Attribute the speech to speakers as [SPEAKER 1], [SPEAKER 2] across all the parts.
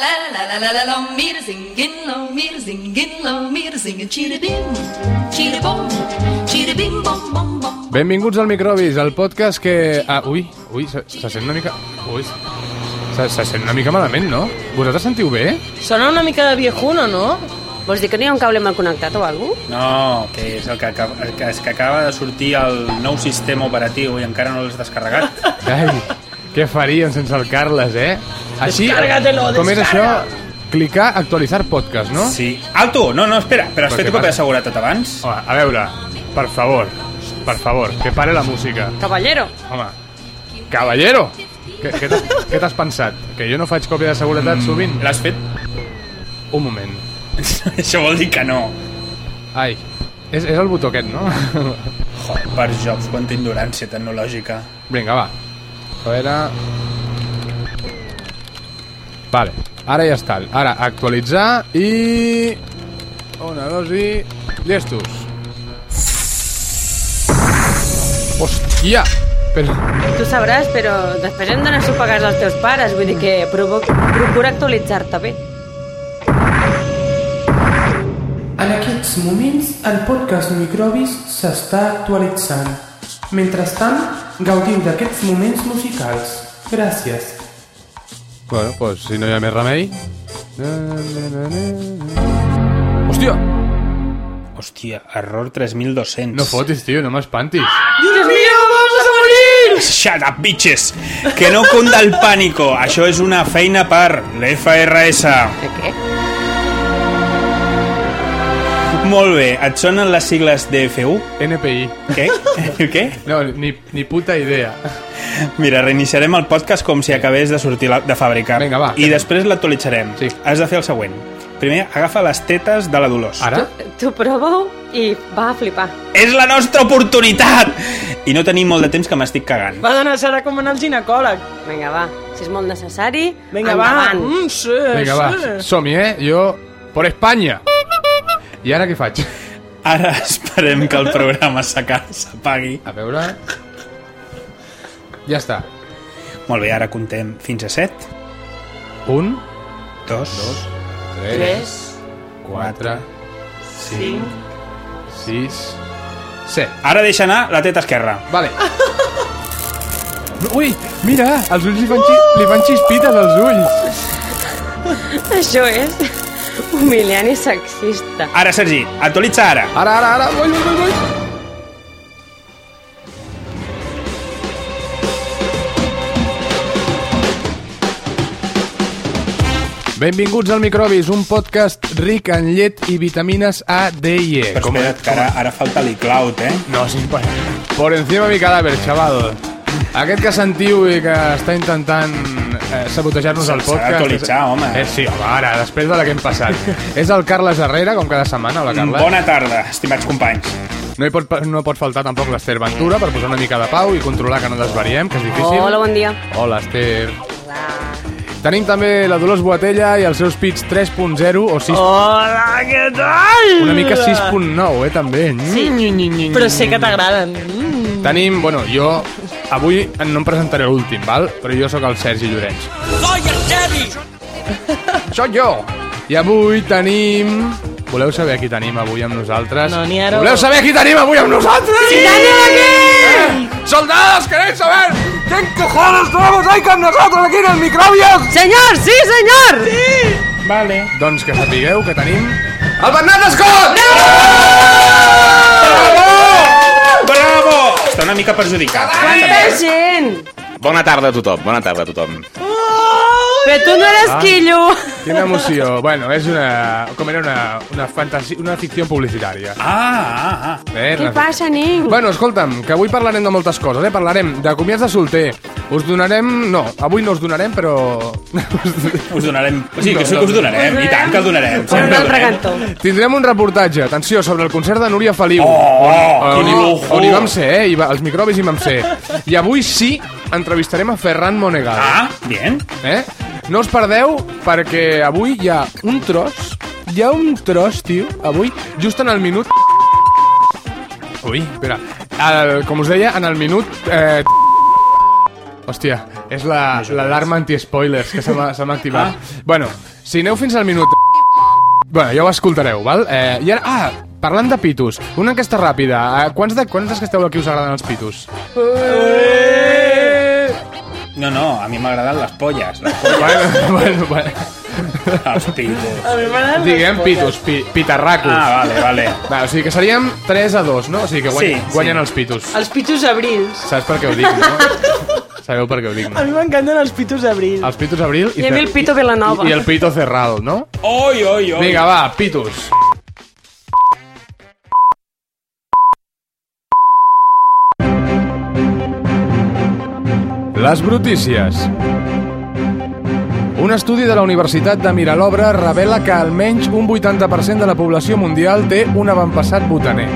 [SPEAKER 1] la la long meter, singing, long meter, singing, long meter, singing, chiribim, chiribom, chiribim, bom, bom, bom.
[SPEAKER 2] Benvinguts al Microbis, el podcast que... Ah, ui, ui, se, se sent una mica... Ui, se, se sent una mica malament, no? Vosaltres sentiu bé?
[SPEAKER 3] Sona una mica de viejuno, no?
[SPEAKER 4] Vols dir que no hi ha un cable mal connectat o alguna cosa?
[SPEAKER 5] No, que és el que, acaba, el que, és que acaba de sortir el nou sistema operatiu i encara no l'has descarregat.
[SPEAKER 2] Ai, què faríem sense el Carles, eh? Així,
[SPEAKER 3] Descárgatelo,
[SPEAKER 2] com és això?
[SPEAKER 3] descarga.
[SPEAKER 2] Clicar, actualitzar podcast, no?
[SPEAKER 5] Sí. Alto! No, no, espera, però has
[SPEAKER 2] Però què
[SPEAKER 5] fet còpia de
[SPEAKER 2] passa?
[SPEAKER 5] seguretat abans?
[SPEAKER 2] Home, a veure, per favor, per favor, que pare la música.
[SPEAKER 4] Caballero.
[SPEAKER 2] Home, caballero! Què què t'has què t'has pensat? Que jo no faig còpia de seguretat sovint?
[SPEAKER 5] Mm, L'has fet?
[SPEAKER 2] Un moment.
[SPEAKER 5] Això vol dir que no.
[SPEAKER 2] Ai, és, és el botó aquest, no?
[SPEAKER 5] Joder, per jocs, quanta ignorància tecnològica.
[SPEAKER 2] Vinga, va. Això era... Vale, ara ja està. Ara, actualitzar i... Una, dos i... Llestos. Hòstia! Però...
[SPEAKER 4] Tu sabràs, però després hem d'anar a sopegars als teus pares, vull dir que provo- procura actualitzar-te bé.
[SPEAKER 6] En aquests moments, el podcast Microbis s'està actualitzant. Mentrestant, gaudiu d'aquests moments musicals. Gràcies.
[SPEAKER 2] Bueno, pues si no hi ha més remei... Hòstia!
[SPEAKER 5] Hòstia, error 3200.
[SPEAKER 2] No fotis, tio, no m'espantis.
[SPEAKER 5] Shut up, bitches! Que no cunda el pànico. Això és una feina per l'FRS.
[SPEAKER 4] De què?
[SPEAKER 5] Molt bé, et sonen les sigles de FU?
[SPEAKER 2] NPI.
[SPEAKER 5] Què? Què?
[SPEAKER 2] No, ni, ni puta idea.
[SPEAKER 5] Mira, reiniciarem el podcast com si acabés de sortir la, de fàbrica.
[SPEAKER 2] Vinga, va.
[SPEAKER 5] I després l'actualitzarem.
[SPEAKER 2] Sí.
[SPEAKER 5] Has de fer el següent. Primer, agafa les tetes de la Dolors.
[SPEAKER 2] Ara?
[SPEAKER 4] Tu prova-ho i va a flipar.
[SPEAKER 5] És la nostra oportunitat! I no tenim molt de temps que m'estic cagant.
[SPEAKER 3] Va d'anar Sara com anar al ginecòleg.
[SPEAKER 4] Vinga, va. Si és molt necessari,
[SPEAKER 3] Vinga, va.
[SPEAKER 4] endavant.
[SPEAKER 3] Mm, sí,
[SPEAKER 2] Vinga, va,
[SPEAKER 3] sí.
[SPEAKER 2] som-hi, eh? Jo... Por Espanya! I ara què faig?
[SPEAKER 5] Ara esperem que el programa s'aca- s'apagui.
[SPEAKER 2] A veure... Ja està.
[SPEAKER 5] Molt bé, ara contem fins a 7,
[SPEAKER 2] Un,
[SPEAKER 5] 2,
[SPEAKER 2] tres,
[SPEAKER 3] Tres,
[SPEAKER 2] quatre,
[SPEAKER 3] cinc...
[SPEAKER 2] sis, set.
[SPEAKER 5] Ara deixa anar la teta esquerra.
[SPEAKER 2] Vale. Ui, mira, els ulls li fan, xi... li fan xispites als ulls.
[SPEAKER 4] Això és humiliant i sexista.
[SPEAKER 5] Ara, Sergi, actualitza ara.
[SPEAKER 2] Ara, ara, ara, ui, ui, ui, ui. Benvinguts al Microbis, un podcast ric en llet i vitamines A, D i E.
[SPEAKER 5] Però
[SPEAKER 2] Com-
[SPEAKER 5] espera't, que ara, ara falta l'iCloud, eh?
[SPEAKER 2] No, sin parar. Por encima de mi cadàver, xavado. Aquest que sentiu i que està intentant eh, sabotejar-nos
[SPEAKER 5] S'ha-
[SPEAKER 2] el
[SPEAKER 5] s'ha
[SPEAKER 2] podcast...
[SPEAKER 5] d'actualitzar, home.
[SPEAKER 2] Eh, sí, home, ara, després de la que hem passat. és el Carles Herrera, com cada setmana, hola, Carles.
[SPEAKER 5] Mm, Bona tarda, estimats companys.
[SPEAKER 2] No, hi pot, pa- no pot faltar tampoc l'Ester Ventura per posar una mica de pau i controlar que no desvariem, que és difícil.
[SPEAKER 4] Hola, bon dia.
[SPEAKER 2] Hola, Esther. Tenim també la Dolors Boatella i els seus pits 3.0 o 6...
[SPEAKER 3] Hola, què tal?
[SPEAKER 2] Una mica 6.9, eh, també.
[SPEAKER 3] Sí, però sé que t'agraden. Mm.
[SPEAKER 2] Tenim, bueno, jo avui no em presentaré l'últim, val? Però jo sóc el Sergi Llorenç. Soy el Sergi! Soc jo! I avui tenim... Voleu saber qui tenim avui amb nosaltres?
[SPEAKER 3] No, ni ara.
[SPEAKER 2] Voleu saber qui tenim avui amb nosaltres? Sí, tenim aquí! Eh? Soldados, queréis saber quién cojones nuevos hay con nosotros aquí en el Microbios?
[SPEAKER 4] Senyor, sí, senyor!
[SPEAKER 5] Vale.
[SPEAKER 2] Doncs que sapigueu que tenim... El Bernat Escot!
[SPEAKER 5] Bravo! Està una mica perjudicat.
[SPEAKER 4] Quanta gent!
[SPEAKER 7] Bona tarda a tothom, bona tarda a tothom. Ah.
[SPEAKER 4] Però tu no eres quillo!
[SPEAKER 2] Quina emoció. Bueno, és una... Com era una, una fantasia... Una ficció publicitària.
[SPEAKER 5] Ah, ah, ah.
[SPEAKER 2] Eh,
[SPEAKER 4] Què
[SPEAKER 2] una-
[SPEAKER 4] passa, nen?
[SPEAKER 2] Bueno, escolta'm, que avui parlarem de moltes coses, eh? Parlarem de comiats de solter. Us donarem... No, avui no us donarem, però...
[SPEAKER 5] Us donarem... O sigui,
[SPEAKER 2] No,
[SPEAKER 5] que sí
[SPEAKER 2] no,
[SPEAKER 5] que us donarem. I tant que el donarem.
[SPEAKER 4] Per eh, un
[SPEAKER 5] Sempre el
[SPEAKER 4] altre
[SPEAKER 5] donarem.
[SPEAKER 4] cantó.
[SPEAKER 2] Tindrem un reportatge, atenció, sobre el concert de Núria Feliu.
[SPEAKER 5] Oh,
[SPEAKER 2] on,
[SPEAKER 5] quin lujo.
[SPEAKER 2] on hi vam ser, eh? Hi va, els microbis hi vam ser. I avui sí entrevistarem a Ferran Monegal.
[SPEAKER 5] Ah, bien.
[SPEAKER 2] Eh? No us perdeu, perquè avui hi ha un tros, hi ha un tros, tio, avui, just en el minut... Ui, espera. El, com us deia, en el minut... Eh... Hòstia, És la- l'alarma anti-spoilers que se m'ha se m'ha activat. Bueno, si aneu fins al minut... Bueno, ja ho escoltareu, val? Eh, i ara... Ah, parlant de pitos, una enquesta ràpida. Eh, quants, de, quants dels que esteu aquí us agraden els pitos?
[SPEAKER 5] No, no, a mi m'agraden les polles. Les polles,
[SPEAKER 2] bueno, bueno, bueno.
[SPEAKER 5] els pitos.
[SPEAKER 4] Ah.
[SPEAKER 3] A mi m'agraden les
[SPEAKER 2] Diguem
[SPEAKER 3] polles.
[SPEAKER 2] pitos, pi, pitarracos.
[SPEAKER 5] Ah, vale, vale.
[SPEAKER 2] Va, o sigui que seríem 3 a 2, no? O sigui que guanyen,
[SPEAKER 5] Sí, sí.
[SPEAKER 2] guanyen els pitos.
[SPEAKER 3] Els pitos abrils.
[SPEAKER 2] Saps per què ho dic, no? Sabeu per què ho dic,
[SPEAKER 3] A
[SPEAKER 2] no?
[SPEAKER 3] mi m'encanten els pitos abrils.
[SPEAKER 2] Els pitos abril i,
[SPEAKER 4] I a mi el pito Vilanova.
[SPEAKER 2] i el pito cerral, no?
[SPEAKER 5] Oi, oi, oi.
[SPEAKER 2] Vinga, va, pitos. Les brutícies. Un estudi de la Universitat de Miralobra revela que almenys un 80% de la població mundial té un avantpassat botaner.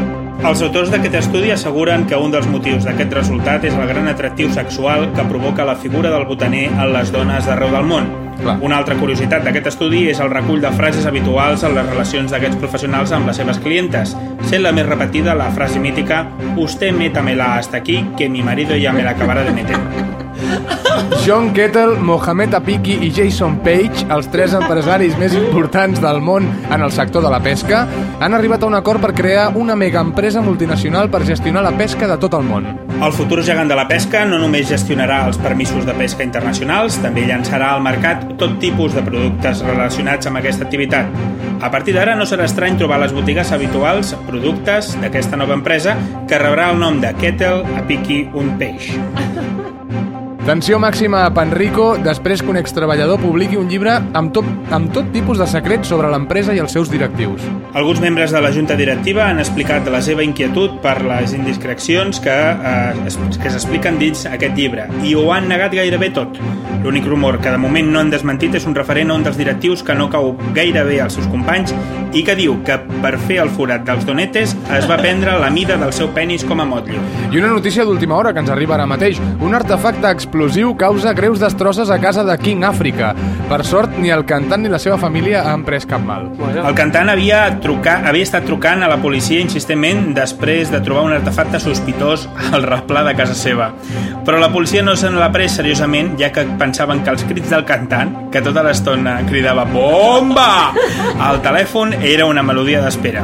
[SPEAKER 5] Els autors d'aquest estudi asseguren que un dels motius d'aquest resultat és el gran atractiu sexual que provoca la figura del botaner en les dones d'arreu del món.
[SPEAKER 2] Clar.
[SPEAKER 5] Una altra curiositat d'aquest estudi és el recull de frases habituals en les relacions d'aquests professionals amb les seves clientes, sent la més repetida la frase mítica «Usted métamela hasta aquí, que mi marido ya me la acabará de meter».
[SPEAKER 2] John Kettle, Mohamed Apiki i Jason Page, els tres empresaris més importants del món en el sector de la pesca, han arribat a un acord per crear una megaempresa multinacional per gestionar la pesca de tot el món.
[SPEAKER 5] El futur gegant de la pesca no només gestionarà els permisos de pesca internacionals, també llançarà al mercat tot tipus de productes relacionats amb aquesta activitat. A partir d'ara no serà estrany trobar a les botigues habituals productes d'aquesta nova empresa que rebrà el nom de Kettle Apiki Un Peix.
[SPEAKER 2] Tensió màxima a Panrico després que un extreballador publiqui un llibre amb tot, amb tot tipus de secrets sobre l'empresa i els seus directius.
[SPEAKER 5] Alguns membres de la Junta Directiva han explicat la seva inquietud per les indiscrecions que, eh, es, que s'expliquen dins aquest llibre i ho han negat gairebé tot. L'únic rumor que de moment no han desmentit és un referent a un dels directius que no cau gaire bé als seus companys i que diu que per fer el forat dels donetes es va prendre la mida del seu penis com a motllo.
[SPEAKER 2] I una notícia d'última hora que ens arriba ara mateix. Un artefacte explosiu causa greus destrosses a casa de King Africa. Per sort, ni el cantant ni la seva família han pres cap mal.
[SPEAKER 5] El cantant havia, trucat, havia estat trucant a la policia insistentment després de trobar un artefacte sospitós al replà de casa seva. Però la policia no se l'ha pres seriosament, ja que pensaven que els crits del cantant, que tota l'estona cridava «Bomba!» al telèfon era una melodia d'espera.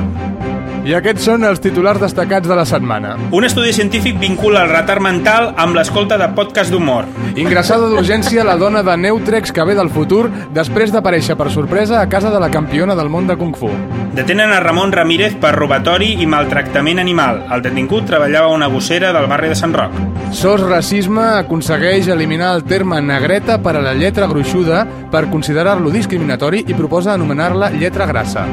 [SPEAKER 2] I aquests són els titulars destacats de la setmana.
[SPEAKER 5] Un estudi científic vincula el retard mental amb l'escolta de podcast d'humor.
[SPEAKER 2] Ingressada d'urgència la dona de Neutrex que ve del futur després d'aparèixer per sorpresa a casa de la campiona del món de Kung Fu.
[SPEAKER 5] Detenen a Ramon Ramírez per robatori i maltractament animal. El detingut treballava a una gossera del barri de Sant Roc.
[SPEAKER 2] SOS Racisme aconsegueix eliminar el terme negreta per a la lletra gruixuda per considerar-lo discriminatori i proposa anomenar-la lletra grassa.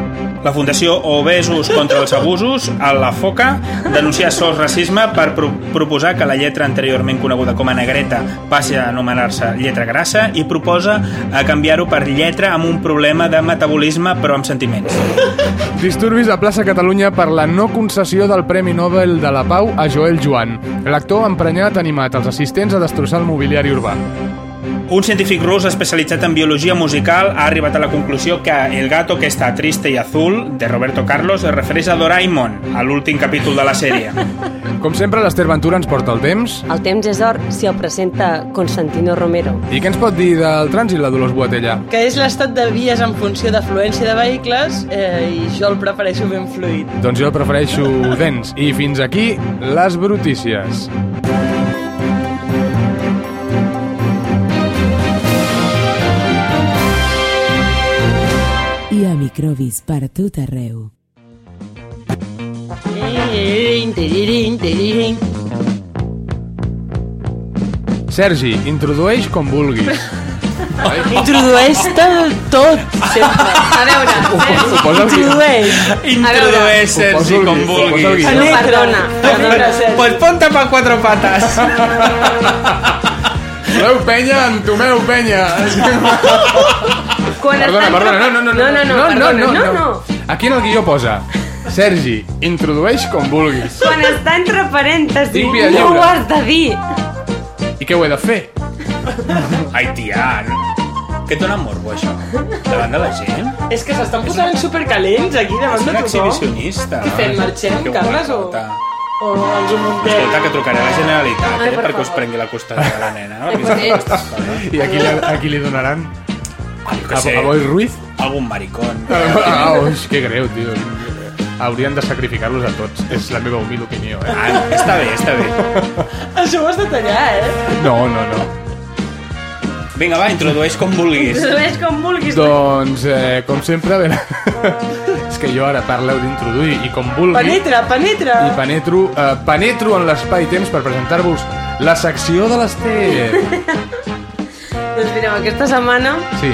[SPEAKER 5] La Fundació Obesos contra els Abusos, a la Foca, denuncia sols racisme per pro proposar que la lletra anteriorment coneguda com a negreta passi a anomenar-se lletra grassa i proposa a canviar-ho per lletra amb un problema de metabolisme però amb sentiments.
[SPEAKER 2] Disturbis a plaça Catalunya per la no concessió del Premi Nobel de la Pau a Joel Joan. L'actor emprenyat ha animat els assistents a destrossar el mobiliari urbà.
[SPEAKER 5] Un científic rus especialitzat en biologia musical ha arribat a la conclusió que El gato que está triste y azul, de Roberto Carlos, es refereix a Doraemon, a l'últim capítol de la sèrie.
[SPEAKER 2] Com sempre, l'Ester Ventura ens porta el temps.
[SPEAKER 4] El temps és d'or si el presenta Constantino Romero.
[SPEAKER 2] I què ens pot dir del trànsit la Dolors Boatella?
[SPEAKER 3] que és l'estat de vies en funció d'afluència de vehicles eh, i jo el prefereixo ben fluid.
[SPEAKER 2] Doncs jo prefereixo dents. I fins aquí, les brutícies.
[SPEAKER 8] i a microbis per tot arreu.
[SPEAKER 3] Tiririn, tiririn, tiririn.
[SPEAKER 2] Sergi, introdueix com vulguis.
[SPEAKER 3] Introdueix-te tot, sempre.
[SPEAKER 4] A veure,
[SPEAKER 2] Ho posa el guió.
[SPEAKER 5] Introdueix,
[SPEAKER 3] Introdueix.
[SPEAKER 2] Ho poso
[SPEAKER 5] Sergi,
[SPEAKER 2] al
[SPEAKER 5] com
[SPEAKER 2] guió, ho poso al
[SPEAKER 5] vulguis.
[SPEAKER 2] guió.
[SPEAKER 4] no,
[SPEAKER 3] Penetra.
[SPEAKER 4] perdona. perdona.
[SPEAKER 5] Pues ponte pa quatre patas.
[SPEAKER 2] Voleu penya, entomeu penya.
[SPEAKER 4] Quan
[SPEAKER 2] Perdona,
[SPEAKER 4] estan
[SPEAKER 2] perdona, no, no, no.
[SPEAKER 4] no, no, perdona, no, no.
[SPEAKER 2] Aquí en el guió posa, Sergi, introdueix com vulguis.
[SPEAKER 4] Quan està entre parèntesis,
[SPEAKER 2] Tinc via
[SPEAKER 4] no ho
[SPEAKER 2] lliure.
[SPEAKER 4] has de dir.
[SPEAKER 2] I què ho he de fer?
[SPEAKER 5] Ai, tia, no. que et dona morbo, això? Davant de la gent?
[SPEAKER 3] És que s'estan posant supercalents aquí davant
[SPEAKER 5] És un
[SPEAKER 3] de tothom.
[SPEAKER 5] exhibicionista.
[SPEAKER 3] Què fem, marxem,
[SPEAKER 5] Que
[SPEAKER 3] Carles, o-
[SPEAKER 5] guapota.
[SPEAKER 3] o els ho muntem.
[SPEAKER 5] Escolta, que trucaré a la
[SPEAKER 4] Ai,
[SPEAKER 5] Generalitat, eh,
[SPEAKER 4] per
[SPEAKER 5] perquè us
[SPEAKER 4] favor.
[SPEAKER 5] prengui la custòdia de la nena. no? Perquè
[SPEAKER 4] Ai,
[SPEAKER 5] és una cosa,
[SPEAKER 2] I aquí li, aquí li donaran a,
[SPEAKER 5] jo què sé,
[SPEAKER 2] a Boy Ruiz.
[SPEAKER 5] algun maricón.
[SPEAKER 2] Ah, oh, que greu, tio. Haurien de sacrificar-los a tots. És la meva humil opinió, eh?
[SPEAKER 5] Ah, està bé, està bé.
[SPEAKER 3] Això ho has de tallar, eh?
[SPEAKER 2] No, no, no.
[SPEAKER 5] Vinga, va, introdueix com vulguis.
[SPEAKER 3] Ves com vulguis.
[SPEAKER 2] Doncs, eh, com sempre, ben... és que jo ara parleu d'introduir i com vulgui...
[SPEAKER 3] Penetra, penetra.
[SPEAKER 2] I penetro, eh, penetro en l'espai-temps per presentar-vos la secció de l'Ester.
[SPEAKER 4] Doncs mireu, aquesta setmana
[SPEAKER 2] Sí.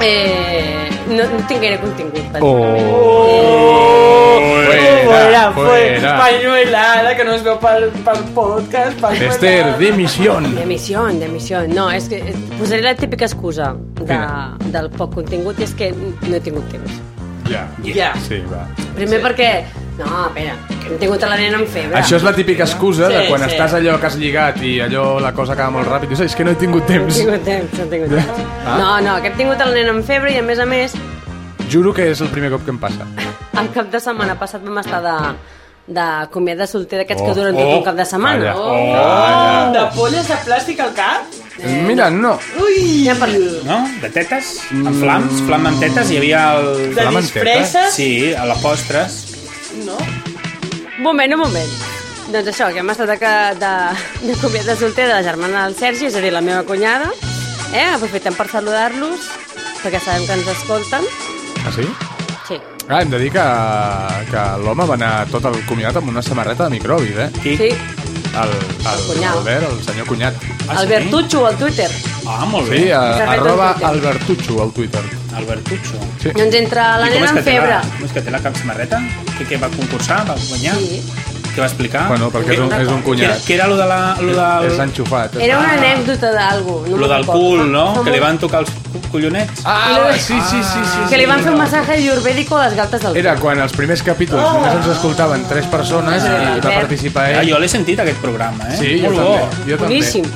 [SPEAKER 4] eh, no, no tinc gaire contingut. per dir.
[SPEAKER 2] Oh.
[SPEAKER 3] Fuera,
[SPEAKER 2] Fuera,
[SPEAKER 3] fuera.
[SPEAKER 2] fuera.
[SPEAKER 3] Pañuelada, que no es veu pel, pel podcast. Pañuelada.
[SPEAKER 2] Esther, dimisión.
[SPEAKER 4] De missió, de missió. No, és que eh, posaré la típica excusa de,
[SPEAKER 2] Quina?
[SPEAKER 4] del poc contingut i és que no he tingut temps.
[SPEAKER 2] Ja.
[SPEAKER 3] Ja.
[SPEAKER 2] Sí, va.
[SPEAKER 4] Primer perquè... No, espera, que hem tingut a la nena amb febre.
[SPEAKER 2] Això és la típica excusa de
[SPEAKER 3] Sí,
[SPEAKER 2] quan
[SPEAKER 3] sí.
[SPEAKER 2] estàs allò que has lligat i allò la cosa acaba molt ràpid. Dius, "Ai, és que no he tingut
[SPEAKER 4] No
[SPEAKER 2] temps.
[SPEAKER 4] he tingut temps, no he tingut temps.
[SPEAKER 2] Ah.
[SPEAKER 4] No, no, que hem tingut a la nena amb febre i a més a més
[SPEAKER 2] Juro que és el primer cop que em passa.
[SPEAKER 4] el cap de setmana passat vam estar de, de comiat de solter d'aquests
[SPEAKER 2] Oh,
[SPEAKER 4] que duren tot
[SPEAKER 2] oh,
[SPEAKER 4] un cap de setmana.
[SPEAKER 2] calla.
[SPEAKER 4] Oh.
[SPEAKER 2] Calla.
[SPEAKER 5] Ah.
[SPEAKER 3] De polles de plàstic al cap?
[SPEAKER 2] Mira, no.
[SPEAKER 3] Ui!
[SPEAKER 4] Ja parlem.
[SPEAKER 5] No? De tetes? Amb flams? Flam amb tetes? Hi havia el...
[SPEAKER 3] De
[SPEAKER 2] La manteta?
[SPEAKER 3] disfresses?
[SPEAKER 5] Sí, a la postres.
[SPEAKER 3] No?
[SPEAKER 4] Un moment, un moment. Doncs això, que hem estat de, de, de comiat de solter de la germana del Sergi, és a dir, la meva cunyada. Eh? Aprofitem per saludar-los, perquè sabem que ens escolten.
[SPEAKER 2] Ah, sí?
[SPEAKER 4] Sí.
[SPEAKER 2] Ah, hem de dir que, que l'home va anar tot el comiat amb una samarreta de microbis, eh?
[SPEAKER 5] Qui?
[SPEAKER 4] Sí.
[SPEAKER 2] El, el, el
[SPEAKER 4] cunyat.
[SPEAKER 2] Albert, el senyor cunyat.
[SPEAKER 5] Ah, sí?
[SPEAKER 4] Albert Tutxo, al Twitter.
[SPEAKER 5] Ah, molt
[SPEAKER 2] Sí,
[SPEAKER 5] bé.
[SPEAKER 2] a,
[SPEAKER 4] fet el
[SPEAKER 2] arroba
[SPEAKER 4] Twitter.
[SPEAKER 2] Albertuccio al Twitter.
[SPEAKER 5] Albertucho.
[SPEAKER 4] Doncs entre la nena amb
[SPEAKER 5] té la,
[SPEAKER 4] febre.
[SPEAKER 5] com és que té la cap samarreta? Que, que va concursar, va guanyar?
[SPEAKER 4] Sí.
[SPEAKER 5] Què va explicar?
[SPEAKER 2] Bueno, perquè és un, és un
[SPEAKER 5] Què era,
[SPEAKER 2] cunyat.
[SPEAKER 5] què era lo de la... Lo del...
[SPEAKER 2] És enxufat.
[SPEAKER 4] Era una anècdota d'algú. No
[SPEAKER 5] Lo
[SPEAKER 4] me'n
[SPEAKER 5] del
[SPEAKER 4] recordo.
[SPEAKER 5] cul,
[SPEAKER 4] Fa- fa
[SPEAKER 5] no? Que li
[SPEAKER 4] molt-
[SPEAKER 5] van tocar els cu- collonets.
[SPEAKER 2] Ah, sí, sí, sí, sí.
[SPEAKER 4] que li van fer un massatge iorvèdico a les galtes del
[SPEAKER 2] Era quan els primers capítols només ens escoltaven tres
[SPEAKER 4] Ah,
[SPEAKER 2] persones i va participar
[SPEAKER 5] Ah,
[SPEAKER 2] ell.
[SPEAKER 5] jo l'he sentit, aquest programa, eh?
[SPEAKER 2] Sí, jo
[SPEAKER 5] molt
[SPEAKER 2] també. Jo també.
[SPEAKER 4] Boníssim.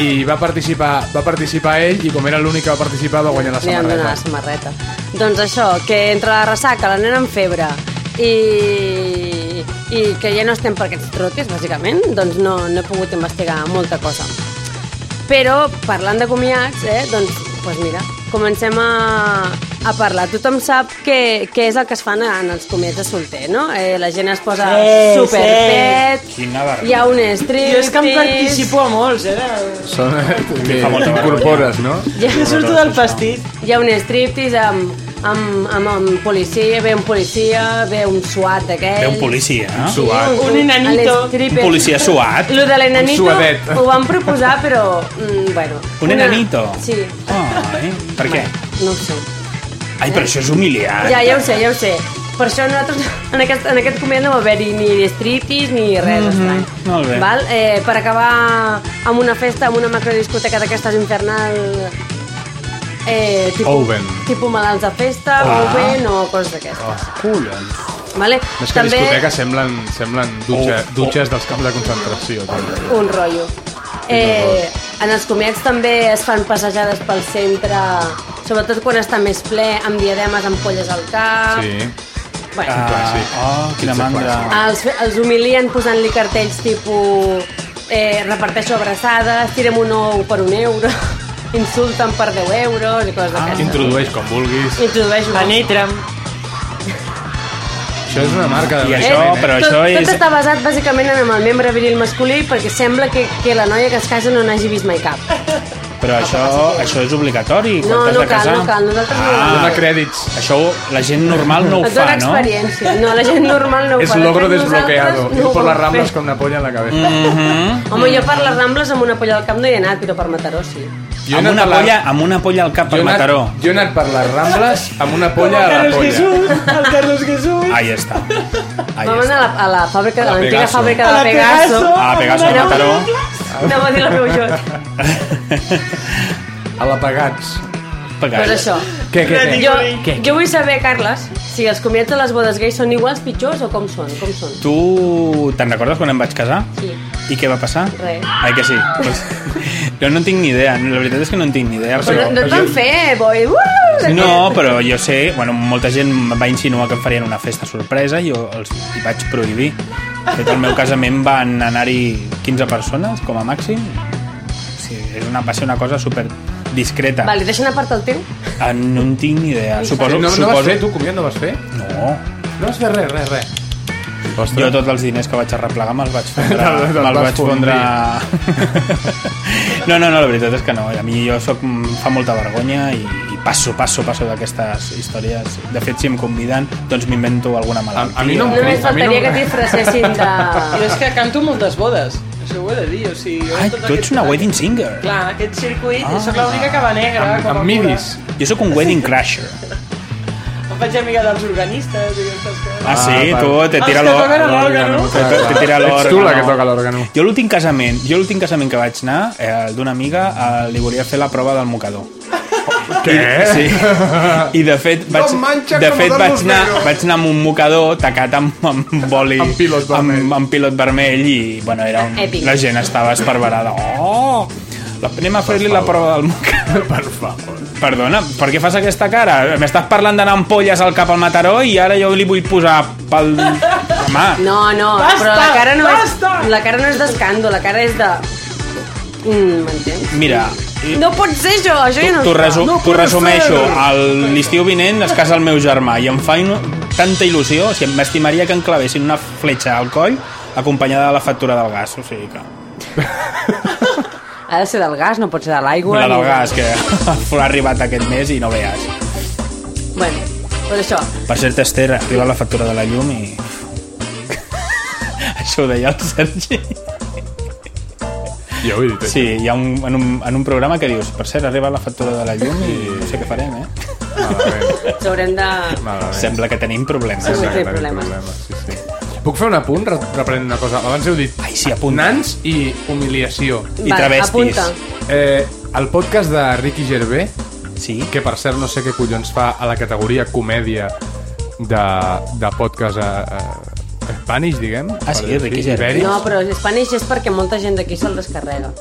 [SPEAKER 2] I va participar, va participar ell i com era l'únic que va participar va guanyar la
[SPEAKER 4] Li van donar la
[SPEAKER 2] samarreta.
[SPEAKER 4] samarreta. Doncs això, que entre la ressaca, la nena amb febre i, i que ja no estem per aquests trotes, bàsicament, doncs no, no he pogut investigar molta cosa. Però, parlant de comiats, eh, doncs, doncs mira, comencem a, a parlar. Tothom sap què, què és el que es fan en els comiats de solter, no? Eh, la gent es posa
[SPEAKER 3] Sí,
[SPEAKER 4] superpet,
[SPEAKER 5] Quina barra.
[SPEAKER 4] hi ha un striptease...
[SPEAKER 3] Jo és que em participo a molts, eh? de-
[SPEAKER 2] Són que
[SPEAKER 5] Fa molta
[SPEAKER 2] incorpores, no?
[SPEAKER 4] Hi ha-
[SPEAKER 3] Jo surto del pastís.
[SPEAKER 4] Hi ha un striptease amb, amb, amb, amb policia, ve un policia, ve un suat d'aquells...
[SPEAKER 5] Té un policia, no?
[SPEAKER 2] Suat.
[SPEAKER 3] Un enanito.
[SPEAKER 5] Un policia suat.
[SPEAKER 4] Lo de l'enanito
[SPEAKER 2] Un suadet.
[SPEAKER 4] ho van proposar, però... Mm, bueno,
[SPEAKER 5] Un enanito?
[SPEAKER 4] Sí.
[SPEAKER 5] Ai, per què?
[SPEAKER 4] No ho sé.
[SPEAKER 5] Ai, però això és humiliant.
[SPEAKER 4] Ja, ja ho sé, ja ho sé. Per això nosaltres en aquest, en aquest comiat no va haver-hi ni striptease ni res mm -hmm. estrany.
[SPEAKER 5] molt bé.
[SPEAKER 4] Val? Eh, per acabar amb una festa, amb una macrodiscoteca d'aquestes infernal... Eh, tipus,
[SPEAKER 2] Oven.
[SPEAKER 4] tipus malalts de festa,
[SPEAKER 5] Ah.
[SPEAKER 4] Oven o coses d'aquestes.
[SPEAKER 2] Oh, collons.
[SPEAKER 4] Vale?
[SPEAKER 2] Més que També... discoteques semblen, semblen dutxa,
[SPEAKER 5] Oh, oh.
[SPEAKER 2] dutxes dels camps de concentració. tio.
[SPEAKER 4] un rotllo. Eh, en els comiats també es fan passejades pel centre, sobretot quan està més ple, amb diademes, amb polles al cap...
[SPEAKER 2] Sí. Ah.
[SPEAKER 4] Bueno,
[SPEAKER 5] Ah,
[SPEAKER 2] Clàssic.
[SPEAKER 5] oh, quina
[SPEAKER 2] Pizza
[SPEAKER 5] mandra.
[SPEAKER 2] clàssica.
[SPEAKER 4] els, els humilien posant-li cartells tipus eh, reparteixo abraçades, tirem un ou per un euro, insulten per 10 euros i
[SPEAKER 2] Ah.
[SPEAKER 4] coses
[SPEAKER 5] Ah.
[SPEAKER 4] d'aquestes.
[SPEAKER 2] Introdueix com vulguis.
[SPEAKER 4] Introdueix un
[SPEAKER 3] Penetra'm.
[SPEAKER 2] Això és una marca de...
[SPEAKER 5] I això,
[SPEAKER 2] Eh?
[SPEAKER 5] però
[SPEAKER 4] tot,
[SPEAKER 5] això
[SPEAKER 4] tot
[SPEAKER 5] és...
[SPEAKER 4] està basat bàsicament en el membre viril masculí perquè sembla que, que la noia que es casa no n'hagi vist mai cap.
[SPEAKER 5] Però això, això és obligatori. quan
[SPEAKER 4] Ah, No,
[SPEAKER 5] t'has
[SPEAKER 4] no
[SPEAKER 5] de
[SPEAKER 4] cal,
[SPEAKER 5] casar.
[SPEAKER 4] no cal, nosaltres no ho
[SPEAKER 2] Dona
[SPEAKER 5] ah,
[SPEAKER 2] crèdits.
[SPEAKER 5] Això la gent normal no ho
[SPEAKER 4] Et
[SPEAKER 5] fa,
[SPEAKER 4] dona
[SPEAKER 5] no?
[SPEAKER 4] experiència. No, la gent normal no ho
[SPEAKER 2] És
[SPEAKER 4] fa.
[SPEAKER 2] logro
[SPEAKER 4] De fet,
[SPEAKER 2] desbloqueado.
[SPEAKER 4] nosaltres
[SPEAKER 2] Ir
[SPEAKER 4] ho
[SPEAKER 2] por las
[SPEAKER 4] vam
[SPEAKER 2] ramblas
[SPEAKER 4] fer.
[SPEAKER 2] con una polla en la cabeza.
[SPEAKER 5] Mm.
[SPEAKER 4] Home, jo per les Rambles amb una polla al cap no hi he anat, però per Mataró sí.
[SPEAKER 2] Jo he
[SPEAKER 5] Amb
[SPEAKER 2] anat per
[SPEAKER 5] una,
[SPEAKER 2] la-
[SPEAKER 5] polla, amb una polla al cap
[SPEAKER 2] Jo
[SPEAKER 5] per
[SPEAKER 2] he anat-
[SPEAKER 5] Mataró.
[SPEAKER 2] Jo he anat per les Rambles amb una polla a la
[SPEAKER 3] Carlos
[SPEAKER 2] polla.
[SPEAKER 3] Jesús, el Carlos Jesús.
[SPEAKER 5] Ahí està. Ahí
[SPEAKER 4] Vam anar
[SPEAKER 5] està.
[SPEAKER 4] a la, a la fàbrica, a
[SPEAKER 2] la
[SPEAKER 4] l'antiga
[SPEAKER 2] Pegaso.
[SPEAKER 4] fàbrica de
[SPEAKER 3] A la Pegaso.
[SPEAKER 4] Pegaso.
[SPEAKER 5] Ah, Pegaso a
[SPEAKER 4] Anava-
[SPEAKER 5] Mataró.
[SPEAKER 4] Anava a dir la meva jota.
[SPEAKER 2] A la Pagats.
[SPEAKER 4] Doncs això.
[SPEAKER 2] Què, què, què?
[SPEAKER 4] Jo, jo vull saber, Carles, si els comiats de les bodes gais són iguals, pitjors o com són? Com són?
[SPEAKER 5] Tu te'n recordes quan em vaig casar?
[SPEAKER 4] Sí.
[SPEAKER 5] I què va passar?
[SPEAKER 4] Res.
[SPEAKER 5] Ai, que sí? Pues, jo no tinc ni idea, la veritat és que no en tinc ni idea.
[SPEAKER 4] Però no, no et van fer, boi. Uh,
[SPEAKER 5] No, però jo sé, bueno, molta gent em va insinuar que em farien una festa sorpresa i jo els hi vaig prohibir. De fet, al meu casament van anar-hi 15 persones, com a màxim. Sí, és una, va ser una cosa super discreta.
[SPEAKER 4] Vale, deixen a part el teu.
[SPEAKER 5] Ah, No en tinc ni idea. Suposo,
[SPEAKER 2] No, no
[SPEAKER 5] suposo...
[SPEAKER 2] vas fer, tu, comiat no vas fer?
[SPEAKER 5] No.
[SPEAKER 2] No vas fer res, res, res.
[SPEAKER 5] Jo tots els diners que vaig arreplegar me'ls vaig fondre.
[SPEAKER 2] Te'l- te'l
[SPEAKER 5] me'ls
[SPEAKER 2] vas
[SPEAKER 5] vaig fondre... no, no, no, la veritat és que no. A mi jo soc, em fa molta vergonya i, i passo, passo, passo d'aquestes històries. De fet, si em conviden, doncs m'invento alguna malaltia.
[SPEAKER 2] a mi no em crida.
[SPEAKER 4] Només
[SPEAKER 2] A mi no-
[SPEAKER 4] faltaria que t'hi fracessin de...
[SPEAKER 3] Jo és que canto moltes bodes, això ho he de dir, o sigui... jo
[SPEAKER 5] Ai,
[SPEAKER 3] tot
[SPEAKER 5] tu ets
[SPEAKER 3] aquest-
[SPEAKER 5] una wedding singer.
[SPEAKER 3] Clar, en aquest circuit,
[SPEAKER 5] Ah.
[SPEAKER 3] ah, sóc l'única que va negra.
[SPEAKER 2] Amb,
[SPEAKER 3] com a
[SPEAKER 2] amb
[SPEAKER 3] cura.
[SPEAKER 2] midis.
[SPEAKER 5] Jo sóc un wedding crasher.
[SPEAKER 3] Em faig amiga dels organistes i aquestes coses.
[SPEAKER 5] Ah, sí?
[SPEAKER 2] per-
[SPEAKER 5] Tu te tira
[SPEAKER 3] Els que
[SPEAKER 5] l'or.
[SPEAKER 3] toquen l'òrgan, no?
[SPEAKER 5] Te, te tira l'or.
[SPEAKER 2] Ets tu la que toca l'òrgano.
[SPEAKER 5] Jo l'últim casament, jo l'últim casament que vaig anar, eh, d'una amiga, eh, li volia fer la prova del mocador.
[SPEAKER 2] Què?
[SPEAKER 5] Sí. I de fet vaig,
[SPEAKER 2] No manxa
[SPEAKER 5] de
[SPEAKER 2] com
[SPEAKER 5] fet
[SPEAKER 2] Don
[SPEAKER 5] vaig anar,
[SPEAKER 2] Lucero.
[SPEAKER 5] vaig anar amb un mocador tacat amb, amb boli
[SPEAKER 2] Amb pilot vermell.
[SPEAKER 5] amb, amb pilot vermell i bueno, era un,
[SPEAKER 4] Èpic.
[SPEAKER 5] la gent estava esparverada. Oh! La, anem a fer-li la prova del mocador. Per favor. Perdona, per què fas aquesta cara? M'estàs parlant d'anar amb polles al cap al Mataró i ara jo li vull posar pel... Home,
[SPEAKER 4] No, no,
[SPEAKER 3] Basta,
[SPEAKER 4] però la cara no
[SPEAKER 3] basta!
[SPEAKER 4] és... La cara no és d'escàndol, la cara és de... Mm, M'entens?
[SPEAKER 5] mira,
[SPEAKER 4] No pot ser jo, jo ja no...
[SPEAKER 5] T'ho
[SPEAKER 4] ho fa.
[SPEAKER 5] resu no resumeixo. El- L'estiu vinent es casa el meu germà i em fa inu- tanta il·lusió. O sigui, m'estimaria que enclavessin una fletxa al coll acompanyada de la factura del gas. O sigui que...
[SPEAKER 4] Ha de ser del gas, no pot ser de l'aigua.
[SPEAKER 5] La
[SPEAKER 4] ni
[SPEAKER 5] del
[SPEAKER 4] de-
[SPEAKER 5] gas, que ha arribat aquest mes i no veas.
[SPEAKER 4] Bueno, doncs això.
[SPEAKER 5] Per cert, Esther, arriba la factura de la llum i... Això ho deia el Sergi.
[SPEAKER 2] Jo ho he dit.
[SPEAKER 5] Sí, hi ha un, en, un, en un programa que dius, per cert, arriba la factura de la llum i no sé què farem, eh?
[SPEAKER 2] Malament,
[SPEAKER 4] Ens haurem de...
[SPEAKER 2] malament.
[SPEAKER 5] Sembla que tenim problemes.
[SPEAKER 4] Sí. té
[SPEAKER 2] Tenim
[SPEAKER 4] problemes.
[SPEAKER 2] Sí, sí. Puc fer un apunt re- reprenent una cosa? Abans heu dit
[SPEAKER 5] Ai, sí, apunta.
[SPEAKER 2] nans i humiliació.
[SPEAKER 5] I
[SPEAKER 4] Va,
[SPEAKER 5] travestis.
[SPEAKER 4] Apunta.
[SPEAKER 2] Eh, el podcast de Ricky Gervais,
[SPEAKER 5] Sí.
[SPEAKER 2] que per cert no sé què collons fa a la categoria comèdia de, de podcast a, a Spanish, diguem.
[SPEAKER 5] Ah, sí,
[SPEAKER 2] per dir-ho
[SPEAKER 5] Ricky
[SPEAKER 2] així,
[SPEAKER 5] Gervais.
[SPEAKER 2] ibèric.
[SPEAKER 4] No, però Spanish és perquè molta gent d'aquí se'l descarrega,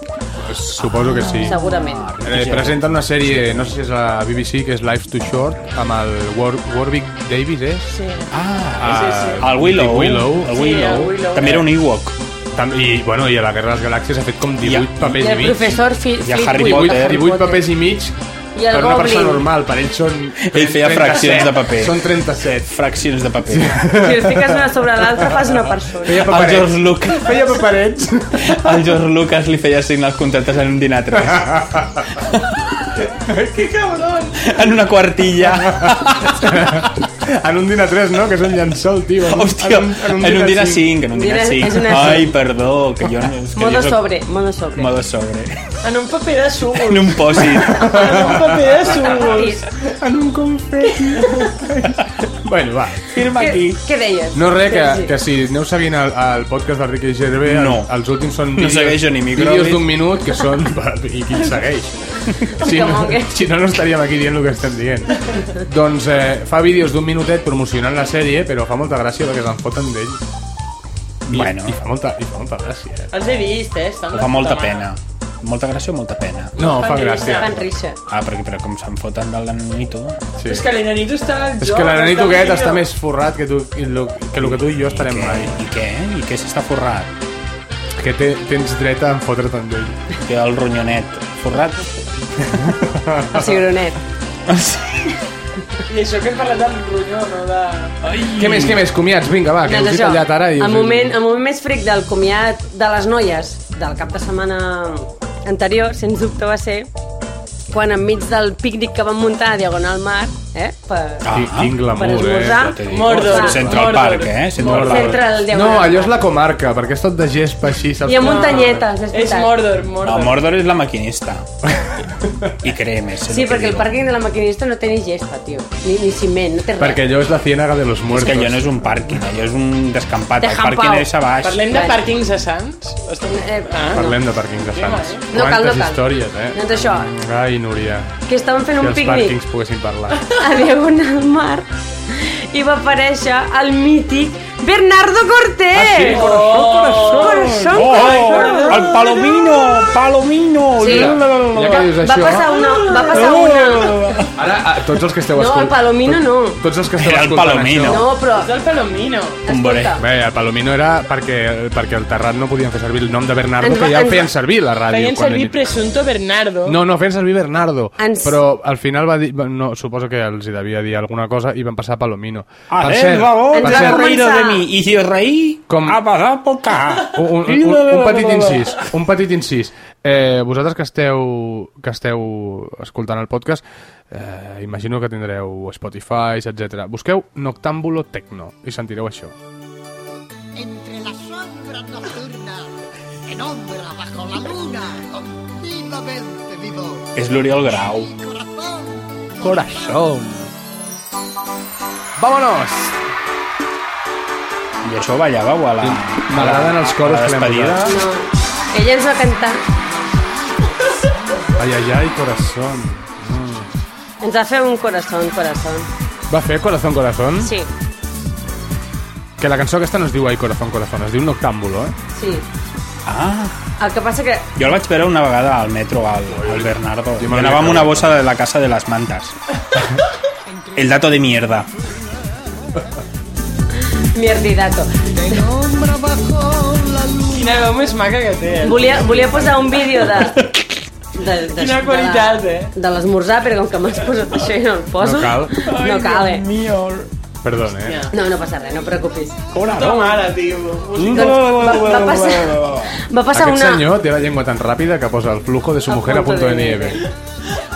[SPEAKER 2] Suposo que sí.
[SPEAKER 4] segurament.
[SPEAKER 5] Ah,
[SPEAKER 2] Eh, presenten una sèrie, no sé si és la BBC, que és Life Too Short, amb el War Warwick Davis, és?
[SPEAKER 3] Sí.
[SPEAKER 2] Ah,
[SPEAKER 5] El Willow.
[SPEAKER 2] Willow.
[SPEAKER 5] El
[SPEAKER 3] Sí,
[SPEAKER 5] Willow.
[SPEAKER 3] el Willow.
[SPEAKER 5] També era un Ewok.
[SPEAKER 2] Tam- I, bueno, I a la Guerra de les Galàxies ha fet com 18
[SPEAKER 5] I a-
[SPEAKER 4] I
[SPEAKER 2] papers i,
[SPEAKER 4] el
[SPEAKER 2] mig.
[SPEAKER 4] professor Fi
[SPEAKER 5] I a Harry
[SPEAKER 2] 18,
[SPEAKER 5] Potter.
[SPEAKER 2] 18 papers i mig
[SPEAKER 4] I el
[SPEAKER 2] per una persona
[SPEAKER 4] Goblin.
[SPEAKER 2] normal, per ells són...
[SPEAKER 5] Ell feia
[SPEAKER 2] 37.
[SPEAKER 5] fraccions de paper.
[SPEAKER 2] Són 37.
[SPEAKER 5] Fraccions de paper.
[SPEAKER 4] Si els fiques una sobre l'altra, fas una persona.
[SPEAKER 2] Feia
[SPEAKER 5] El George,
[SPEAKER 2] paperets.
[SPEAKER 5] Lucas,
[SPEAKER 2] Feia paperets.
[SPEAKER 5] el George Lucas li feia signar els contractes en un dinar 3.
[SPEAKER 3] Que cabron!
[SPEAKER 5] En una quartilla.
[SPEAKER 2] en un dinar 3, no? Que és un llençol, tio. En,
[SPEAKER 5] Hòstia, en un dinar 5. En un dinar
[SPEAKER 4] Dinar-
[SPEAKER 5] 5.
[SPEAKER 4] és una cinc.
[SPEAKER 5] Ai, perdó. Que jo, no- és que
[SPEAKER 4] Modo
[SPEAKER 5] jo soc-
[SPEAKER 4] sobre, modo sobre.
[SPEAKER 5] Modo sobre.
[SPEAKER 3] En un paper de
[SPEAKER 5] En
[SPEAKER 3] súbol.
[SPEAKER 5] un pòsit.
[SPEAKER 3] En un paper de súbols.
[SPEAKER 2] En un confeti. bueno, va.
[SPEAKER 5] Firma
[SPEAKER 4] Què,
[SPEAKER 5] aquí.
[SPEAKER 4] què deies?
[SPEAKER 2] No, res, que,
[SPEAKER 4] Sergi.
[SPEAKER 2] que si aneu seguint el, el podcast de Ricky Gervais, el-
[SPEAKER 5] No.
[SPEAKER 2] els últims són
[SPEAKER 5] No
[SPEAKER 2] vídeos,
[SPEAKER 5] segueixo ni microbis.
[SPEAKER 2] vídeos d'un minut que són... I qui el segueix? Si no,
[SPEAKER 4] Monge.
[SPEAKER 2] si no, no estaríem aquí dient el que estem dient. doncs eh, fa vídeos d'un minutet promocionant la sèrie, però fa molta gràcia perquè se'n foten d'ell. I,
[SPEAKER 5] Bueno.
[SPEAKER 2] I, fa molta, I fa molta gràcia. eh?
[SPEAKER 3] Els he vist, eh? Estan de
[SPEAKER 5] Fa molta
[SPEAKER 3] puta mare.
[SPEAKER 5] pena. Molta gràcia o molta pena?
[SPEAKER 2] No, fa
[SPEAKER 3] Fan
[SPEAKER 2] gràcia.
[SPEAKER 4] Fan rixa.
[SPEAKER 5] Ah, perquè, però com se'n foten del nanito...
[SPEAKER 2] Sí.
[SPEAKER 3] És que l'enanito està al joc.
[SPEAKER 2] És que l'Ananito
[SPEAKER 3] està
[SPEAKER 2] aquest
[SPEAKER 3] millor.
[SPEAKER 2] està més forrat que, tu, i lo, que el que tu i jo estarem
[SPEAKER 5] I què?
[SPEAKER 2] mai.
[SPEAKER 5] I què? I què s'està forrat?
[SPEAKER 2] Que te, tens dret a enfotre tant d'ell.
[SPEAKER 5] Té el ronyonet forrat?
[SPEAKER 4] El cigronet.
[SPEAKER 3] I això que hem parlat del ronyó, no de...
[SPEAKER 2] Què més, què més? Comiats, vinga, va, que
[SPEAKER 4] Doncs
[SPEAKER 2] us he
[SPEAKER 4] això,
[SPEAKER 2] tallat ara. eh? I us
[SPEAKER 4] el
[SPEAKER 2] he-
[SPEAKER 4] moment, el moment més fric del comiat de les noies del cap de setmana anterior, sens dubte va ser quan enmig del pícnic que vam muntar a Diagonal Mar, eh, per,
[SPEAKER 5] Ah,
[SPEAKER 2] Qui- Quin
[SPEAKER 4] per
[SPEAKER 2] glamour, eh?
[SPEAKER 4] esmorzar,
[SPEAKER 5] Ja t'he dit.
[SPEAKER 3] Mordor.
[SPEAKER 5] Central
[SPEAKER 3] Mordor.
[SPEAKER 5] Park, eh? Central
[SPEAKER 2] Mordor.
[SPEAKER 5] Park.
[SPEAKER 4] centre del
[SPEAKER 2] No,
[SPEAKER 4] Diagonal
[SPEAKER 2] allò és
[SPEAKER 4] Mar.
[SPEAKER 2] la comarca, perquè és tot de gespa així, saps?
[SPEAKER 4] I a muntanyetes, és
[SPEAKER 3] És
[SPEAKER 4] veritat.
[SPEAKER 3] Mordor,
[SPEAKER 5] No,
[SPEAKER 3] Mordor.
[SPEAKER 5] Mordor és la maquinista. I creem, és
[SPEAKER 4] Sí, perquè el pàrquing de la maquinista no té ni gesta, tio. Ni, ni ciment, no té res.
[SPEAKER 2] Perquè allò és la ciénaga de los
[SPEAKER 5] És
[SPEAKER 2] muertos.
[SPEAKER 5] que allò no és un pàrquing, allò és un descampat.
[SPEAKER 4] De
[SPEAKER 5] El
[SPEAKER 4] Jampau.
[SPEAKER 5] pàrquing és a baix.
[SPEAKER 3] Parlem de
[SPEAKER 4] Vale.
[SPEAKER 3] pàrquings de Sants? Estem...
[SPEAKER 4] Eh,
[SPEAKER 3] Ah, no.
[SPEAKER 2] Parlem de pàrquings de Sants.
[SPEAKER 3] Sí,
[SPEAKER 4] No cal, no
[SPEAKER 2] Quantes
[SPEAKER 4] cal.
[SPEAKER 2] històries, eh?
[SPEAKER 4] Doncs això,
[SPEAKER 2] Ai, Núria,
[SPEAKER 4] que estaven fent
[SPEAKER 2] que
[SPEAKER 4] un
[SPEAKER 2] els
[SPEAKER 4] pícnic
[SPEAKER 2] pàrquings poguessin parlar.
[SPEAKER 4] a Diagonal Mar i va aparèixer el mític Bernardo Cortés!
[SPEAKER 2] Ah, sí?
[SPEAKER 4] Oh! Corazón,
[SPEAKER 5] Oh,
[SPEAKER 4] corazón.
[SPEAKER 5] oh, el Palomino! Palomino!
[SPEAKER 4] Sí.
[SPEAKER 5] La, la, la, la.
[SPEAKER 2] Ja que dius
[SPEAKER 4] Va
[SPEAKER 2] això... Oh!
[SPEAKER 5] Oh.
[SPEAKER 4] passar una... Va passar una...
[SPEAKER 2] Ara, a- tots els que esteu
[SPEAKER 4] No,
[SPEAKER 2] escoltant...
[SPEAKER 4] el Palomino no.
[SPEAKER 2] Tots els que esteu
[SPEAKER 5] Era el
[SPEAKER 2] escoltant
[SPEAKER 5] Palomino.
[SPEAKER 2] això-
[SPEAKER 4] No, però...
[SPEAKER 3] És el Palomino.
[SPEAKER 5] Bombaré.
[SPEAKER 4] Escolta,
[SPEAKER 2] Bé, el Palomino era perquè, perquè el Terrat no podien fer servir el nom de Bernardo,
[SPEAKER 4] Ens va-
[SPEAKER 2] que ja el
[SPEAKER 4] ens
[SPEAKER 2] feien
[SPEAKER 4] va-
[SPEAKER 2] servir a la ràdio.
[SPEAKER 3] Feien
[SPEAKER 2] quan
[SPEAKER 3] servir
[SPEAKER 2] ell-
[SPEAKER 3] Presunto Bernardo.
[SPEAKER 2] No, no, feien servir Bernardo,
[SPEAKER 4] Ens-
[SPEAKER 2] però al final va dir... No, suposo que els hi devia dir alguna cosa i van passar a Palomino.
[SPEAKER 5] A
[SPEAKER 2] Per
[SPEAKER 5] ver,
[SPEAKER 2] cert,
[SPEAKER 5] vamos,
[SPEAKER 2] per
[SPEAKER 4] Ens va
[SPEAKER 2] cert,
[SPEAKER 5] ha reído de
[SPEAKER 4] començar.
[SPEAKER 5] mí. Y si os reí,
[SPEAKER 2] Com- Ah,
[SPEAKER 5] ha pasado por acá.
[SPEAKER 2] un, un, un, un petit incís, un petit incís. Eh, vosaltres que esteu, que esteu escoltant el podcast, eh, imagino que tindreu Spotify, etc. Busqueu Noctámbulo Tecno i sentireu això.
[SPEAKER 9] entre las sombras nocturnas, en ombra bajo la luna, continuamente vivo.
[SPEAKER 5] És l'Oriol Grau.
[SPEAKER 9] Mi corazón,
[SPEAKER 2] Corazón. Vámonos!
[SPEAKER 5] I això ballàveu a la...
[SPEAKER 2] M'agraden els coros
[SPEAKER 5] a la
[SPEAKER 2] que l'hem
[SPEAKER 5] despedida.
[SPEAKER 2] posat.
[SPEAKER 4] no. Ella ens va cantar,
[SPEAKER 2] Ai, ai, ai, corazón.
[SPEAKER 4] ens va fer un corazón, corazón.
[SPEAKER 2] Va fer Corazón Corazón?
[SPEAKER 4] Sí,
[SPEAKER 2] Que la cançó aquesta no es diu Ai Corazón Corazón, es diu Noctámbulo, eh?
[SPEAKER 4] sí.
[SPEAKER 5] Ah,
[SPEAKER 4] El que passa que...
[SPEAKER 5] jo el vaig veure una vegada al metro, al, al Bernardo.
[SPEAKER 2] Jo
[SPEAKER 5] Jo
[SPEAKER 2] me'l
[SPEAKER 5] anava amb
[SPEAKER 2] vaig
[SPEAKER 5] una
[SPEAKER 2] veure.
[SPEAKER 5] bossa de la casa de las mantas. El dato de mierda.
[SPEAKER 4] Mierdidato.
[SPEAKER 9] en ombra bajo la luna.
[SPEAKER 3] Quina veu més maca que té. eh?
[SPEAKER 4] Volia, volia posar un vídeo de... de, de
[SPEAKER 3] Quina qualitat,
[SPEAKER 4] de,
[SPEAKER 3] eh?
[SPEAKER 4] De l'esmorzar, però com que m'has posat això i no el poso...
[SPEAKER 2] No cal.
[SPEAKER 4] No cal, eh?
[SPEAKER 3] Mio.
[SPEAKER 2] Perdón, eh?
[SPEAKER 4] No, no passa res, no et preocupis.
[SPEAKER 3] Toma ara, tio. Música.
[SPEAKER 4] Doncs va, va passar, va passar
[SPEAKER 2] Aquest
[SPEAKER 4] una...
[SPEAKER 2] senyor té la llengua tan ràpida que posa el flujo de su
[SPEAKER 4] A
[SPEAKER 2] mujer a
[SPEAKER 4] punto
[SPEAKER 2] punto de
[SPEAKER 4] de
[SPEAKER 2] nieve.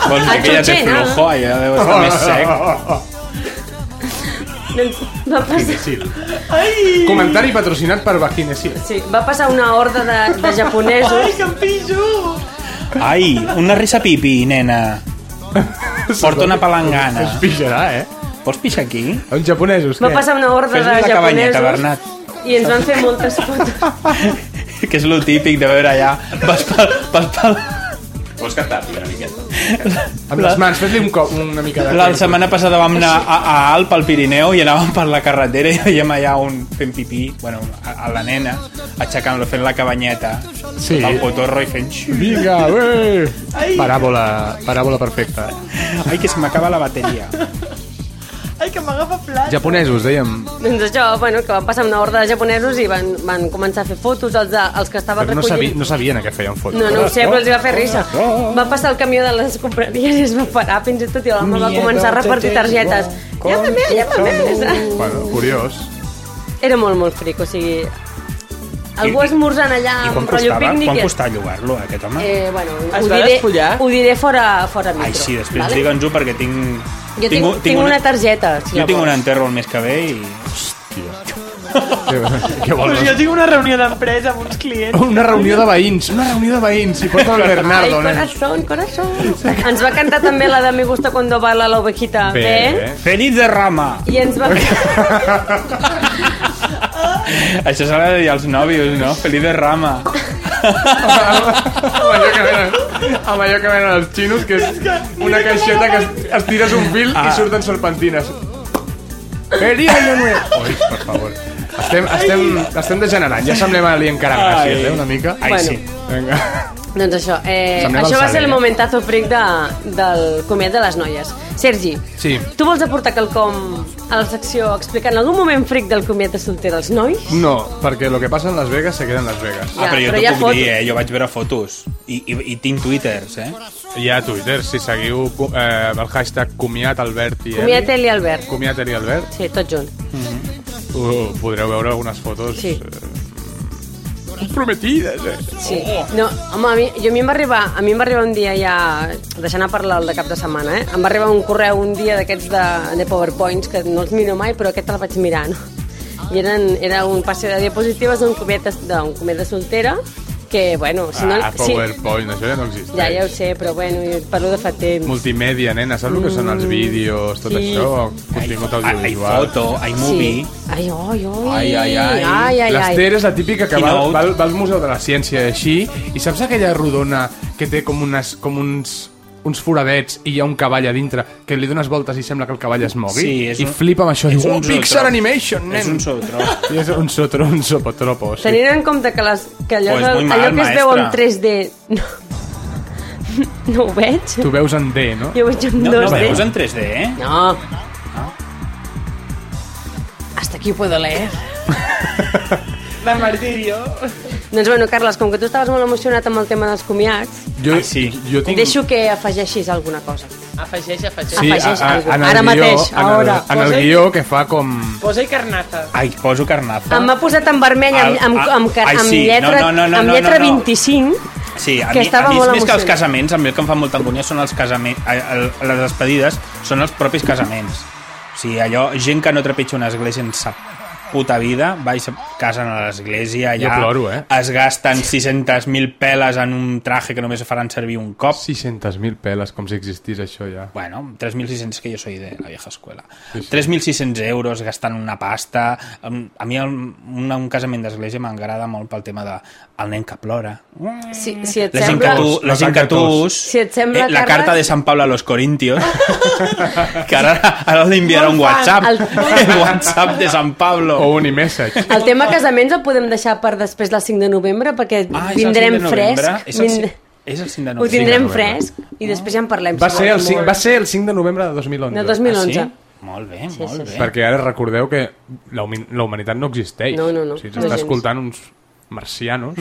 [SPEAKER 5] Vols dir que ja té
[SPEAKER 4] Xutxina.
[SPEAKER 5] flojo? Allà deu estar més sec.
[SPEAKER 4] Doncs va passar...
[SPEAKER 2] Comentari patrocinat per Vaginesil.
[SPEAKER 4] Sí, va passar una horda de, de japonesos
[SPEAKER 3] Que em pijo.
[SPEAKER 5] Ai, una risa pipi, nena. Porta una palangana.
[SPEAKER 2] Es pixarà, eh?
[SPEAKER 5] Vols pixar aquí?
[SPEAKER 2] Els japonesos,
[SPEAKER 4] Va passar una horda
[SPEAKER 5] Fes-li
[SPEAKER 4] de
[SPEAKER 5] la cabanyeta,
[SPEAKER 4] japonesos
[SPEAKER 5] Bernat.
[SPEAKER 4] i ens van fer moltes fotos.
[SPEAKER 5] que és lo típic de veure allà. Vas pel... Vas pel... Vols cantar una miqueta?
[SPEAKER 2] Amb les mans, fes-li un cop, una mica de...
[SPEAKER 5] La setmana passada vam anar a, a Alp, al Pirineu, i anàvem per la carretera i veiem allà un fent pipí, bueno, a, a la nena, aixecant-lo, fent la cabanyeta,
[SPEAKER 2] Sí.
[SPEAKER 5] el potorro i fent... xiu.
[SPEAKER 2] Vinga, ué! Paràbola, paràbola perfecta.
[SPEAKER 5] Ai, que se m'acaba la bateria.
[SPEAKER 3] Ai, que m'agafa plat.
[SPEAKER 2] Japonesos, dèiem.
[SPEAKER 4] doncs això, bueno, que van passar una horda de japonesos i van, van començar a fer fotos els, de, els que estaven
[SPEAKER 2] Però no, sabi,
[SPEAKER 4] recollint...
[SPEAKER 2] no sabien a què feien fotos.
[SPEAKER 4] No, no ho sé, però els va
[SPEAKER 5] Oh,
[SPEAKER 4] fer risa. Va passar el camió de les compraries i es va parar fins i tot i l'home va començar a repartir targetes. Llama més, llama més!
[SPEAKER 2] Bueno, curiós.
[SPEAKER 4] Era molt, molt fric, o sigui... Algú
[SPEAKER 5] I- i-
[SPEAKER 4] esmorzant allà
[SPEAKER 5] I quan
[SPEAKER 4] amb rotllo
[SPEAKER 5] costava,
[SPEAKER 4] pícnic...
[SPEAKER 5] quan
[SPEAKER 4] i-
[SPEAKER 5] costava llogar-lo, aquest home?
[SPEAKER 4] Eh, bueno,
[SPEAKER 3] Es
[SPEAKER 4] ho
[SPEAKER 3] va
[SPEAKER 4] diré,
[SPEAKER 3] despullar?
[SPEAKER 4] ho diré fora, fora micro.
[SPEAKER 5] Ai, sí, després
[SPEAKER 4] vale?
[SPEAKER 5] vale. digue'ns-ho perquè tinc...
[SPEAKER 4] Jo tinc, tinc, tinc una targeta. Si
[SPEAKER 5] Jo tinc un
[SPEAKER 4] vols.
[SPEAKER 5] enterro al mes que ve i...
[SPEAKER 2] Què, què
[SPEAKER 3] Pues
[SPEAKER 2] vols?
[SPEAKER 3] jo tinc una reunió d'empresa amb uns clients.
[SPEAKER 2] Una reunió de veïns, una reunió de veïns. Si porta el
[SPEAKER 4] Ai,
[SPEAKER 2] Bernardo, nen.
[SPEAKER 4] corazón, corazón. Ens va cantar també la de Me gusta cuando baila la ovejita. Bé.
[SPEAKER 5] Feliz de Rama!
[SPEAKER 4] I ens va...
[SPEAKER 5] Això s'ha de dir als nòvios, no? Feliz de Rama.
[SPEAKER 2] amb, allò que venen, amb allò que venen els xinos, que és una caixeta que es- estires un fil ah. i surten serpentines. Feliz año nuevo! Oi, per favor. Estem, estem, estem degenerant, ja semblem a l'Ian Caragràcies,
[SPEAKER 5] Ai.
[SPEAKER 2] eh, una mica.
[SPEAKER 5] Ai,
[SPEAKER 4] Bueno.
[SPEAKER 5] sí.
[SPEAKER 2] Vinga.
[SPEAKER 4] doncs això, eh,
[SPEAKER 2] Semblem
[SPEAKER 4] això
[SPEAKER 2] el
[SPEAKER 4] va ser
[SPEAKER 2] Saler,
[SPEAKER 4] el
[SPEAKER 2] eh?
[SPEAKER 4] momentazo fric de, del comiat de les noies. Sergi,
[SPEAKER 2] Sí.
[SPEAKER 4] tu vols aportar quelcom a la secció explicant algun moment fric del comiat de solter als nois?
[SPEAKER 2] No, perquè el que passa en Las Vegas se queda en Las Vegas.
[SPEAKER 5] Ah, però jo
[SPEAKER 4] però
[SPEAKER 5] t'ho
[SPEAKER 4] hi ha
[SPEAKER 5] puc
[SPEAKER 4] fotos.
[SPEAKER 5] dir, eh? Jo vaig veure fotos. I, i, i tinc twitters, eh?
[SPEAKER 2] Hi ha Twitter, si seguiu eh, el hashtag comiat Albert i
[SPEAKER 4] Comiat Eli Albert.
[SPEAKER 2] Comiat Eli Albert,
[SPEAKER 4] Sí, tot junt.
[SPEAKER 2] uh, podreu veure algunes fotos
[SPEAKER 4] Sí.
[SPEAKER 2] eh, comprometides, eh?
[SPEAKER 4] Sí. No, home, a mi, jo a mi em va arribar, a mi em va arribar un dia ja, deixant a parlar el de cap de setmana, eh? em va arribar un correu un dia d'aquests de, de PowerPoints, que no els miro mai, però aquest el vaig mirar, no? I eren, era un passe de diapositives d'un comet, de- d'un comet de soltera, que, bueno, si no...
[SPEAKER 2] ah, PowerPoint, això ja no
[SPEAKER 4] Sí,
[SPEAKER 2] existeix.
[SPEAKER 4] ja, ja ho sé, però bueno, jo parlo de fa temps.
[SPEAKER 2] Multimèdia, nena, saps el que són els vídeos, tot
[SPEAKER 4] sí.
[SPEAKER 2] això? Contingut
[SPEAKER 5] Ai, ai,
[SPEAKER 2] audiovisual.
[SPEAKER 5] foto, ai,
[SPEAKER 4] Sí.
[SPEAKER 5] movie.
[SPEAKER 4] Ai, oi, oi.
[SPEAKER 5] Ai, ai, ai.
[SPEAKER 4] ai, ai, ai.
[SPEAKER 2] L'Ester és la típica que va,
[SPEAKER 5] Keynote.
[SPEAKER 2] va, al- va al Museu de la Ciència així i saps aquella rodona que té com, unes, com uns, uns foradets i hi ha un cavall a dintre que li dones voltes i sembla que el cavall es mogui
[SPEAKER 5] Sí, és
[SPEAKER 2] i
[SPEAKER 5] un-
[SPEAKER 2] flipa amb això i
[SPEAKER 5] és
[SPEAKER 2] diu,
[SPEAKER 5] un
[SPEAKER 2] oh, Pixar
[SPEAKER 5] zootro-
[SPEAKER 2] Animation, nen!
[SPEAKER 5] És un sotro.
[SPEAKER 2] I és un sotro, un sopotropo. Sí.
[SPEAKER 4] Tenint en compte que, les, que allò,
[SPEAKER 5] Oh, és
[SPEAKER 4] del-
[SPEAKER 5] muy mal,
[SPEAKER 4] allò que es veu en
[SPEAKER 5] maestra.
[SPEAKER 4] 3D... No. No ho veig.
[SPEAKER 2] Tu veus en D, no?
[SPEAKER 4] Jo ho veig amb
[SPEAKER 5] No, no
[SPEAKER 4] dos
[SPEAKER 5] veus
[SPEAKER 4] D.
[SPEAKER 5] en 3D, eh?
[SPEAKER 4] No. Hasta aquí puedo leer.
[SPEAKER 3] La martirio.
[SPEAKER 4] Doncs bueno, Carles, com que tu estaves molt emocionat amb el tema dels comiats,
[SPEAKER 2] Jo,
[SPEAKER 5] Ah, sí.
[SPEAKER 2] Jo tinc...
[SPEAKER 4] deixo que afegeixis alguna cosa.
[SPEAKER 3] Afegeix, afegeix.
[SPEAKER 2] Sí,
[SPEAKER 4] afegeix
[SPEAKER 2] a, a,
[SPEAKER 4] algo.
[SPEAKER 2] en el
[SPEAKER 4] Ara
[SPEAKER 2] guió,
[SPEAKER 4] mateix,
[SPEAKER 2] en el,
[SPEAKER 4] ahora.
[SPEAKER 2] En el
[SPEAKER 3] Posa-hi.
[SPEAKER 2] guió que fa com...
[SPEAKER 3] Posa-hi carnaza.
[SPEAKER 5] Ai, poso carnaza.
[SPEAKER 4] Em m'ha posat en vermell amb, amb,
[SPEAKER 5] Al-
[SPEAKER 4] amb,
[SPEAKER 5] al-
[SPEAKER 4] amb, car-
[SPEAKER 5] Ah. ai,
[SPEAKER 4] amb
[SPEAKER 5] sí.
[SPEAKER 4] lletra,
[SPEAKER 5] No, no, no,
[SPEAKER 4] amb
[SPEAKER 5] no,
[SPEAKER 4] lletra
[SPEAKER 5] no, no.
[SPEAKER 4] 25.
[SPEAKER 5] Sí, a
[SPEAKER 4] que
[SPEAKER 5] mi,
[SPEAKER 4] estava
[SPEAKER 5] a mi
[SPEAKER 4] molt
[SPEAKER 5] és més que els
[SPEAKER 4] emocionat.
[SPEAKER 5] casaments, a mi el que em fa molta angúnia són els casaments, les despedides són els propis casaments. O sigui, allò, gent que no trepitja una església en sa puta vida, va i se casen a l'església, allà
[SPEAKER 2] Jo ploro, eh?
[SPEAKER 5] es gasten 600.000 peles en un traje que només es faran servir un cop.
[SPEAKER 2] 600.000 peles, com si existís això ja.
[SPEAKER 5] Bueno, 3.600, que yo soy de la vieja escuela. 3.600 euros, gastant una pasta... Em- A mi el, un, un casament d'església m'agrada molt pel tema de el nen que plora.
[SPEAKER 4] Si, si et
[SPEAKER 5] La gent que
[SPEAKER 4] sembla...
[SPEAKER 5] tu, la gent que tu us,
[SPEAKER 4] Si et sembla,
[SPEAKER 5] Eh, la
[SPEAKER 4] Carles-
[SPEAKER 5] carta de San Pablo a los corintios, que ara, ara li enviarà un
[SPEAKER 4] Molt fan.
[SPEAKER 5] WhatsApp, el... WhatsApp de San Pablo.
[SPEAKER 2] O un e-message.
[SPEAKER 4] El tema casaments el podem deixar per després del 5 de novembre perquè
[SPEAKER 5] Ah, és el
[SPEAKER 4] vindrem
[SPEAKER 5] 5 de novembre?
[SPEAKER 4] fresc.
[SPEAKER 5] És el,
[SPEAKER 4] vind-
[SPEAKER 5] cin- és el 5
[SPEAKER 4] Ho
[SPEAKER 5] de novembre.
[SPEAKER 4] tindrem
[SPEAKER 5] 5 de novembre.
[SPEAKER 4] fresc i després ja en parlem.
[SPEAKER 2] Va
[SPEAKER 4] si
[SPEAKER 2] ser, el
[SPEAKER 4] vols.
[SPEAKER 2] 5, va ser el 5 de novembre de 2011.
[SPEAKER 4] De 2011.
[SPEAKER 5] Ah, sí? Molt bé,
[SPEAKER 4] sí,
[SPEAKER 5] molt
[SPEAKER 4] sí.
[SPEAKER 5] bé.
[SPEAKER 2] Perquè ara recordeu que la, humi- la humanitat no existeix.
[SPEAKER 4] No, no, no.
[SPEAKER 2] O sigui, ens
[SPEAKER 4] No,
[SPEAKER 2] està
[SPEAKER 4] gens.
[SPEAKER 2] escoltant uns marcianos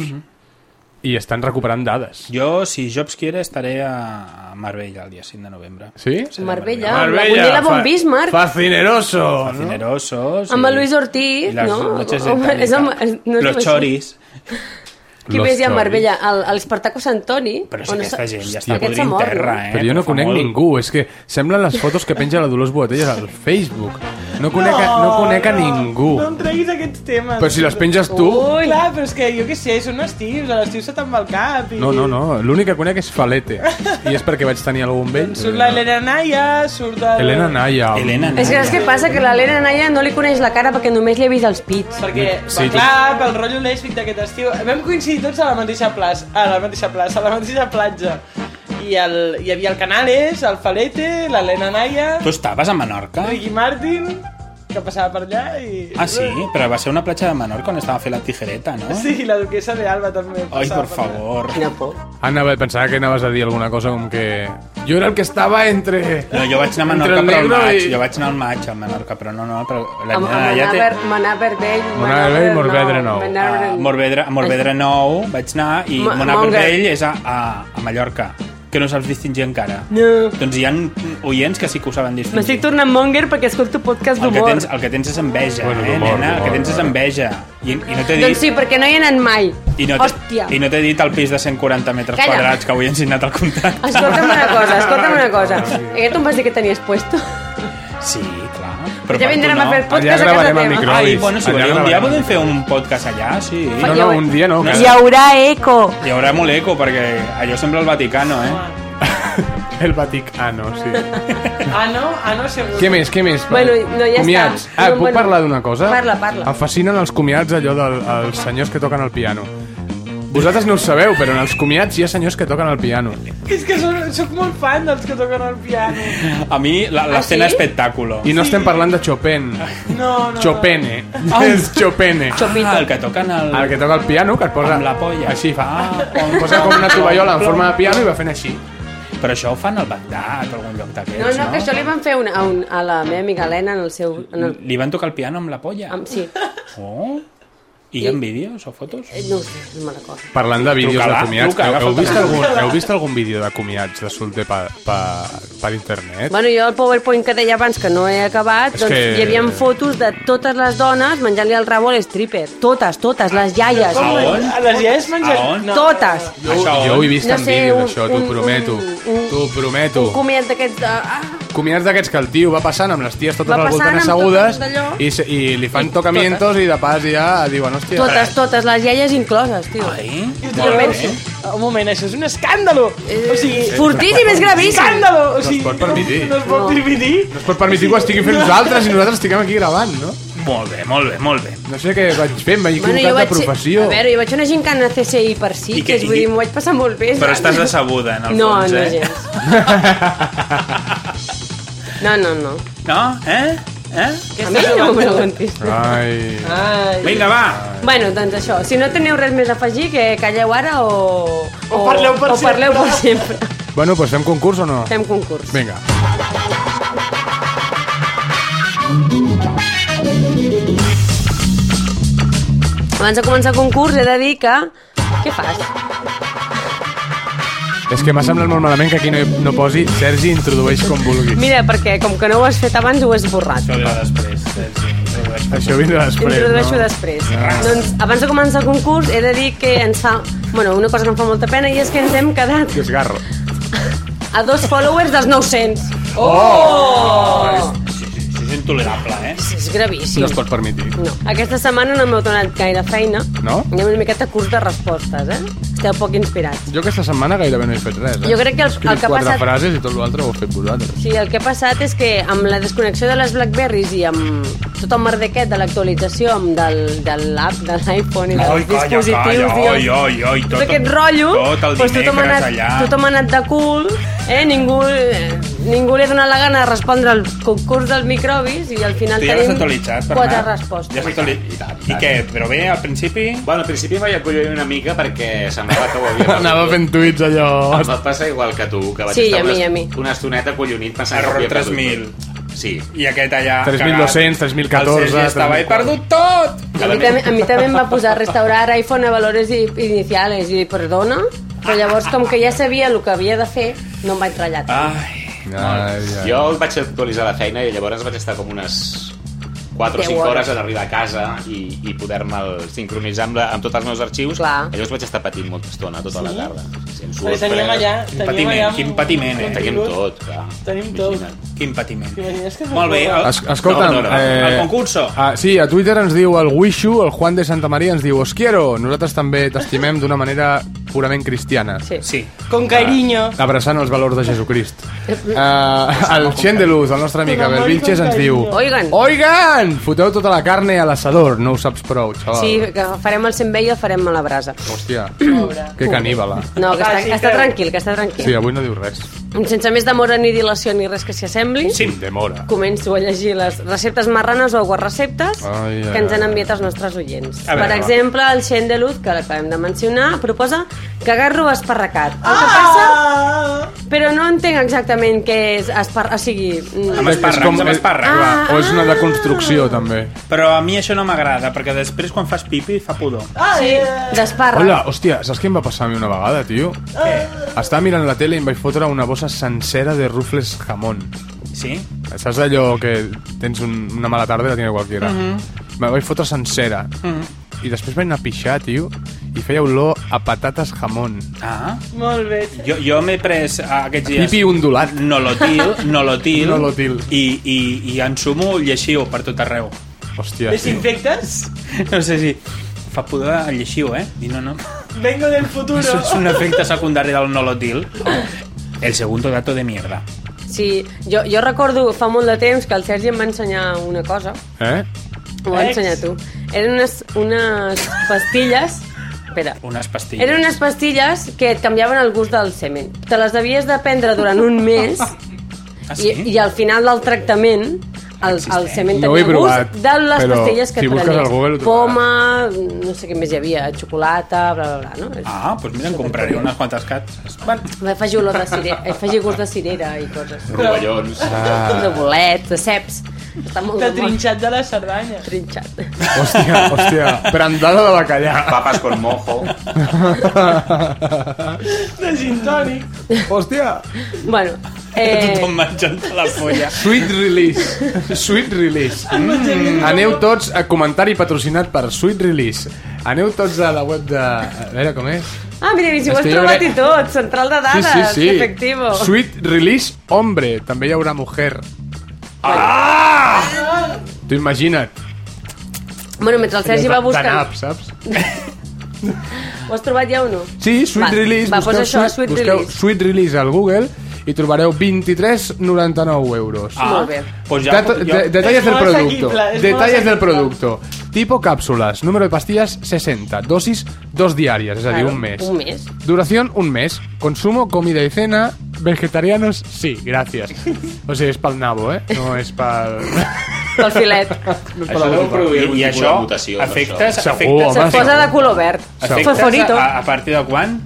[SPEAKER 2] i estan recuperant dades.
[SPEAKER 5] Jo, si Jobs quiere, estaré a a Marbella el dia 5 de novembre.
[SPEAKER 2] Sí?
[SPEAKER 5] Seré a
[SPEAKER 4] Marbella. Marbella, la Von
[SPEAKER 2] fa-
[SPEAKER 4] Bismarck.
[SPEAKER 2] Fascineroso.
[SPEAKER 5] Marbella. Cinerosos.
[SPEAKER 4] Amb
[SPEAKER 5] i-
[SPEAKER 4] el Luis
[SPEAKER 5] i
[SPEAKER 4] Ortiz,
[SPEAKER 5] les
[SPEAKER 4] no?
[SPEAKER 5] noches de
[SPEAKER 4] Home,
[SPEAKER 5] Tànica.
[SPEAKER 4] és amb- és- no es diu
[SPEAKER 5] Los
[SPEAKER 4] així.
[SPEAKER 5] choris.
[SPEAKER 4] Qui
[SPEAKER 2] Los
[SPEAKER 4] més hi ha a
[SPEAKER 2] Choris.
[SPEAKER 4] Marbella? El- el Espartaco Santoni?
[SPEAKER 5] Però
[SPEAKER 4] On
[SPEAKER 5] si aquesta
[SPEAKER 4] està-
[SPEAKER 5] gent ja
[SPEAKER 4] Hòstia,
[SPEAKER 5] està
[SPEAKER 4] aquest s'ha
[SPEAKER 5] podrint
[SPEAKER 4] mort,
[SPEAKER 5] terra,
[SPEAKER 4] no?
[SPEAKER 5] eh?
[SPEAKER 2] Però jo no
[SPEAKER 5] Fa
[SPEAKER 2] conec
[SPEAKER 5] molt.
[SPEAKER 2] ningú, és que semblen les fotos que penja la Dolors Boatelles al Facebook. No conec, a, no conec a ningú.
[SPEAKER 3] No em treguis aquests temes.
[SPEAKER 2] Però si les penges tu...
[SPEAKER 3] Ui, clar, però és que jo què sé, són estius, a l'estiu se te'n va el cap. I...
[SPEAKER 2] No, no, no, l'únic que conec és Falete. I és perquè vaig tenir algun vell.
[SPEAKER 3] Surt la Helena Naya, surt el...
[SPEAKER 2] Helena Naya.
[SPEAKER 5] Helena
[SPEAKER 4] És que
[SPEAKER 5] Naya.
[SPEAKER 4] saps què passa? Que l'Helena Naya no li coneix la cara perquè només li ha vist els pits.
[SPEAKER 3] Perquè,
[SPEAKER 2] Sí,
[SPEAKER 3] sí,
[SPEAKER 2] tu-
[SPEAKER 3] clar, pel rotllo lèsbic d'aquest estiu, vam coincidir tots a la mateixa plaça, a la mateixa plaça, a la mateixa platja. I el, hi havia el Canales, el Falete, l'Helena Naya,
[SPEAKER 5] Tu estaves a Menorca?
[SPEAKER 3] Ricky Martin, que passava per allà i...
[SPEAKER 5] Ah, sí? Però va ser una platja de Menorca on estava fent la tijereta, no?
[SPEAKER 3] Sí, i la duquesa de Alba també.
[SPEAKER 5] Ai, por
[SPEAKER 3] passava allà.
[SPEAKER 5] favor.
[SPEAKER 4] Quina por.
[SPEAKER 2] Anava, pensava que anaves a dir alguna cosa com que... Jo era el que estava entre...
[SPEAKER 5] No, jo vaig anar a
[SPEAKER 2] Entre el
[SPEAKER 5] Menorca però al
[SPEAKER 2] negro
[SPEAKER 5] maig.
[SPEAKER 2] i-
[SPEAKER 5] Jo vaig anar al maig a Menorca, però no, no, però la
[SPEAKER 4] Amb-
[SPEAKER 5] Helena
[SPEAKER 4] amb
[SPEAKER 5] Naya té...
[SPEAKER 4] Manaver- Manaver Vell,
[SPEAKER 2] Manaver Vell, Morvedre Nou.
[SPEAKER 4] Manaver-
[SPEAKER 5] A Morvedre, a Morvedre Nou vaig anar i
[SPEAKER 4] Ma-
[SPEAKER 5] Monabre
[SPEAKER 4] Montgat.
[SPEAKER 5] Vell és a, a, a Mallorca, que no saps distingir encara.
[SPEAKER 4] No.
[SPEAKER 5] Doncs hi ha oients que sí que ho saben distingir.
[SPEAKER 4] M'estic tornant monger perquè escolto podcast
[SPEAKER 5] el que,
[SPEAKER 4] d'humor.
[SPEAKER 5] tens, el que tens és enveja,
[SPEAKER 2] Bueno,
[SPEAKER 5] eh,
[SPEAKER 2] d'humor,
[SPEAKER 5] nena? El
[SPEAKER 2] d'humor,
[SPEAKER 5] que tens és
[SPEAKER 2] eh.
[SPEAKER 5] enveja. I, i no t'he dit...
[SPEAKER 4] Doncs sí, perquè no hi he anat mai.
[SPEAKER 5] I no,
[SPEAKER 4] Hòstia.
[SPEAKER 5] I no t'he dit el pis de 140 metres
[SPEAKER 4] Calla.
[SPEAKER 5] quadrats que avui hem signat el contracte.
[SPEAKER 4] Escolta'm una cosa, escolta'm una cosa. Eh, tu em vas dir que tenies puesto.
[SPEAKER 5] Sí, clar.
[SPEAKER 4] Però
[SPEAKER 5] Però
[SPEAKER 4] ja
[SPEAKER 5] per
[SPEAKER 4] vindrem
[SPEAKER 5] tu
[SPEAKER 4] a fer
[SPEAKER 2] Allà
[SPEAKER 4] podcast a casa
[SPEAKER 2] gravarem el
[SPEAKER 4] teva.
[SPEAKER 2] micro.
[SPEAKER 5] Ai,
[SPEAKER 2] Crovis.
[SPEAKER 5] bueno, si
[SPEAKER 2] Allà
[SPEAKER 5] voleu, un dia
[SPEAKER 2] gravarem.
[SPEAKER 5] podem fer un podcast allà, sí.
[SPEAKER 2] No, no, un dia no.
[SPEAKER 5] No,
[SPEAKER 4] Hi
[SPEAKER 2] Cada...
[SPEAKER 4] haurà eco.
[SPEAKER 5] Hi haurà molt eco, perquè allò sembla el Vaticano, eh?
[SPEAKER 2] El Vaticano, sí.
[SPEAKER 3] Ah, no? Ah, no, segur.
[SPEAKER 2] Què més, què més?
[SPEAKER 4] Bueno, no, ja
[SPEAKER 2] comiats.
[SPEAKER 4] està.
[SPEAKER 2] Ah,
[SPEAKER 4] No,
[SPEAKER 2] puc
[SPEAKER 4] bueno.
[SPEAKER 2] parlar d'una cosa?
[SPEAKER 4] Parla, parla.
[SPEAKER 2] Em fascinen els comiats allò dels els senyors que toquen el piano. Vosaltres no ho sabeu, però en els comiats hi ha senyors que toquen el piano.
[SPEAKER 3] És que soc, soc molt fan dels que toquen el piano.
[SPEAKER 5] A mi, la- l'escena
[SPEAKER 4] Ah, sí?
[SPEAKER 5] espectàculo.
[SPEAKER 2] I no estem parlant de Chopin.
[SPEAKER 3] No, no.
[SPEAKER 2] Chopene. eh? És Chopene.
[SPEAKER 5] Ah, el que toquen el...
[SPEAKER 2] El que toca el piano, que et posa...
[SPEAKER 5] Amb la polla.
[SPEAKER 2] Així, fa...
[SPEAKER 5] Ah,
[SPEAKER 2] Em posa com una tovallola en forma de piano i va fent així.
[SPEAKER 5] Però això ho fan al Bagdad o algun lloc d'aquests,
[SPEAKER 4] No, no, que això li van fer una, a, un, a la meva amiga Helena en el seu... En el,
[SPEAKER 5] Li van tocar el piano amb la polla?
[SPEAKER 4] amb, sí,
[SPEAKER 5] Oh. I hi ha vídeos o fotos?
[SPEAKER 4] Eh, no ho sé, no me'n recordo.
[SPEAKER 2] Parlant de vídeos
[SPEAKER 5] Truca-la,
[SPEAKER 2] de comiats,
[SPEAKER 5] truca,
[SPEAKER 2] heu, heu,
[SPEAKER 5] agafa el
[SPEAKER 2] vist algun,
[SPEAKER 5] telèfon.
[SPEAKER 2] heu vist algun vídeo de comiats de solter per, per, per internet?
[SPEAKER 4] Bueno, jo el PowerPoint que deia abans, que no he acabat,
[SPEAKER 2] És
[SPEAKER 4] doncs
[SPEAKER 2] que-
[SPEAKER 4] hi havia fotos de totes les dones menjant-li el rabo a l'stripper. Totes, totes, les iaies.
[SPEAKER 5] Com
[SPEAKER 3] A
[SPEAKER 5] on?
[SPEAKER 3] les iaies mengen...
[SPEAKER 5] A on?
[SPEAKER 3] No.
[SPEAKER 4] Totes.
[SPEAKER 5] Jo, això
[SPEAKER 2] Jo ho he vist
[SPEAKER 4] No
[SPEAKER 2] en
[SPEAKER 4] sé,
[SPEAKER 2] vídeo,
[SPEAKER 4] un-
[SPEAKER 2] això, t'ho
[SPEAKER 4] un-
[SPEAKER 2] prometo.
[SPEAKER 4] un- un-
[SPEAKER 2] T'ho prometo.
[SPEAKER 4] Un comiat d'aquests... de- Ah,
[SPEAKER 2] Comiats d'aquests que el tio va passant amb les ties totes
[SPEAKER 4] Va
[SPEAKER 2] al voltant
[SPEAKER 4] passant amb
[SPEAKER 2] assegudes
[SPEAKER 4] tot allò.
[SPEAKER 2] i, se- i li fan tocamientos i de pas ja diuen, hòstia...
[SPEAKER 4] totes, totes, les iaies incloses, tio.
[SPEAKER 5] Ai,
[SPEAKER 3] Jo
[SPEAKER 5] molt
[SPEAKER 3] penso,
[SPEAKER 5] bé.
[SPEAKER 3] un moment, això és un escàndalo. O sigui,
[SPEAKER 4] Fortíssim, és gravíssim.
[SPEAKER 3] escàndalo. O
[SPEAKER 2] es
[SPEAKER 3] sigui,
[SPEAKER 2] pot permitir.
[SPEAKER 3] No es pot permitir.
[SPEAKER 2] No es pot permetir que ho estiguin fent nosaltres i nosaltres estiguem aquí gravant, no?
[SPEAKER 5] Molt bé, molt bé, molt bé.
[SPEAKER 2] No sé què vaig fer, em vaig equivocar de
[SPEAKER 4] ser-
[SPEAKER 2] professió.
[SPEAKER 4] A veure, jo vaig a una gincana CCI per
[SPEAKER 5] I què-
[SPEAKER 4] Sitges,
[SPEAKER 5] i-
[SPEAKER 4] vull dir, m'ho vaig passar molt bé.
[SPEAKER 5] Però
[SPEAKER 4] saps?
[SPEAKER 5] estàs decebuda, en el
[SPEAKER 4] No,
[SPEAKER 5] fons,
[SPEAKER 4] no
[SPEAKER 5] eh?
[SPEAKER 4] gens. No, no, no.
[SPEAKER 5] No? Eh? Eh?
[SPEAKER 4] A mi no m'ho preguntis.
[SPEAKER 2] Ai...
[SPEAKER 3] Ai.
[SPEAKER 5] Vinga, va!
[SPEAKER 4] Bueno, doncs això, si no teniu res més a afegir, que calleu ara o...
[SPEAKER 3] O parleu per
[SPEAKER 4] o parleu per sempre.
[SPEAKER 3] sempre.
[SPEAKER 2] Bueno, doncs fem concurs o no?
[SPEAKER 4] Fem concurs.
[SPEAKER 2] Vinga.
[SPEAKER 4] Abans de començar el concurs he de dir que... Què fas?
[SPEAKER 2] És que m'ha semblat molt malament que aquí no, hi- no posi Sergi introdueix com vulgui.
[SPEAKER 4] Mira, perquè com que no ho has fet abans, ho has borrat.
[SPEAKER 5] Això ve després. eh? Sergi. Introdueix.
[SPEAKER 2] Això vindrà després,
[SPEAKER 4] Introdueixo
[SPEAKER 2] no?
[SPEAKER 4] després. Doncs, abans de començar el concurs, he de dir que ens fa... Bueno, una cosa que em fa molta pena, i és que ens hem quedat
[SPEAKER 2] Que es garro.
[SPEAKER 4] a dos followers dels 900.
[SPEAKER 5] Sí, sí, Això és intolerable, eh?
[SPEAKER 4] És gravíssim.
[SPEAKER 2] No es pot permetir.
[SPEAKER 4] No. Aquesta setmana no m'heu donat gaire feina.
[SPEAKER 2] No?
[SPEAKER 4] Anem una miqueta curs de respostes, eh? Esteu poc inspirats.
[SPEAKER 2] Jo aquesta setmana gairebé no he fet res. Eh?
[SPEAKER 4] Jo crec que
[SPEAKER 2] He
[SPEAKER 4] el-
[SPEAKER 2] escrit
[SPEAKER 4] el que ha
[SPEAKER 2] quatre
[SPEAKER 4] passat-
[SPEAKER 2] frases i tot l'altre ho heu fet vosaltres.
[SPEAKER 4] Sí, el que ha passat és que amb la desconnexió de les Blackberries i amb tot el merdequet de l'actualització amb del, de l'app de l'iPhone i dels
[SPEAKER 5] Oi, calla,
[SPEAKER 4] dispositius
[SPEAKER 5] calla,
[SPEAKER 4] i els-
[SPEAKER 5] oi, oi, oi,
[SPEAKER 4] tot,
[SPEAKER 5] tot
[SPEAKER 4] aquest
[SPEAKER 5] el-
[SPEAKER 4] rotllo,
[SPEAKER 5] tot el
[SPEAKER 4] doncs tothom, ha
[SPEAKER 5] dimecres
[SPEAKER 4] anat,
[SPEAKER 5] allà.
[SPEAKER 4] tothom ha anat de cul, eh? ningú, eh, ningú li ha donat la gana de respondre al concurs dels microbis i al final
[SPEAKER 5] Tu ja l'has
[SPEAKER 4] tenim
[SPEAKER 5] actualitzat, Bernat?
[SPEAKER 4] quatre
[SPEAKER 5] Ja
[SPEAKER 4] respostes.
[SPEAKER 5] s'ha
[SPEAKER 7] I tant,
[SPEAKER 5] actualitzat.
[SPEAKER 7] i
[SPEAKER 5] I
[SPEAKER 7] tant.
[SPEAKER 5] què? Però bé, al principi...
[SPEAKER 7] Bueno, al principi vaig acollonir una mica perquè semblava que ho havia... perdut.
[SPEAKER 2] Anava fent tuits allò...
[SPEAKER 7] Em va passar igual que tu, que vaig
[SPEAKER 4] Sí,
[SPEAKER 7] estar
[SPEAKER 4] a mi,
[SPEAKER 7] una,
[SPEAKER 4] a mi.
[SPEAKER 7] una estoneta collonit pensant
[SPEAKER 5] Error
[SPEAKER 7] que ho havia
[SPEAKER 5] 3000.
[SPEAKER 7] perdut tot. Sí.
[SPEAKER 5] I aquest allà...
[SPEAKER 2] 3.200, 3.014,
[SPEAKER 5] El Sergi estava... He
[SPEAKER 2] 3.004.
[SPEAKER 5] perdut tot!
[SPEAKER 4] A mi, també, a mi també em va posar restaurar iPhone a valores i- iniciales i perdona, però llavors com que ja sabia el que havia de fer, no em vaig ratllar.
[SPEAKER 5] Ah.
[SPEAKER 4] tant.
[SPEAKER 5] Ai...
[SPEAKER 2] Ai, ai.
[SPEAKER 7] Jo el vaig actualitzar a la feina i llavors vaig estar com unes 4 o
[SPEAKER 4] Deu
[SPEAKER 7] 5
[SPEAKER 4] hores.
[SPEAKER 7] hores en arribar a casa i, i poder-me'l sincronitzar amb, la, amb tots els meus arxius.
[SPEAKER 4] Clar.
[SPEAKER 7] Llavors vaig estar patint molta estona, tota la tarda. Sense
[SPEAKER 3] Perquè teníem allà-
[SPEAKER 5] Quin
[SPEAKER 3] Teníem
[SPEAKER 5] patiment,
[SPEAKER 3] allà-
[SPEAKER 5] quin patiment,
[SPEAKER 7] Ho
[SPEAKER 5] eh?
[SPEAKER 7] teníem tot, clar.
[SPEAKER 3] Tenim tot.
[SPEAKER 7] Imagina't.
[SPEAKER 5] Quin patiment.
[SPEAKER 3] T'imagines que se'n
[SPEAKER 5] Molt bé.
[SPEAKER 3] corre?
[SPEAKER 5] El...
[SPEAKER 2] Es, escolta'm,
[SPEAKER 5] No, no, no. El concurso.
[SPEAKER 2] Ah, sí, a Twitter ens diu el Wishu, el Juan de Santa Maria ens diu Os quiero, nosaltres també t'estimem d'una manera purament cristiana.
[SPEAKER 4] Sí.
[SPEAKER 5] Sí.
[SPEAKER 3] Con cariño.
[SPEAKER 2] Abraçant els valors de Jesucrist.
[SPEAKER 4] Eh,
[SPEAKER 2] Uh, el Xendeluz, el nostre amic Abel Vilches, ens diu...
[SPEAKER 4] Oigan.
[SPEAKER 2] Oigan! Foteu tota la carne a l'assador, no ho saps prou, xaval.
[SPEAKER 4] Sí, que farem el 100 i el farem a la brasa.
[SPEAKER 2] Hòstia, que caníbala.
[SPEAKER 4] No, que està,
[SPEAKER 3] Ah, sí,
[SPEAKER 4] que està
[SPEAKER 3] creu.
[SPEAKER 4] tranquil, que està tranquil.
[SPEAKER 2] Sí, avui no diu res.
[SPEAKER 4] Sense més demora ni dilació ni res que s'hi assembli,
[SPEAKER 5] Sí.
[SPEAKER 2] Demora.
[SPEAKER 4] començo a llegir les receptes marranes o aguarreceptes
[SPEAKER 2] Ai, ai,
[SPEAKER 4] que ens han
[SPEAKER 2] ai.
[SPEAKER 4] enviat els nostres oients.
[SPEAKER 5] A
[SPEAKER 4] per
[SPEAKER 5] veure, va.
[SPEAKER 4] exemple, el Xen de Luz, que l'acabem de mencionar, proposa cagarro esparracat. El que passa...
[SPEAKER 3] Ah!
[SPEAKER 4] Però no entenc exactament què és espar... O sigui... mm,
[SPEAKER 5] Amb espàrrecs,
[SPEAKER 2] com-
[SPEAKER 5] amb espàrrecs.
[SPEAKER 4] Ah.
[SPEAKER 5] va.
[SPEAKER 2] O és una deconstrucció, també.
[SPEAKER 5] Però a mi això no m'agrada, perquè després quan fas pipi fa pudor.
[SPEAKER 3] Ah, sí.
[SPEAKER 4] D'esparra.
[SPEAKER 2] Hola, hòstia, saps què em va passar a mi una vegada, tio?
[SPEAKER 5] Eh,
[SPEAKER 2] Estava mirant la tele i em vaig fotre una bossa sencera de rufles jamón.
[SPEAKER 5] Sí?
[SPEAKER 2] Saps allò que tens un, una mala tarda i la tiene cualquiera?
[SPEAKER 4] Mhm.
[SPEAKER 2] Me la vaig fotre sencera.
[SPEAKER 5] Mm.
[SPEAKER 2] I després vaig anar a pixar, tio, i feia olor a patates jamón.
[SPEAKER 5] Ah.
[SPEAKER 3] Molt bé.
[SPEAKER 5] Jo, jo m'he pres ah, aquests dies...
[SPEAKER 2] Pipi ondulat.
[SPEAKER 5] Nolotil, nolotil,
[SPEAKER 2] Nolotil.
[SPEAKER 5] I, i, i ensumo lleixiu per tot arreu.
[SPEAKER 2] Hòstia, tio.
[SPEAKER 3] Desinfectes?
[SPEAKER 5] No sé si fa pudor a lleixiu, eh? Dic, no, no.
[SPEAKER 3] Vengo del futuro.
[SPEAKER 5] Això és un efecte secundari del nolotil. El segundo dato de mierda.
[SPEAKER 4] Sí, jo, jo recordo fa molt de temps que el Sergi em va ensenyar una cosa.
[SPEAKER 2] Eh?
[SPEAKER 4] Ho va
[SPEAKER 3] Ex.
[SPEAKER 4] ensenyar tu. Eren unes, unes pastilles... Espera.
[SPEAKER 5] Unes pastilles.
[SPEAKER 4] Eren unes pastilles que et canviaven el gust del semen. Te les havies de prendre durant un mes
[SPEAKER 5] Ah, sí?
[SPEAKER 4] i, i al final del tractament el, el semen
[SPEAKER 2] No ho he
[SPEAKER 4] tenia
[SPEAKER 2] provat,
[SPEAKER 4] gust de les
[SPEAKER 2] però
[SPEAKER 4] pastilles que
[SPEAKER 2] si
[SPEAKER 4] et
[SPEAKER 2] busques
[SPEAKER 4] prenies.
[SPEAKER 2] al Google ho
[SPEAKER 4] Poma, no sé què més hi havia, xocolata, bla, bla, bla. No?
[SPEAKER 5] Ah, doncs mira, en compraré unes quantes cats. Bueno,
[SPEAKER 4] Va afegir, olor de cirera, afegir gust de cirera i coses.
[SPEAKER 7] Rovellons.
[SPEAKER 4] De bolets, de ceps. Està molt
[SPEAKER 3] De
[SPEAKER 4] de moda.
[SPEAKER 3] trinxat de la Cerdanya.
[SPEAKER 4] trinxat.
[SPEAKER 2] Hòstia, hòstia. Prendada de bacallà.
[SPEAKER 7] Papas con mojo.
[SPEAKER 3] De gin tònic.
[SPEAKER 2] Hòstia.
[SPEAKER 4] Bueno, eh,
[SPEAKER 5] Tothom menjant la folla.
[SPEAKER 2] Sweet release. Sweet release. Mm. Aneu tots a comentari patrocinat per Sweet Release. Aneu tots a la web de... A veure com és.
[SPEAKER 4] Ah, mira, i si ho has
[SPEAKER 2] Estic
[SPEAKER 4] trobat
[SPEAKER 2] veient-
[SPEAKER 4] i tot, central de dades, efectivo.
[SPEAKER 2] Sweet Release Hombre. També hi haurà mujer. Ah! Tu imagina't.
[SPEAKER 4] Bueno, mentre el Sergi va buscant...
[SPEAKER 2] Tanap, saps?
[SPEAKER 4] Ho has trobat ja o no?
[SPEAKER 2] Sí, Sweet
[SPEAKER 4] Val,
[SPEAKER 2] Release.
[SPEAKER 4] Va,
[SPEAKER 2] busqueu
[SPEAKER 4] doncs això, Sweet
[SPEAKER 2] busqueu
[SPEAKER 4] Release.
[SPEAKER 2] Sweet Release al Google i trobareu 23,99 euros.
[SPEAKER 5] Ah,
[SPEAKER 4] Molt bé.
[SPEAKER 5] Pues ja,
[SPEAKER 2] Dat-
[SPEAKER 5] jo,
[SPEAKER 2] de- detalles
[SPEAKER 3] Es
[SPEAKER 2] del
[SPEAKER 3] más
[SPEAKER 2] producto.
[SPEAKER 3] asequible, es
[SPEAKER 2] Detalles
[SPEAKER 3] más
[SPEAKER 2] del
[SPEAKER 3] asequible.
[SPEAKER 2] producto. Tipo cápsulas. Número de pastillas 60. Dosis 2 diarias, es decir,
[SPEAKER 4] Claro,
[SPEAKER 2] un mes.
[SPEAKER 4] Un mes.
[SPEAKER 2] Duración un mes. Consumo, comida y cena. Vegetarianos, sí, gracias. O sea, es para el nabo, ¿eh? No es para...
[SPEAKER 4] Pel filet.
[SPEAKER 7] Això deu
[SPEAKER 5] i,
[SPEAKER 7] produir algun
[SPEAKER 5] i
[SPEAKER 7] tipus
[SPEAKER 5] això,
[SPEAKER 7] de mutació.
[SPEAKER 5] efectes,
[SPEAKER 2] Segur,
[SPEAKER 5] efectes,
[SPEAKER 2] home. Ah,
[SPEAKER 4] Se't
[SPEAKER 2] sí.
[SPEAKER 4] posa de color verd.
[SPEAKER 5] efectes
[SPEAKER 4] Fosforito.
[SPEAKER 5] a, a partir de quan?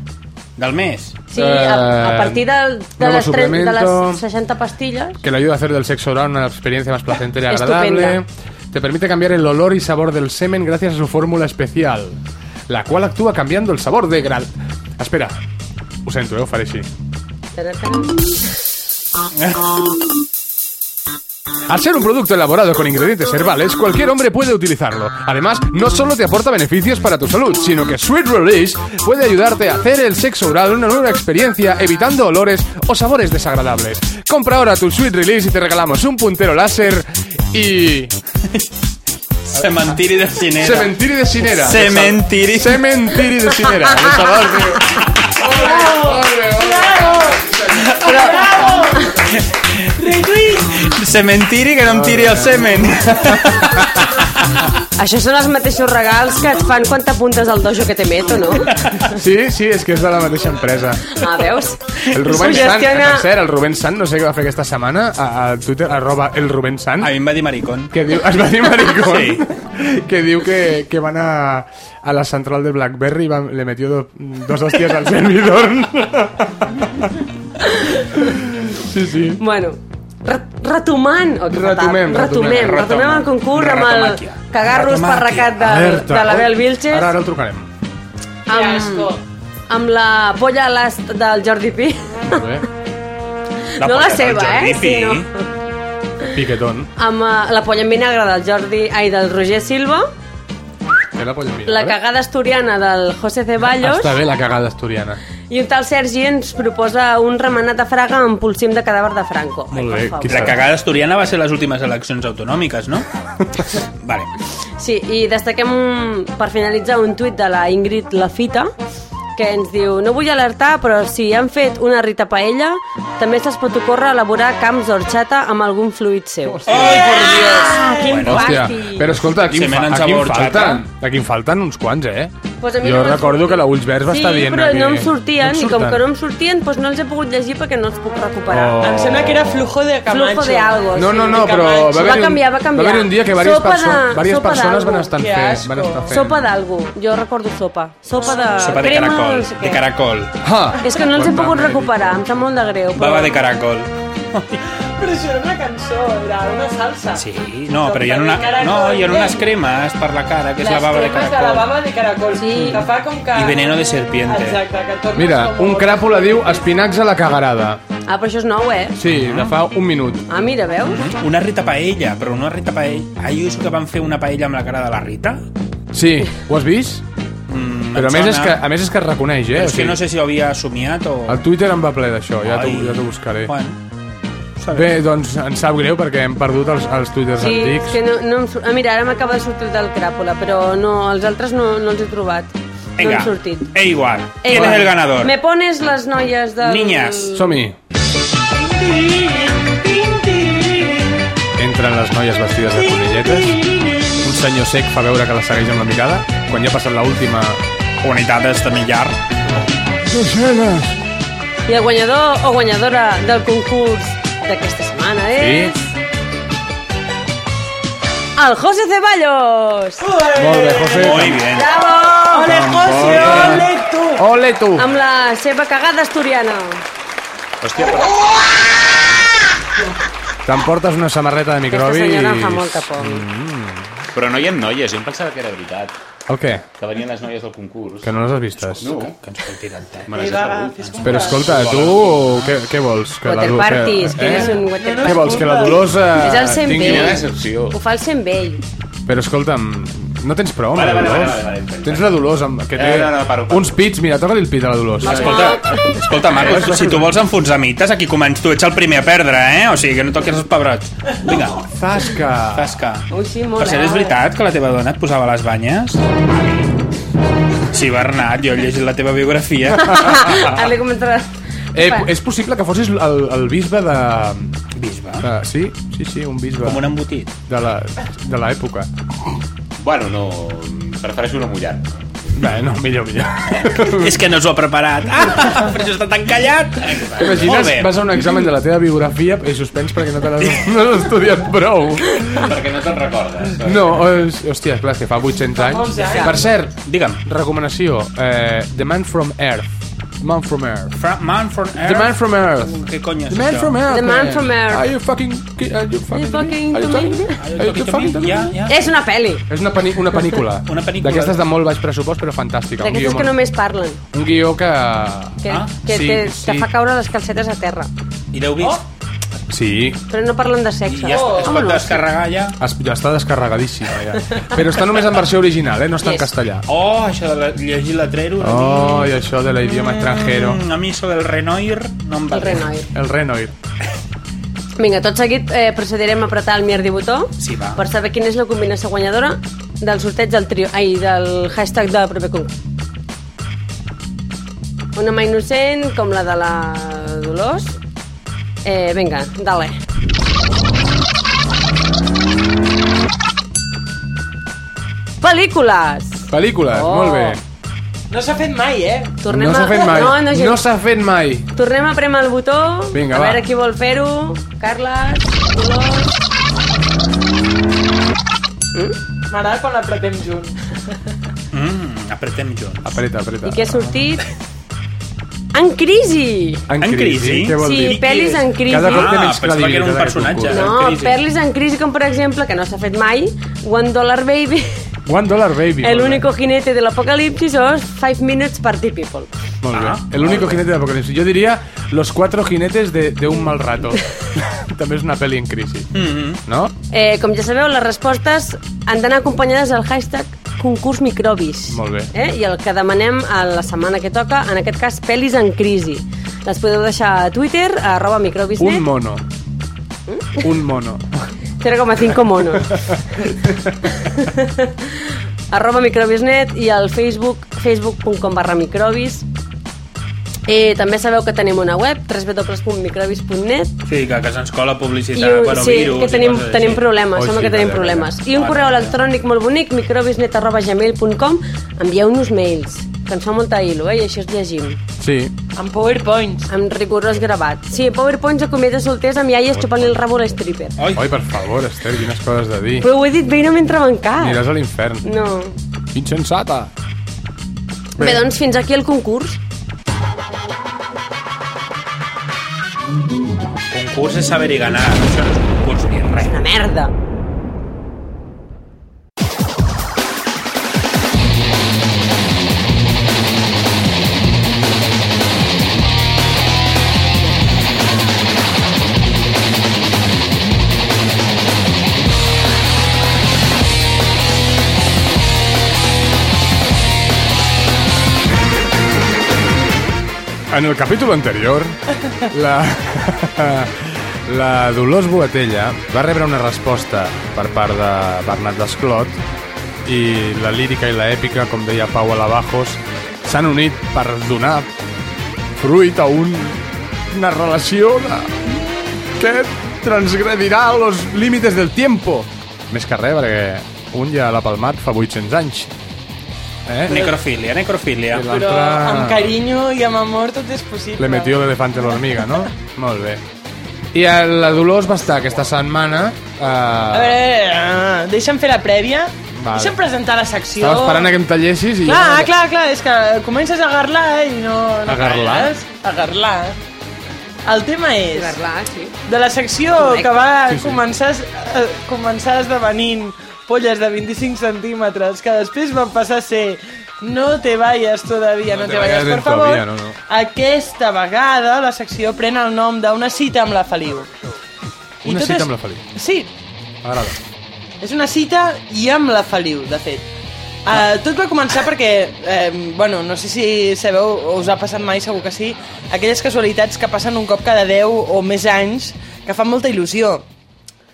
[SPEAKER 5] Del mes?
[SPEAKER 4] Sí, a, a partir del- de,
[SPEAKER 2] eh, nuevo
[SPEAKER 4] les tres- de
[SPEAKER 2] suplemento.
[SPEAKER 4] las 60 pastillas.
[SPEAKER 2] que le ayuda a hacer del sexo oral una experiencia más placentera y agradable.
[SPEAKER 4] Estupenda.
[SPEAKER 2] Te permite cambiar el olor y sabor del semen gracias a su fórmula especial, la cual actúa cambiando el sabor de gran... Ah, Espera, ho sento, eh, ho faré així. Al ser un producto elaborado con ingredientes herbales, cualquier hombre puede utilizarlo. Además, no solo te aporta beneficios para tu salud, sino que Sweet Release puede ayudarte a hacer el sexo oral una nueva experiencia, evitando olores o sabores desagradables. Compra ahora tu Sweet Release y te regalamos un puntero láser y...
[SPEAKER 5] Cementiri de Cinera.
[SPEAKER 2] Cementiri de Sinera.
[SPEAKER 5] Cementiri.
[SPEAKER 2] Cementiri de Sinera. De Salvador Riu.
[SPEAKER 4] Oh,
[SPEAKER 2] Molt bé, molt bé.
[SPEAKER 5] Cementiri que no em tiri el semen.
[SPEAKER 4] Això són els mateixos regals que et fan quan t'apuntes al dojo que te meto, no?
[SPEAKER 2] Sí, sí, és que és de la mateixa empresa.
[SPEAKER 4] Ah, veus?
[SPEAKER 2] El Rubén Sant, que,
[SPEAKER 4] Suggestiona-
[SPEAKER 2] per cert, el Rubén Sant, no sé què va fer aquesta setmana, a, a Twitter, arroba el Rubén Sant,
[SPEAKER 5] A mi em va dir maricón.
[SPEAKER 2] que diu, es va dir maricón,
[SPEAKER 5] Sí.
[SPEAKER 2] que diu que, que van a, a la central de BlackBerry i van, le metió do, dos hòsties al servidor. Sí, sí.
[SPEAKER 4] Bueno, re retomant... Oh, que fatal.
[SPEAKER 2] Retomem, retomem,
[SPEAKER 4] retomem, retomem el concurs amb el
[SPEAKER 5] Retomàquia.
[SPEAKER 4] cagar-los
[SPEAKER 5] Retomàquia.
[SPEAKER 4] parracat de, de l'Abel Vilches
[SPEAKER 2] Ara, ara el trucarem.
[SPEAKER 4] amb, amb la polla a l'ast del Jordi Pi.
[SPEAKER 2] Molt bé.
[SPEAKER 5] La
[SPEAKER 4] no la
[SPEAKER 5] polla del
[SPEAKER 4] seva,
[SPEAKER 5] Jordi
[SPEAKER 4] eh?
[SPEAKER 5] Pi.
[SPEAKER 4] Sí, no.
[SPEAKER 2] Piquetón.
[SPEAKER 4] Amb eh, la polla en vinagre del Jordi... Ai, del Roger Silva,
[SPEAKER 2] Que la polla mira,
[SPEAKER 4] la
[SPEAKER 2] eh?
[SPEAKER 4] cagada asturiana del José Ceballos
[SPEAKER 2] Està bé la cagada asturiana.
[SPEAKER 4] i un tal Sergi ens proposa un remenat de fraga amb pulsim de cadàver de Franco.
[SPEAKER 2] Molt
[SPEAKER 4] Ai,
[SPEAKER 2] bé,
[SPEAKER 4] per favor.
[SPEAKER 2] qui
[SPEAKER 5] La cagada asturiana va ser les últimes eleccions autonòmiques, no? Vale.
[SPEAKER 4] Sí, i destaquem un, per finalitzar un tuit de la Ingrid Lafita que ens diu, no vull alertar, però si han fet una rita paella, també se'ls pot ocórrer elaborar camps d'orxata amb algun fluid seu.
[SPEAKER 5] Ai, por Dios.
[SPEAKER 4] Ah, quin bueno,
[SPEAKER 2] Hòstia, però escolta, aquí, en,
[SPEAKER 5] Semen
[SPEAKER 2] fa,
[SPEAKER 5] en
[SPEAKER 2] aquí en
[SPEAKER 5] sabor xata.
[SPEAKER 2] falten, aquí en falten uns quants, eh?
[SPEAKER 4] Pues a mi
[SPEAKER 2] jo
[SPEAKER 4] no me'n
[SPEAKER 2] recordo
[SPEAKER 4] sortia.
[SPEAKER 2] que la Ulls Verds va
[SPEAKER 4] sí,
[SPEAKER 2] estar dient...
[SPEAKER 4] però
[SPEAKER 2] aquí.
[SPEAKER 4] no em sortien,
[SPEAKER 2] em
[SPEAKER 4] i com
[SPEAKER 2] surten.
[SPEAKER 4] que no em sortien, doncs no els he pogut llegir perquè no els puc recuperar.
[SPEAKER 2] Oh.
[SPEAKER 3] Em sembla que era flujo de Camacho.
[SPEAKER 4] Flujo de algo.
[SPEAKER 2] No, no,
[SPEAKER 4] sí.
[SPEAKER 2] no, però va
[SPEAKER 4] Va
[SPEAKER 2] haver,
[SPEAKER 4] canviar, va canviar.
[SPEAKER 2] va haver un dia que diverses,
[SPEAKER 4] Sopa de-
[SPEAKER 2] perso diverses
[SPEAKER 4] sopa
[SPEAKER 2] persones
[SPEAKER 4] d'algo.
[SPEAKER 2] van estar,
[SPEAKER 3] Que
[SPEAKER 2] fent,
[SPEAKER 3] asco.
[SPEAKER 2] van estar fent.
[SPEAKER 4] Sopa d'algo. Jo recordo sopa. Sopa de...
[SPEAKER 5] Sopa de
[SPEAKER 4] crema,
[SPEAKER 5] caracol.
[SPEAKER 4] no sé
[SPEAKER 5] De
[SPEAKER 4] Ah, què.
[SPEAKER 5] caracol.
[SPEAKER 2] Ah,
[SPEAKER 4] És que no els he
[SPEAKER 2] Quan
[SPEAKER 4] pogut
[SPEAKER 2] va haver-hi.
[SPEAKER 4] recuperar, em sap molt de greu. Però...
[SPEAKER 5] Baba de caracol.
[SPEAKER 3] Però això era una cançó, era una salsa.
[SPEAKER 5] Sí, no, però hi ha, una, no, hi ha unes cremes per la cara, que és la baba de
[SPEAKER 3] cremes de la
[SPEAKER 5] caracol.
[SPEAKER 3] baba de caracol.
[SPEAKER 4] Sí.
[SPEAKER 3] Que fa com que...
[SPEAKER 5] I veneno de serpiente.
[SPEAKER 3] Exacte, que tornes
[SPEAKER 2] Mira,
[SPEAKER 3] com
[SPEAKER 2] un cràpula diu espinacs a la cagarada.
[SPEAKER 4] Ah, però això és nou, eh?
[SPEAKER 2] Sí, de fa un minut.
[SPEAKER 4] Ah, mira, veus?
[SPEAKER 5] Mm? Una Rita Paella, però una Rita Paella... Ai, jo que van fer una paella amb la cara de la Rita?
[SPEAKER 2] Sí, ho has vist?
[SPEAKER 5] Mm,
[SPEAKER 2] Però a
[SPEAKER 5] em
[SPEAKER 2] més,
[SPEAKER 5] sona.
[SPEAKER 2] és que, a més és que es reconeix, eh? O
[SPEAKER 5] Però és que
[SPEAKER 2] sigui,
[SPEAKER 5] no sé si ho havia somiat o...
[SPEAKER 2] El Twitter em va ple d'això, ja t'ho
[SPEAKER 5] Ai.
[SPEAKER 2] ja t'ho buscaré.
[SPEAKER 5] Bueno,
[SPEAKER 2] Bé, doncs ens sap greu perquè hem perdut els, els Twitters
[SPEAKER 4] Sí, és
[SPEAKER 2] antics.
[SPEAKER 4] que no, no em surt... Ah, mira, ara m'acaba de sortir el del cràpula, però no, els altres no, no els he trobat. No
[SPEAKER 5] Vinga,
[SPEAKER 4] han sortit.
[SPEAKER 5] e igual.
[SPEAKER 4] Eh,
[SPEAKER 5] ¿Quién
[SPEAKER 4] bueno.
[SPEAKER 5] es el ganador?
[SPEAKER 4] Me pones les noies del...
[SPEAKER 5] Niñas.
[SPEAKER 2] Som-hi. Entren les noies vestides de conilletes. Un senyor sec fa veure que la segueix amb la mirada. Quan ja ha passat l'última...
[SPEAKER 5] Unidades de millar.
[SPEAKER 4] I el guanyador o guanyadora del concurs d'aquesta setmana és... El José Ceballos!
[SPEAKER 5] Uh!
[SPEAKER 2] Molt bé, José.
[SPEAKER 5] Muy bien.
[SPEAKER 4] Bravo!
[SPEAKER 3] eh! Ole, José, ole, tu!
[SPEAKER 2] Ole, tu!
[SPEAKER 4] Amb la seva cagada asturiana.
[SPEAKER 5] Hòstia, però...
[SPEAKER 2] T'emportes una samarreta de
[SPEAKER 4] Aquesta
[SPEAKER 2] microbi
[SPEAKER 4] senyora em fa
[SPEAKER 2] i...
[SPEAKER 4] molta por.
[SPEAKER 5] Mm.
[SPEAKER 7] Però no hi ha noies, jo em pensava que era veritat.
[SPEAKER 2] El què?
[SPEAKER 7] Que venien les noies del concurs.
[SPEAKER 2] Que no les has vistes?
[SPEAKER 7] No,
[SPEAKER 5] Que ens pot tirar el té.
[SPEAKER 7] me les he perdut.
[SPEAKER 2] Però escolta, tu què, què vols?
[SPEAKER 4] Water
[SPEAKER 2] Du- eh?
[SPEAKER 4] parties, que és un water
[SPEAKER 2] Què vols, que la Dolors eh,
[SPEAKER 4] És el cent
[SPEAKER 2] tingui...
[SPEAKER 7] Quina
[SPEAKER 4] vell.
[SPEAKER 7] decepció.
[SPEAKER 4] Ho fa el sent vell.
[SPEAKER 2] Però escolta'm, no tens prou amb la
[SPEAKER 7] Vale, vale,
[SPEAKER 2] Dolors?
[SPEAKER 7] vale, vale, vale.
[SPEAKER 2] Tens la Dolors amb... que té
[SPEAKER 7] Eh, no, no, paro, paro.
[SPEAKER 2] uns pits, mira, toca-li el pit a la Dolors.
[SPEAKER 5] Escolta, escolta, Marcos, si tu vols enfonsar mites, aquí comença. Tu ets el primer a perdre, eh? O sigui, que no toquis els pebrots. Vinga,
[SPEAKER 2] Zasca!
[SPEAKER 5] tasca.
[SPEAKER 4] Ui, sí, molt
[SPEAKER 5] Per cert, és
[SPEAKER 4] alt.
[SPEAKER 5] veritat que la teva dona et posava les banyes? Sí, Bernat, jo he llegit la teva biografia.
[SPEAKER 4] Ara li comentaràs.
[SPEAKER 2] Eh, és possible que fossis el, el bisbe de...
[SPEAKER 5] Bisbe.
[SPEAKER 2] de... Sí, sí, sí, un bisbe
[SPEAKER 5] Com un embotit.
[SPEAKER 2] de la- de l'època.
[SPEAKER 7] Bueno, no... Prefereixo no mullar.
[SPEAKER 2] Bé, no, millor, millor. Mm.
[SPEAKER 5] És que no us ho ha preparat. Ah, però això està tan callat. Molt
[SPEAKER 2] T'imagines,
[SPEAKER 5] bé.
[SPEAKER 2] vas a un examen de la teva biografia i suspens perquè no te l'has no l'has estudiat prou.
[SPEAKER 7] Perquè no te'n recordes.
[SPEAKER 2] No, és, hòstia, clar, és que fa 800 anys. Per cert,
[SPEAKER 5] Digue'm.
[SPEAKER 2] recomanació, eh, The Man from Earth. Man from Earth.
[SPEAKER 5] Fra man from Earth.
[SPEAKER 2] The Man from Earth.
[SPEAKER 5] Què cony és
[SPEAKER 2] The Man
[SPEAKER 5] això?
[SPEAKER 2] from Earth.
[SPEAKER 4] The Man from Earth.
[SPEAKER 2] Are you fucking... ki- Are you fucking...
[SPEAKER 4] fucking
[SPEAKER 2] Are you
[SPEAKER 4] kidding
[SPEAKER 2] fucking...
[SPEAKER 4] me?
[SPEAKER 5] Are you
[SPEAKER 2] Are you
[SPEAKER 5] talking to
[SPEAKER 2] fucking...
[SPEAKER 5] me? Ja, ja.
[SPEAKER 4] És una pel·li,
[SPEAKER 2] És una, pani, una pel·lícula.
[SPEAKER 5] Una pel·lícula.
[SPEAKER 2] D'aquestes de molt baix pressupost, però fantàstica. Un guió,
[SPEAKER 4] d'aquestes que
[SPEAKER 2] molt-
[SPEAKER 4] només parlen,
[SPEAKER 2] un guió que...
[SPEAKER 4] que,
[SPEAKER 5] Ah,
[SPEAKER 4] que
[SPEAKER 2] sí,
[SPEAKER 4] te,
[SPEAKER 2] sí.
[SPEAKER 4] te fa caure les calcetes a terra.
[SPEAKER 5] Eh, I l'heu vist?
[SPEAKER 2] Sí,
[SPEAKER 4] Però no parlen de
[SPEAKER 5] I
[SPEAKER 4] sexe. Oh,
[SPEAKER 5] ja està, es
[SPEAKER 2] Ah,
[SPEAKER 4] Home,
[SPEAKER 5] pot
[SPEAKER 4] no.
[SPEAKER 5] descarregar ja?
[SPEAKER 2] es, ja està descarregadíssima, ja. Però està només en versió original, eh? No està en
[SPEAKER 4] Yes.
[SPEAKER 2] castellà.
[SPEAKER 5] Oh, això de la, llegir l'atrero.
[SPEAKER 2] Oh, i això de l'idioma
[SPEAKER 5] a,
[SPEAKER 2] extranjero.
[SPEAKER 5] mi, Mm, a mi això del Renoir no em va
[SPEAKER 4] El
[SPEAKER 5] bé.
[SPEAKER 4] renoi.
[SPEAKER 2] El Renoir.
[SPEAKER 4] Vinga, tot seguit eh, procedirem a apretar el mierdi botó
[SPEAKER 5] Sí, va.
[SPEAKER 4] per saber quina és la combinació guanyadora del sorteig del trio, ai, del hashtag del proper concurs. Una mà innocent com la de la Dolors. Eh, vinga, dale. Pel·lícules!
[SPEAKER 2] Pel·lícules,
[SPEAKER 4] Oh.
[SPEAKER 2] molt bé.
[SPEAKER 3] No s'ha fet mai, eh?
[SPEAKER 4] Tornem
[SPEAKER 2] no s'ha
[SPEAKER 4] a-
[SPEAKER 2] fet mai.
[SPEAKER 4] No, no, gens.
[SPEAKER 2] no s'ha fet mai.
[SPEAKER 4] Tornem a premar el botó.
[SPEAKER 2] Vinga,
[SPEAKER 4] a
[SPEAKER 2] va.
[SPEAKER 4] veure qui vol fer-ho. Carles, Dolors...
[SPEAKER 3] M'agrada quan l'apretem junts.
[SPEAKER 5] Mm, apretem junts.
[SPEAKER 2] Apreta, apreta.
[SPEAKER 4] I què ha sortit? En crisi!
[SPEAKER 2] En,
[SPEAKER 5] En crisi?
[SPEAKER 2] Què vol
[SPEAKER 4] Sí,
[SPEAKER 2] dir?
[SPEAKER 4] pel·lis en crisi.
[SPEAKER 2] Cada cop té
[SPEAKER 5] Ah,
[SPEAKER 2] menys
[SPEAKER 5] pensava que era un
[SPEAKER 2] credibilitat. aquest
[SPEAKER 5] personatge.
[SPEAKER 2] concurs.
[SPEAKER 4] No,
[SPEAKER 5] en crisi.
[SPEAKER 4] pel·lis en crisi com per exemple, que no s'ha fet mai, One Dollar Baby,
[SPEAKER 2] One Dollar Baby. molt
[SPEAKER 4] El
[SPEAKER 2] bé.
[SPEAKER 4] único jinete de l'apocalipsis o Five Minutes Party People.
[SPEAKER 2] Molt
[SPEAKER 5] Ah,
[SPEAKER 2] bé. El único jinete de Apocalipsis. Jo diria Los cuatro jinetes de, de un mal rato. També és una pel·li en crisi.
[SPEAKER 5] Mm
[SPEAKER 2] No?
[SPEAKER 4] Eh, com ja sabeu, les respostes han d'anar acompanyades del hashtag concurs microbis.
[SPEAKER 2] Molt bé.
[SPEAKER 4] Eh? I el que demanem a la setmana que toca, en aquest cas, pel·lis en crisi. Les podeu deixar a Twitter, a arroba microbisnet,
[SPEAKER 2] Un mono. Un mono.
[SPEAKER 4] 0,5 monos. arroba microbisnet i al Facebook, facebook.com barra microbis. Eh, també sabeu que tenim una web, www.microbis.net
[SPEAKER 5] Sí, que, que se'ns cola
[SPEAKER 4] i
[SPEAKER 5] publicitat,
[SPEAKER 4] un,
[SPEAKER 5] bueno,
[SPEAKER 4] sí,
[SPEAKER 5] virus
[SPEAKER 4] que tenim,
[SPEAKER 5] i coses
[SPEAKER 4] tenim
[SPEAKER 5] així.
[SPEAKER 2] Oh,
[SPEAKER 4] problemes, sembla
[SPEAKER 2] sí,
[SPEAKER 4] que tenim
[SPEAKER 2] calla,
[SPEAKER 4] problemes.
[SPEAKER 2] calla.
[SPEAKER 4] I un
[SPEAKER 2] Vale,
[SPEAKER 4] correu
[SPEAKER 2] calla.
[SPEAKER 4] electrònic molt bonic, microbisnet.gmail.com, envieu-nos mails, que ens fa molta il·lu, eh? i així els llegim,
[SPEAKER 2] Sí.
[SPEAKER 3] Amb powerpoints.
[SPEAKER 4] amb rigorós gravat. Sí, PowerPoints a cometes solters amb iaies xupant el rabo a l'estripper.
[SPEAKER 5] Oi,
[SPEAKER 2] Oi, per favor, Esther, quines coses de dir.
[SPEAKER 4] Però ho he dit bé i no m'he entrebancat.
[SPEAKER 2] Aniràs a l'infern.
[SPEAKER 4] No.
[SPEAKER 2] Insensata.
[SPEAKER 4] Bé, doncs fins aquí el concurs.
[SPEAKER 5] concurs és saber i ganar. Això no és un concurs ni res.
[SPEAKER 4] Una merda.
[SPEAKER 2] En el capítol anterior, la, la Dolors Boatella va rebre una resposta per part de Bernat Desclot i la lírica i la èpica, com deia Pau Alabajos, s'han unit per donar fruit a un, una relació de, que transgredirà los límites del tiempo. Més que res, perquè un ja l'ha palmat fa 800 anys. Eh?
[SPEAKER 5] Necrofília, necrofília.
[SPEAKER 2] I
[SPEAKER 3] Però
[SPEAKER 2] l'altre-
[SPEAKER 3] amb carinyo i amb amor tot és possible.
[SPEAKER 2] Le metió el elefante a la hormiga, no? Molt bé. I eh, la Dolors va estar aquesta setmana...
[SPEAKER 3] A
[SPEAKER 2] Eh,
[SPEAKER 3] veure, ah, deixa'm fer la prèvia.
[SPEAKER 2] Vale.
[SPEAKER 3] Deixa'm presentar la secció.
[SPEAKER 2] estava esperant a que em tallessis i...
[SPEAKER 3] Clar,
[SPEAKER 2] jo...
[SPEAKER 3] clar, clar, és que comences a garlar i no... no
[SPEAKER 2] A garlar?
[SPEAKER 3] calles. A garlar. El tema és...
[SPEAKER 4] sí.
[SPEAKER 3] De la secció
[SPEAKER 4] Correcte.
[SPEAKER 3] que va
[SPEAKER 2] Sí, sí.
[SPEAKER 3] començar, eh, començar esdevenint polles de 25 centímetres, que després van passar a ser no te vayas todavía, no,
[SPEAKER 2] No
[SPEAKER 3] te,
[SPEAKER 2] te
[SPEAKER 3] vayas,
[SPEAKER 2] vayas
[SPEAKER 3] por favor.
[SPEAKER 2] todavía, no, no.
[SPEAKER 3] Aquesta vegada la secció pren el nom d'una cita amb la Feliu. I
[SPEAKER 2] Una
[SPEAKER 3] tot
[SPEAKER 2] cita
[SPEAKER 3] és-
[SPEAKER 2] amb la Feliu.
[SPEAKER 3] Sí,
[SPEAKER 2] M'agrada.
[SPEAKER 3] és una cita i amb la Feliu, de fet. Uh, tot va començar perquè, eh, bueno, no sé si sabeu, o us ha passat mai, segur que sí, aquelles casualitats que passen un cop cada 10 o més anys que fan molta il·lusió.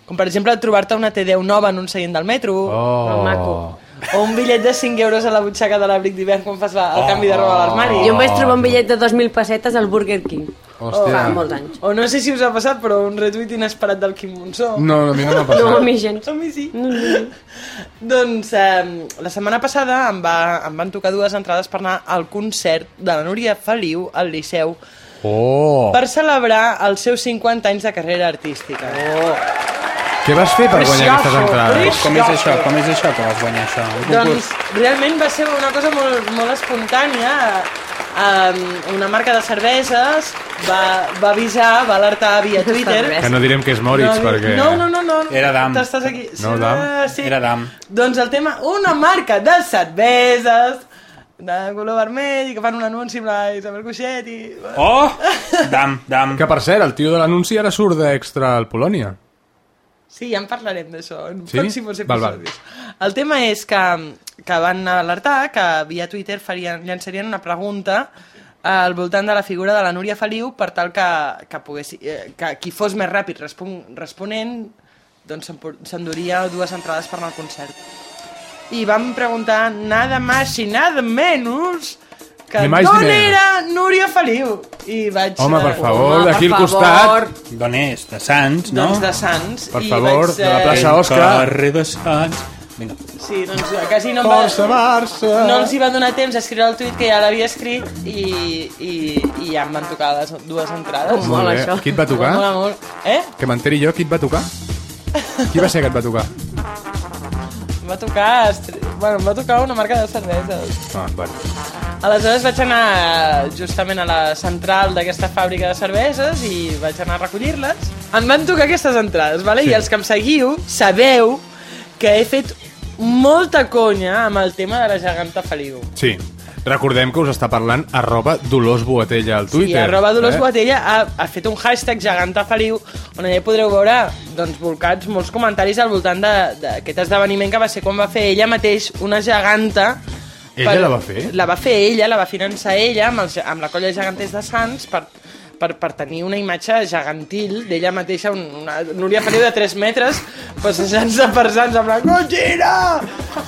[SPEAKER 3] Com, per exemple, trobar-te una T10 nova en un seient del metro,
[SPEAKER 4] Molt maco.
[SPEAKER 2] Oh.
[SPEAKER 3] o un bitllet de 5 euros a la butxaca de l'abric d'hivern quan fas la, el canvi de roba a l'armari.
[SPEAKER 4] Jo em vaig trobar un bitllet de 2.000 pessetes al Burger King.
[SPEAKER 2] Hòstia.
[SPEAKER 4] Fa molts anys.
[SPEAKER 3] O no sé si us ha passat, però un retuit inesperat del Quim Monzó.
[SPEAKER 2] No, a mi no m'ha passat.
[SPEAKER 4] No, a mi gens.
[SPEAKER 3] A mi sí. doncs eh, la setmana passada em, va, em van tocar dues entrades per anar al concert de la Núria Feliu al Liceu
[SPEAKER 2] Oh.
[SPEAKER 3] per celebrar els seus 50 anys de carrera artística. Oh.
[SPEAKER 2] Què vas fer per guanyar
[SPEAKER 3] Precioso,
[SPEAKER 2] aquestes entrades?
[SPEAKER 3] precioso.
[SPEAKER 5] Com és això? Com és això que vas guanyar això? Un concurs?
[SPEAKER 3] Doncs realment va ser una cosa molt, molt espontània. um, una marca de cerveses va, va avisar, va alertar via Twitter...
[SPEAKER 2] Que no direm que és Moritz,
[SPEAKER 3] no,
[SPEAKER 2] perquè...
[SPEAKER 3] No, no, no, no.
[SPEAKER 5] Era Dam.
[SPEAKER 3] T'estàs aquí.
[SPEAKER 2] No, Dam.
[SPEAKER 3] Sí.
[SPEAKER 5] Era Dam.
[SPEAKER 3] Doncs el tema, una marca de cerveses de color vermell i que fan un anunci amb la Isabel Cuixet i...
[SPEAKER 5] Oh! Dam, dam.
[SPEAKER 2] Que, per cert, el tio de l'anunci ara surt d'extra al Polònia.
[SPEAKER 3] Sí, ja en parlarem d'això en
[SPEAKER 2] Sí?
[SPEAKER 3] pròxims
[SPEAKER 2] Val, val.
[SPEAKER 3] episodis. El tema és que, que van alertar que via Twitter farien, llançarien una pregunta al voltant de la figura de la Núria Feliu per tal que, que, poguessi, eh, que qui fos més ràpid respon, responent doncs s'empor- s'enduria dues entrades per anar al concert. I vam preguntar nada más i nada menos que
[SPEAKER 2] Ni más ni
[SPEAKER 3] d'on
[SPEAKER 2] menos.
[SPEAKER 3] era Núria Feliu. I vaig...
[SPEAKER 2] Home, per
[SPEAKER 3] eh,
[SPEAKER 2] favor,
[SPEAKER 4] Home,
[SPEAKER 2] d'aquí al
[SPEAKER 4] per favor.
[SPEAKER 2] costat,
[SPEAKER 5] D'on és? De Sants, no?
[SPEAKER 3] Doncs de Sants.
[SPEAKER 2] per
[SPEAKER 3] i
[SPEAKER 2] favor,
[SPEAKER 3] vaig,
[SPEAKER 2] de la
[SPEAKER 3] eh,
[SPEAKER 2] plaça Òscar.
[SPEAKER 5] Carrer de Sants. Vinga.
[SPEAKER 3] Sí, doncs eh, quasi no em va...
[SPEAKER 2] Força, Barça!
[SPEAKER 3] no els hi va donar temps a escriure el tuit que ja l'havia escrit i, i, i ja em van tocar les dues entrades.
[SPEAKER 2] Molt bé.
[SPEAKER 4] això.
[SPEAKER 2] Qui et va tocar?
[SPEAKER 3] Molt, molt. Eh?
[SPEAKER 2] Que m'enteri jo qui et va tocar. Qui va ser que et va tocar?
[SPEAKER 3] Em va tocar... estri- Bueno, em va tocar una marca de cerveses.
[SPEAKER 2] Ah, bueno.
[SPEAKER 3] Aleshores vaig anar justament a la central d'aquesta fàbrica de cerveses i vaig anar a recollir-les. Em van tocar aquestes entrades, vale? Sí. i els que em seguiu sabeu que he fet molta conya amb el tema de la geganta Feliu.
[SPEAKER 2] Sí. Recordem que us està parlant arroba Dolors Boatella al Twitter.
[SPEAKER 3] I arroba Dolors eh? Boatella ha, ha fet un hashtag geganta feliu on allà podreu veure doncs, volcats molts comentaris al voltant de- d'aquest esdeveniment que va ser quan va fer ella mateix una geganta
[SPEAKER 2] Ella la va fer?
[SPEAKER 3] La va fer ella, la va finançar ella amb, els, amb la colla de geganters de Sants per, per, per tenir una imatge gegantil d'ella mateixa, un- una Núria Feliu de 3 metres doncs, passejant-se per Sants amb la cotxina!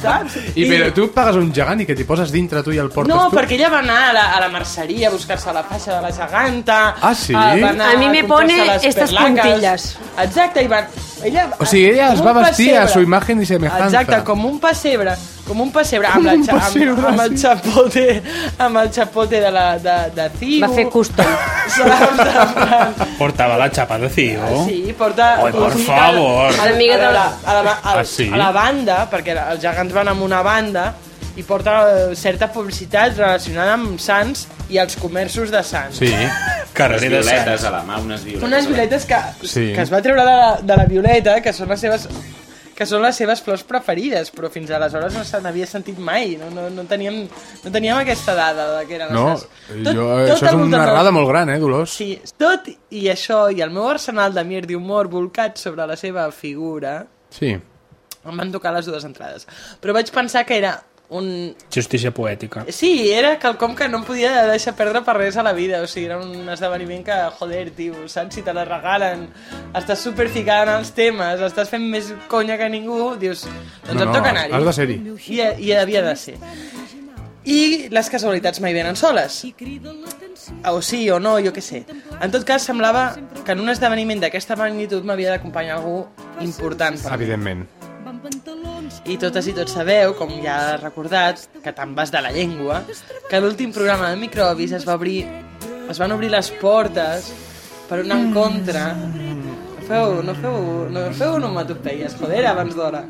[SPEAKER 3] Saps?
[SPEAKER 2] I, però tu pagues un gegant i que t'hi poses dintre tu i el portes
[SPEAKER 3] No,
[SPEAKER 2] tu?
[SPEAKER 3] perquè ella va anar a la, a la merceria a buscar-se la faixa de la geganta.
[SPEAKER 2] Ah, sí?
[SPEAKER 3] eh, va anar
[SPEAKER 4] A mi me
[SPEAKER 3] comprar-se
[SPEAKER 4] pone
[SPEAKER 3] les
[SPEAKER 4] estas
[SPEAKER 3] perlaques.
[SPEAKER 4] puntillas.
[SPEAKER 3] Exacte, i va... Ella,
[SPEAKER 2] O sigui, ella es
[SPEAKER 3] com
[SPEAKER 2] va
[SPEAKER 3] un
[SPEAKER 2] vestir a
[SPEAKER 3] pessebre.
[SPEAKER 2] su imagen y semejanza.
[SPEAKER 3] Exacte, com un pessebre, com un pessebre,
[SPEAKER 2] Com
[SPEAKER 3] amb, la,
[SPEAKER 2] un
[SPEAKER 3] xa-
[SPEAKER 2] pessebre,
[SPEAKER 3] amb, amb el
[SPEAKER 2] sí.
[SPEAKER 3] xapote, amb el xapote de, la, de, de Ciu.
[SPEAKER 4] Va fer custom.
[SPEAKER 3] Saps? En plan,
[SPEAKER 5] Portava la xapa de
[SPEAKER 2] Oh.
[SPEAKER 5] Cio.
[SPEAKER 3] Sí, porta...
[SPEAKER 5] Oi, por
[SPEAKER 3] porta-
[SPEAKER 5] favor.
[SPEAKER 3] A la,
[SPEAKER 4] Amiga de-
[SPEAKER 3] a la, a la, a,
[SPEAKER 5] Ah, sí?
[SPEAKER 3] a la banda, perquè els gegants van amb una banda, i porta eh, certa publicitat relacionada amb Sants i els comerços de Sants.
[SPEAKER 2] Sí.
[SPEAKER 5] Carrer
[SPEAKER 7] Unes
[SPEAKER 5] de Sants.
[SPEAKER 7] violetes a la mà, unes violetes.
[SPEAKER 3] Unes violetes que,
[SPEAKER 2] Sí.
[SPEAKER 3] que es va treure de la, de la violeta, que són les seves que són les seves flors preferides, però fins aleshores no se n'havia sentit mai. No, no, no, teníem, no teníem aquesta dada de que eren
[SPEAKER 2] No,
[SPEAKER 3] les seves.
[SPEAKER 2] jo, eh,
[SPEAKER 3] al
[SPEAKER 2] això és una
[SPEAKER 3] voltant del-
[SPEAKER 2] errada molt gran, eh, Dolors?
[SPEAKER 3] Sí, tot i això, i el meu arsenal de mir d'humor volcat sobre la seva figura,
[SPEAKER 2] Sí.
[SPEAKER 3] Doncs em van tocar les dues entrades. Però vaig pensar que era un...
[SPEAKER 5] Justícia poètica.
[SPEAKER 3] Sí, era quelcom que no em podia deixar perdre per res a la vida. O sigui, era un esdeveniment que, joder, tio, saps? Si te la regalen, estàs superficant els temes, estàs fent més conya que ningú, dius, doncs
[SPEAKER 2] No,
[SPEAKER 3] em
[SPEAKER 2] no,
[SPEAKER 3] toca
[SPEAKER 2] has,
[SPEAKER 3] anar-hi.
[SPEAKER 2] has de ser-hi.
[SPEAKER 3] I, I havia de ser. I les casualitats mai venen soles. O sí o no, jo què sé. En tot cas, semblava que en un esdeveniment d'aquesta magnitud m'havia d'acompanyar algú important. Per mi.
[SPEAKER 2] Evidentment.
[SPEAKER 3] I totes i tots sabeu, com ja has recordat, que te'n vas de la llengua, que l'últim programa de Microbis es va obrir... Es van obrir les portes per un encontre... No feu, no feu, no feu onomatopeies, joder, abans d'hora.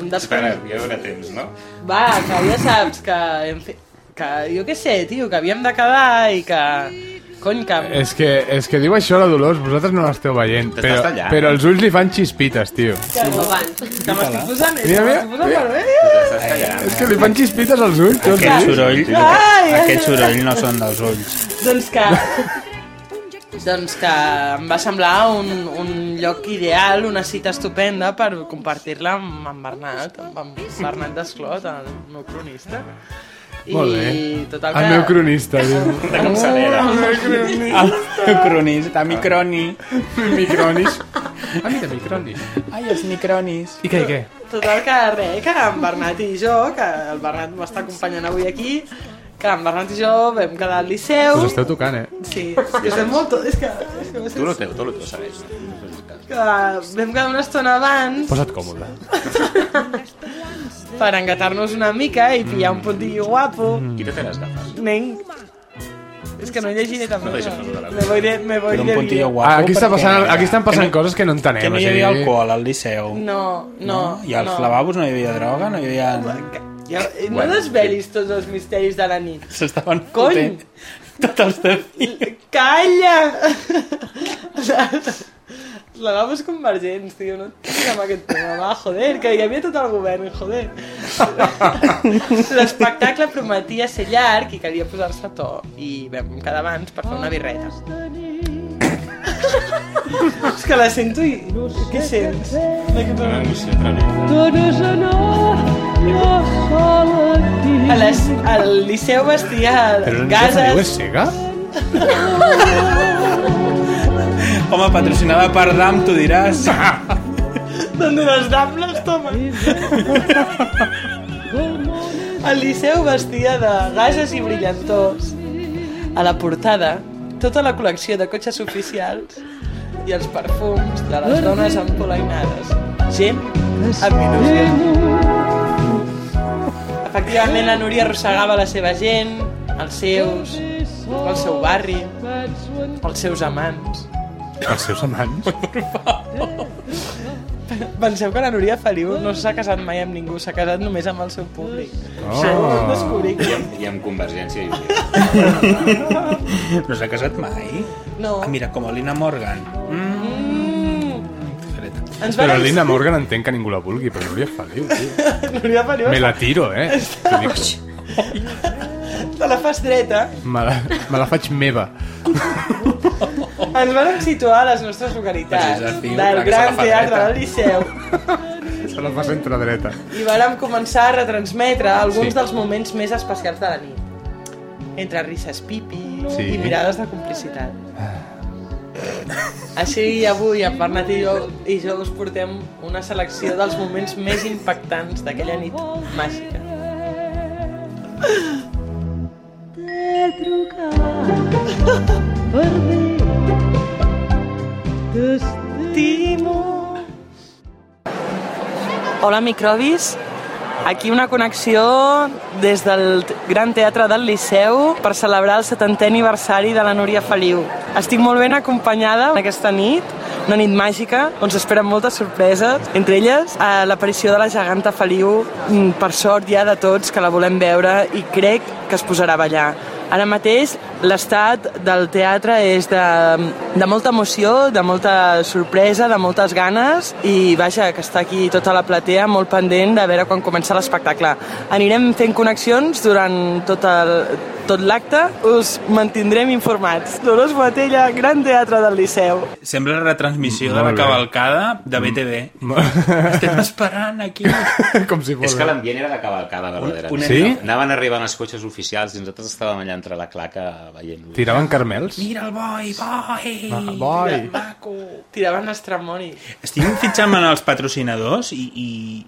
[SPEAKER 3] Un
[SPEAKER 7] Espera,
[SPEAKER 3] descompte.
[SPEAKER 7] hi haurà temps, no?
[SPEAKER 3] Va, que ja saps que hem fet... Que jo què sé, tio, que havíem de quedar i que... Cony, que...
[SPEAKER 2] És que, és que diu això la Dolors, vosaltres no l'esteu veient,
[SPEAKER 7] T'estàs
[SPEAKER 2] però,
[SPEAKER 7] tallant. eh?
[SPEAKER 2] però els ulls li fan xispites, tio.
[SPEAKER 3] Que m'estic
[SPEAKER 2] Mira,
[SPEAKER 3] posant... que
[SPEAKER 2] mira,
[SPEAKER 3] m'estic posant
[SPEAKER 2] mira.
[SPEAKER 3] per bé, eh? tio.
[SPEAKER 7] Estàs callant.
[SPEAKER 2] És que li fan xispites als ulls. tu els
[SPEAKER 5] Aquest
[SPEAKER 2] veus?
[SPEAKER 5] soroll,
[SPEAKER 3] Ai, ai,
[SPEAKER 5] aquest soroll no són dels ulls.
[SPEAKER 3] Doncs que... doncs que em va semblar un, un lloc ideal, una cita estupenda per compartir-la amb en Bernat, amb en Bernat Desclot, el meu cronista.
[SPEAKER 2] Molt bé.
[SPEAKER 3] I total que...
[SPEAKER 2] El eh? meu cronista, diu.
[SPEAKER 7] De com s'anera.
[SPEAKER 5] El cronista, microni.
[SPEAKER 2] Micronis. Ah, mira, micronis.
[SPEAKER 5] Ai, els micronis.
[SPEAKER 2] I què, i què?
[SPEAKER 3] Total que res, que en Bernat i jo, que el Bernat m'està acompanyant avui aquí, que en Bernat i jo vam quedar al Liceu...
[SPEAKER 2] Us esteu tocant, eh?
[SPEAKER 3] Sí, és que estem molt... to- És que, és que,
[SPEAKER 7] Tu lo teu, tu lo teu, sabés.
[SPEAKER 3] que vam quedar una estona abans
[SPEAKER 2] Posa't còmode.
[SPEAKER 3] per engatar-nos una mica i pillar un puntillo guapo.
[SPEAKER 7] Quita té les gafes.
[SPEAKER 3] Nen. És que no llegiré tan
[SPEAKER 7] No
[SPEAKER 3] bé.
[SPEAKER 7] deixes passar la
[SPEAKER 3] Me voy de... Me voy
[SPEAKER 5] Però un
[SPEAKER 3] de
[SPEAKER 5] puntillo
[SPEAKER 3] vida.
[SPEAKER 5] guapo.
[SPEAKER 2] Ah, aquí, està
[SPEAKER 5] perquè-
[SPEAKER 2] passant, aquí estan passant
[SPEAKER 5] que no-
[SPEAKER 2] coses que no entenem.
[SPEAKER 5] Que no hi
[SPEAKER 2] o sigui,
[SPEAKER 5] havia alcohol al Liceu.
[SPEAKER 3] No, no,
[SPEAKER 5] I als
[SPEAKER 3] no.
[SPEAKER 5] lavabos no hi havia droga, no hi havia...
[SPEAKER 3] Ja, eh, no
[SPEAKER 2] Bueno,
[SPEAKER 3] desvelis tots els misteris de la nit.
[SPEAKER 5] S'estaven
[SPEAKER 3] Cony!
[SPEAKER 5] fotent tots els desfils.
[SPEAKER 3] Calla! Els lavabos convergents, tio, no et fiquis amb aquest tema, va, joder, que hi havia tot el govern, joder. L'espectacle prometia ser llarg i calia posar-se a to, i vam quedar abans per fer una birreta. És que la sento i... Què sents? De què parlem? A les, al Liceu vestia
[SPEAKER 2] Però no sé si és
[SPEAKER 3] gases...
[SPEAKER 2] cega?
[SPEAKER 5] Home, patrocinada per DAM, tu diràs.
[SPEAKER 3] Donde les dames tomen. El Liceu vestia de gases i brillantors. A la portada, tota la col·lecció de cotxes oficials i els perfums de les dones empolainades. Gent amb il·lusió. Efectivament, la Núria arrossegava la seva gent, els seus, el seu barri, els seus amants.
[SPEAKER 2] Els seus amants?
[SPEAKER 3] Penseu que la Núria Feliu no s'ha casat mai amb ningú, s'ha casat només amb el seu públic.
[SPEAKER 2] Ah.
[SPEAKER 3] Oh. Això ho vam descobrir.
[SPEAKER 7] I amb, i amb Convergència i Unió.
[SPEAKER 5] No s'ha casat mai?
[SPEAKER 3] No.
[SPEAKER 5] Ah, mira, com a Lina Morgan.
[SPEAKER 3] Mm.
[SPEAKER 5] Freda.
[SPEAKER 3] Ens
[SPEAKER 2] Però
[SPEAKER 3] van...
[SPEAKER 2] Lina Morgan entenc que ningú la vulgui, però Núria Feliu, tio.
[SPEAKER 3] Núria Feliu
[SPEAKER 2] Me la tiro, eh? T'ho dic.
[SPEAKER 3] te la fas dreta.
[SPEAKER 2] Me la, me la faig meva.
[SPEAKER 3] Ens van situar a les nostres localitats,
[SPEAKER 5] Precisament, clar
[SPEAKER 3] del
[SPEAKER 5] que se la
[SPEAKER 3] Gran
[SPEAKER 5] fa
[SPEAKER 3] Teatre
[SPEAKER 5] dreta.
[SPEAKER 3] del Liceu,
[SPEAKER 2] Se la fa centre dreta.
[SPEAKER 3] i vàrem començar a retransmetre alguns
[SPEAKER 2] Sí.
[SPEAKER 3] sí. dels moments més especials de la nit. Entre risses pipi
[SPEAKER 2] Sí.
[SPEAKER 3] sí. i mirades de complicitat. Així avui en Bernat i jo, i jo us portem una selecció dels moments més impactants d'aquella nit màgica. T'estimo. Hola, microbis. Aquí una connexió des del T- Gran Teatre del Liceu per celebrar el 70è aniversari de la Núria Feliu. Estic molt ben acompanyada aquesta nit, una nit màgica, on s'esperen moltes sorpreses, entre elles eh, l'aparició de la geganta Feliu, mm, per sort ja de tots que la volem veure i crec que es posarà a ballar. Ara mateix l'estat del teatre és de, de molta emoció, de molta sorpresa, de moltes ganes i vaja, que està aquí tota la platea molt pendent de veure quan comença l'espectacle. Anirem fent connexions durant tot el, tot l'acte, us mantindrem informats. Dolors Boatella, Gran Teatre del Liceu.
[SPEAKER 5] Sembla la retransmissió de
[SPEAKER 2] Molt
[SPEAKER 5] la
[SPEAKER 2] bé.
[SPEAKER 5] cavalcada
[SPEAKER 7] Mm.
[SPEAKER 5] de BTV. Estem esperant aquí.
[SPEAKER 2] Com si fos... eh.
[SPEAKER 7] És que l'ambient era de cavalcada, verdaderament.
[SPEAKER 2] Sí?
[SPEAKER 7] Anaven arribant els cotxes oficials i nosaltres estàvem allà entre la claca veient-lo.
[SPEAKER 2] Tiraven carmels?
[SPEAKER 5] Mira el boi, boi!
[SPEAKER 2] Ah, boi.
[SPEAKER 5] Que maco!
[SPEAKER 3] Tiraven els tremonis.
[SPEAKER 5] Estic fitxant en els patrocinadors i,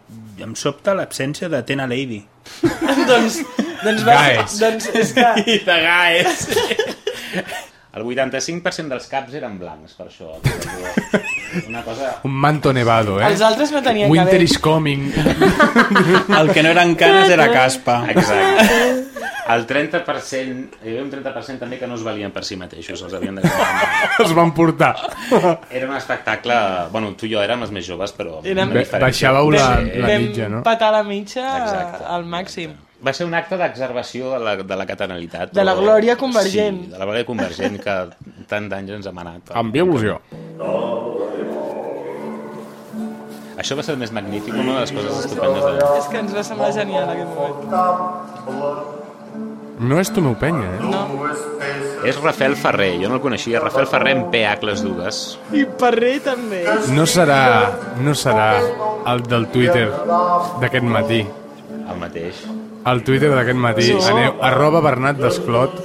[SPEAKER 5] i em sobta l'absència de Tena Lady.
[SPEAKER 3] doncs, doncs, va,
[SPEAKER 2] Guys.
[SPEAKER 3] doncs és que...
[SPEAKER 5] I de gaes.
[SPEAKER 7] El 85% dels caps eren blancs, per això. Una cosa...
[SPEAKER 2] Un manto nevado, eh?
[SPEAKER 3] Els altres no tenien
[SPEAKER 2] Winter
[SPEAKER 3] cabell.
[SPEAKER 2] is coming.
[SPEAKER 5] El que no eren canes era caspa.
[SPEAKER 7] Exacte. El 30%, hi havia un 30% també que no es valien per si mateixos, els havien de comprar.
[SPEAKER 2] Els van portar.
[SPEAKER 7] Era un espectacle... Bueno, tu i jo érem els més joves, però... amb
[SPEAKER 3] Érem-
[SPEAKER 7] una diferència.
[SPEAKER 2] Baixàveu la,
[SPEAKER 7] Sí.
[SPEAKER 2] la
[SPEAKER 3] Vam
[SPEAKER 2] mitja, no?
[SPEAKER 3] patar la mitja
[SPEAKER 7] Exacte.
[SPEAKER 3] al màxim.
[SPEAKER 7] Va ser un acte d'exervació de, la, de la catalanitat.
[SPEAKER 3] De la
[SPEAKER 7] o-
[SPEAKER 3] glòria convergent.
[SPEAKER 7] Sí, de la glòria convergent que tant d'anys ens ha manat.
[SPEAKER 2] Amb il·lusió.
[SPEAKER 7] Això va ser el més magnífic, una de les coses estupendes. De...
[SPEAKER 3] És que ens va semblar genial aquest moment.
[SPEAKER 2] No és tu meu penya, eh?
[SPEAKER 3] No.
[SPEAKER 7] És Rafael Ferrer, jo no el coneixia. Rafael Ferrer amb PH les dues.
[SPEAKER 3] I Parré també.
[SPEAKER 2] No serà, no serà el del Twitter d'aquest matí.
[SPEAKER 7] El mateix.
[SPEAKER 2] El Twitter d'aquest matí.
[SPEAKER 3] Sí.
[SPEAKER 2] Aneu, arroba Bernat Desclot.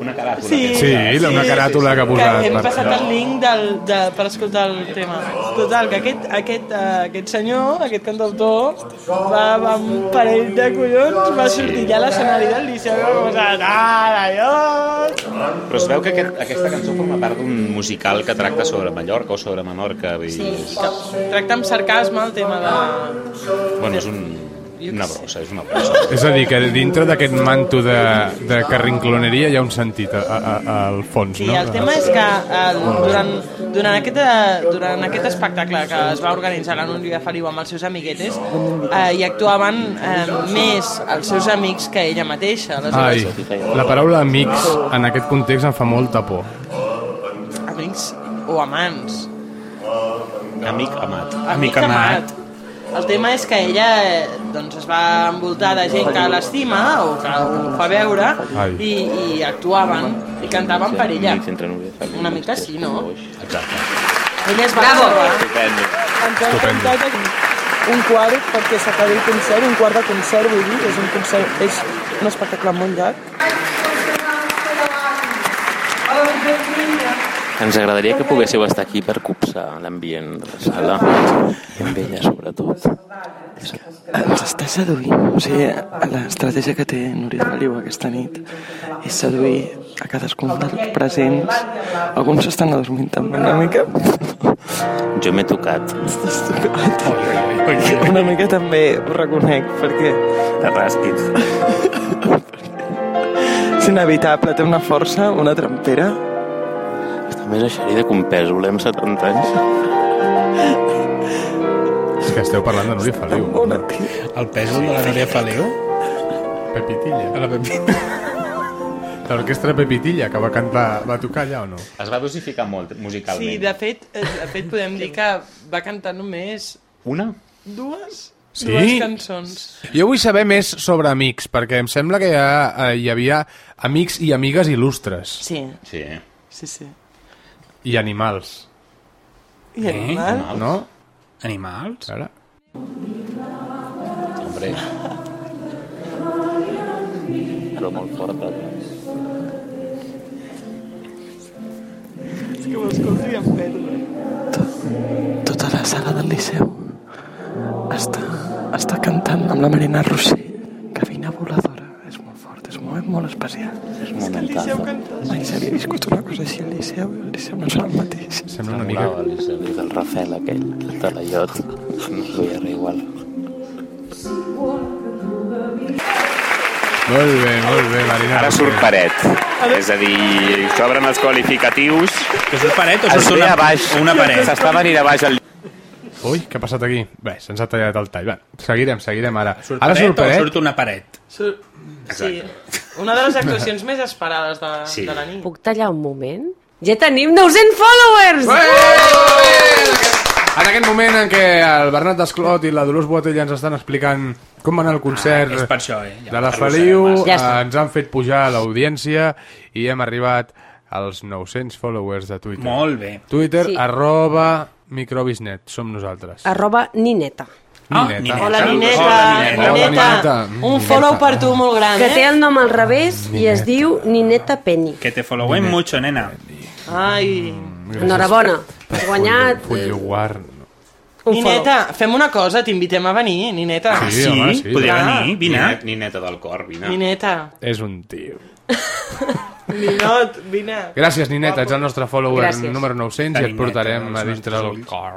[SPEAKER 7] Una caràtula.
[SPEAKER 3] Sí.
[SPEAKER 7] que
[SPEAKER 2] Sí,
[SPEAKER 7] tindrà.
[SPEAKER 2] la- una caràtula que ha
[SPEAKER 3] Que
[SPEAKER 2] posat.
[SPEAKER 3] hem passat
[SPEAKER 2] Bernat.
[SPEAKER 3] el link del, de, per escoltar el tema. Total, que aquest, aquest, eh, aquest senyor, aquest cantautor, va, va amb un parell de collons, va sortir allà a l'escenari del Liceu i va començar... Ara, jo...
[SPEAKER 7] Però es veu que aquest, aquesta cançó forma part d'un musical que tracta sobre Mallorca o sobre Menorca. Vull dir,
[SPEAKER 3] Tracta amb sarcasme el tema de...
[SPEAKER 7] bueno, és un...
[SPEAKER 3] Jo
[SPEAKER 7] Una
[SPEAKER 3] què sé.
[SPEAKER 7] brossa, és una brossa.
[SPEAKER 2] És a dir, que dintre d'aquest manto de, de carrincloneria hi ha un sentit a, a, a, al fons,
[SPEAKER 3] Sí,
[SPEAKER 2] no?
[SPEAKER 3] el tema és que eh, durant, durant, aquest, eh, durant aquest espectacle que es va organitzar la Núria Feliu amb els seus amiguetes, eh, hi actuaven eh, més els seus amics que ella mateixa.
[SPEAKER 2] Ai,
[SPEAKER 3] Aleshores,
[SPEAKER 2] la paraula amics en aquest context em fa molta por.
[SPEAKER 3] amics o amants.
[SPEAKER 7] Amic amat.
[SPEAKER 3] Amic amat. El tema és que ella eh, doncs, es va envoltar de gent que l'estima o que ho fa veure
[SPEAKER 2] Ai.
[SPEAKER 3] i, i actuaven i cantaven per ella. Una mica sí, no?
[SPEAKER 7] Exacte.
[SPEAKER 3] Ella es va
[SPEAKER 4] Bravo.
[SPEAKER 3] gravar.
[SPEAKER 7] Estupendo.
[SPEAKER 10] Ens han
[SPEAKER 2] Estupendo.
[SPEAKER 10] cantat un quart perquè s'acabi el concert, un quart de concert, vull dir, és un, concert, és un espectacle molt llarg.
[SPEAKER 11] Ens agradaria que poguéssiu estar aquí per copsar l'ambient de la sala, i amb ella sobretot.
[SPEAKER 10] Ens està seduint. O sigui, l'estratègia que té Núria Feliu aquesta nit és seduir a cadascun dels presents. Alguns estan adormint també una mica.
[SPEAKER 11] Jo m'he tocat.
[SPEAKER 10] Una mica també ho reconec, perquè
[SPEAKER 11] De rasquis.
[SPEAKER 10] és inevitable, té una força, una trempera.
[SPEAKER 11] També és eixerida com pes, volem 70 anys.
[SPEAKER 2] És que esteu parlant de Núria Feliu.
[SPEAKER 10] Una
[SPEAKER 5] El pèsol de la Núria Feliu?
[SPEAKER 2] Pepitilla.
[SPEAKER 5] La Pepita.
[SPEAKER 2] L'orquestra Pepitilla, que va cantar, va tocar allà o no?
[SPEAKER 7] Es va dosificar molt musicalment.
[SPEAKER 3] Sí, de fet, eh, de fet podem dir que va cantar només
[SPEAKER 7] Una?
[SPEAKER 3] dues,
[SPEAKER 2] Sí?
[SPEAKER 3] dues cançons.
[SPEAKER 2] Jo vull saber més sobre amics, perquè em sembla que hi, ha, eh, hi havia amics i amigues il·lustres.
[SPEAKER 10] Sí,
[SPEAKER 7] Sí. eh?
[SPEAKER 10] sí, sí.
[SPEAKER 2] I animals,
[SPEAKER 10] I animal?
[SPEAKER 2] no?
[SPEAKER 5] Animals?
[SPEAKER 2] Ara.
[SPEAKER 7] Hombre.
[SPEAKER 11] Però molt forta. eh?
[SPEAKER 10] És que ho escolto i em perdo.
[SPEAKER 9] Tota la sala del Liceu està, està cantant amb la Marina Rossell. Gavina voladora. És molt fort, és un moment molt especial.
[SPEAKER 11] És un momentazo.
[SPEAKER 9] Mai s'havia viscut una cosa així al Liceu. El Liceu no serà el mateix.
[SPEAKER 2] Sembla una mica...
[SPEAKER 11] Volava l'Isabel del Rafael aquell, el de la iot. No duia res igual.
[SPEAKER 2] Molt bé, molt bé, Marina.
[SPEAKER 12] Ara surt paret. És a dir, s'obren els qualificatius.
[SPEAKER 5] Que surt paret o
[SPEAKER 12] Es
[SPEAKER 5] surt
[SPEAKER 12] ve
[SPEAKER 5] una,
[SPEAKER 12] a baix.
[SPEAKER 5] una paret?
[SPEAKER 12] S'està venint a baix el...
[SPEAKER 2] Ui, què ha passat aquí? Bé, se'ns ha tallat el tall. Va, seguirem, seguirem ara.
[SPEAKER 5] Surt
[SPEAKER 2] Ara
[SPEAKER 5] paret
[SPEAKER 2] surt
[SPEAKER 5] o
[SPEAKER 2] paret.
[SPEAKER 5] surt una paret?
[SPEAKER 3] Sí, una de les actuacions més esperades de, sí. de la nit.
[SPEAKER 4] Puc tallar un moment? Ja tenim 900 followers!
[SPEAKER 2] En aquest moment en què el Bernat Desclot i la Dolors Boatella ens estan explicant com va anar el concert
[SPEAKER 5] És per això, eh?
[SPEAKER 2] de la
[SPEAKER 5] per
[SPEAKER 2] Feliu,
[SPEAKER 5] Roser,
[SPEAKER 4] Ja
[SPEAKER 2] eh,
[SPEAKER 4] està.
[SPEAKER 2] ens han fet pujar l'audiència i hem arribat als 900 followers de Twitter.
[SPEAKER 5] Molt bé.
[SPEAKER 2] Twitter,
[SPEAKER 4] Sí.
[SPEAKER 2] arroba microbisnet, som nosaltres.
[SPEAKER 4] Arroba Nineta.
[SPEAKER 5] Ah,
[SPEAKER 2] Nineta.
[SPEAKER 5] Nineta.
[SPEAKER 3] Hola, Nineta.
[SPEAKER 5] Hola,
[SPEAKER 2] Nineta. Hola, Nineta.
[SPEAKER 3] Un follow per tu molt gran,
[SPEAKER 4] Que té
[SPEAKER 3] eh?
[SPEAKER 4] el nom al revés i es diu Nineta Penny.
[SPEAKER 5] Que te followem mucho, nena.
[SPEAKER 3] eh? Ai.
[SPEAKER 4] Enhorabona. Has guanyat
[SPEAKER 2] Full you war.
[SPEAKER 4] un follow.
[SPEAKER 3] Nineta, fem una cosa, t'invitem a venir, Nineta.
[SPEAKER 2] Sí, home, sí.
[SPEAKER 5] Podria
[SPEAKER 3] Ah.
[SPEAKER 5] venir, vine.
[SPEAKER 7] Vine, nineta del cor, vine.
[SPEAKER 3] Nineta.
[SPEAKER 2] És un tio.
[SPEAKER 3] Ninot, vine.
[SPEAKER 2] Gràcies, Nineta, ets el nostre follower
[SPEAKER 4] Gràcies.
[SPEAKER 2] número 900 i et
[SPEAKER 5] Nineta,
[SPEAKER 2] portarem
[SPEAKER 5] els
[SPEAKER 2] a dintre del
[SPEAKER 5] nostres ulls.
[SPEAKER 2] cor.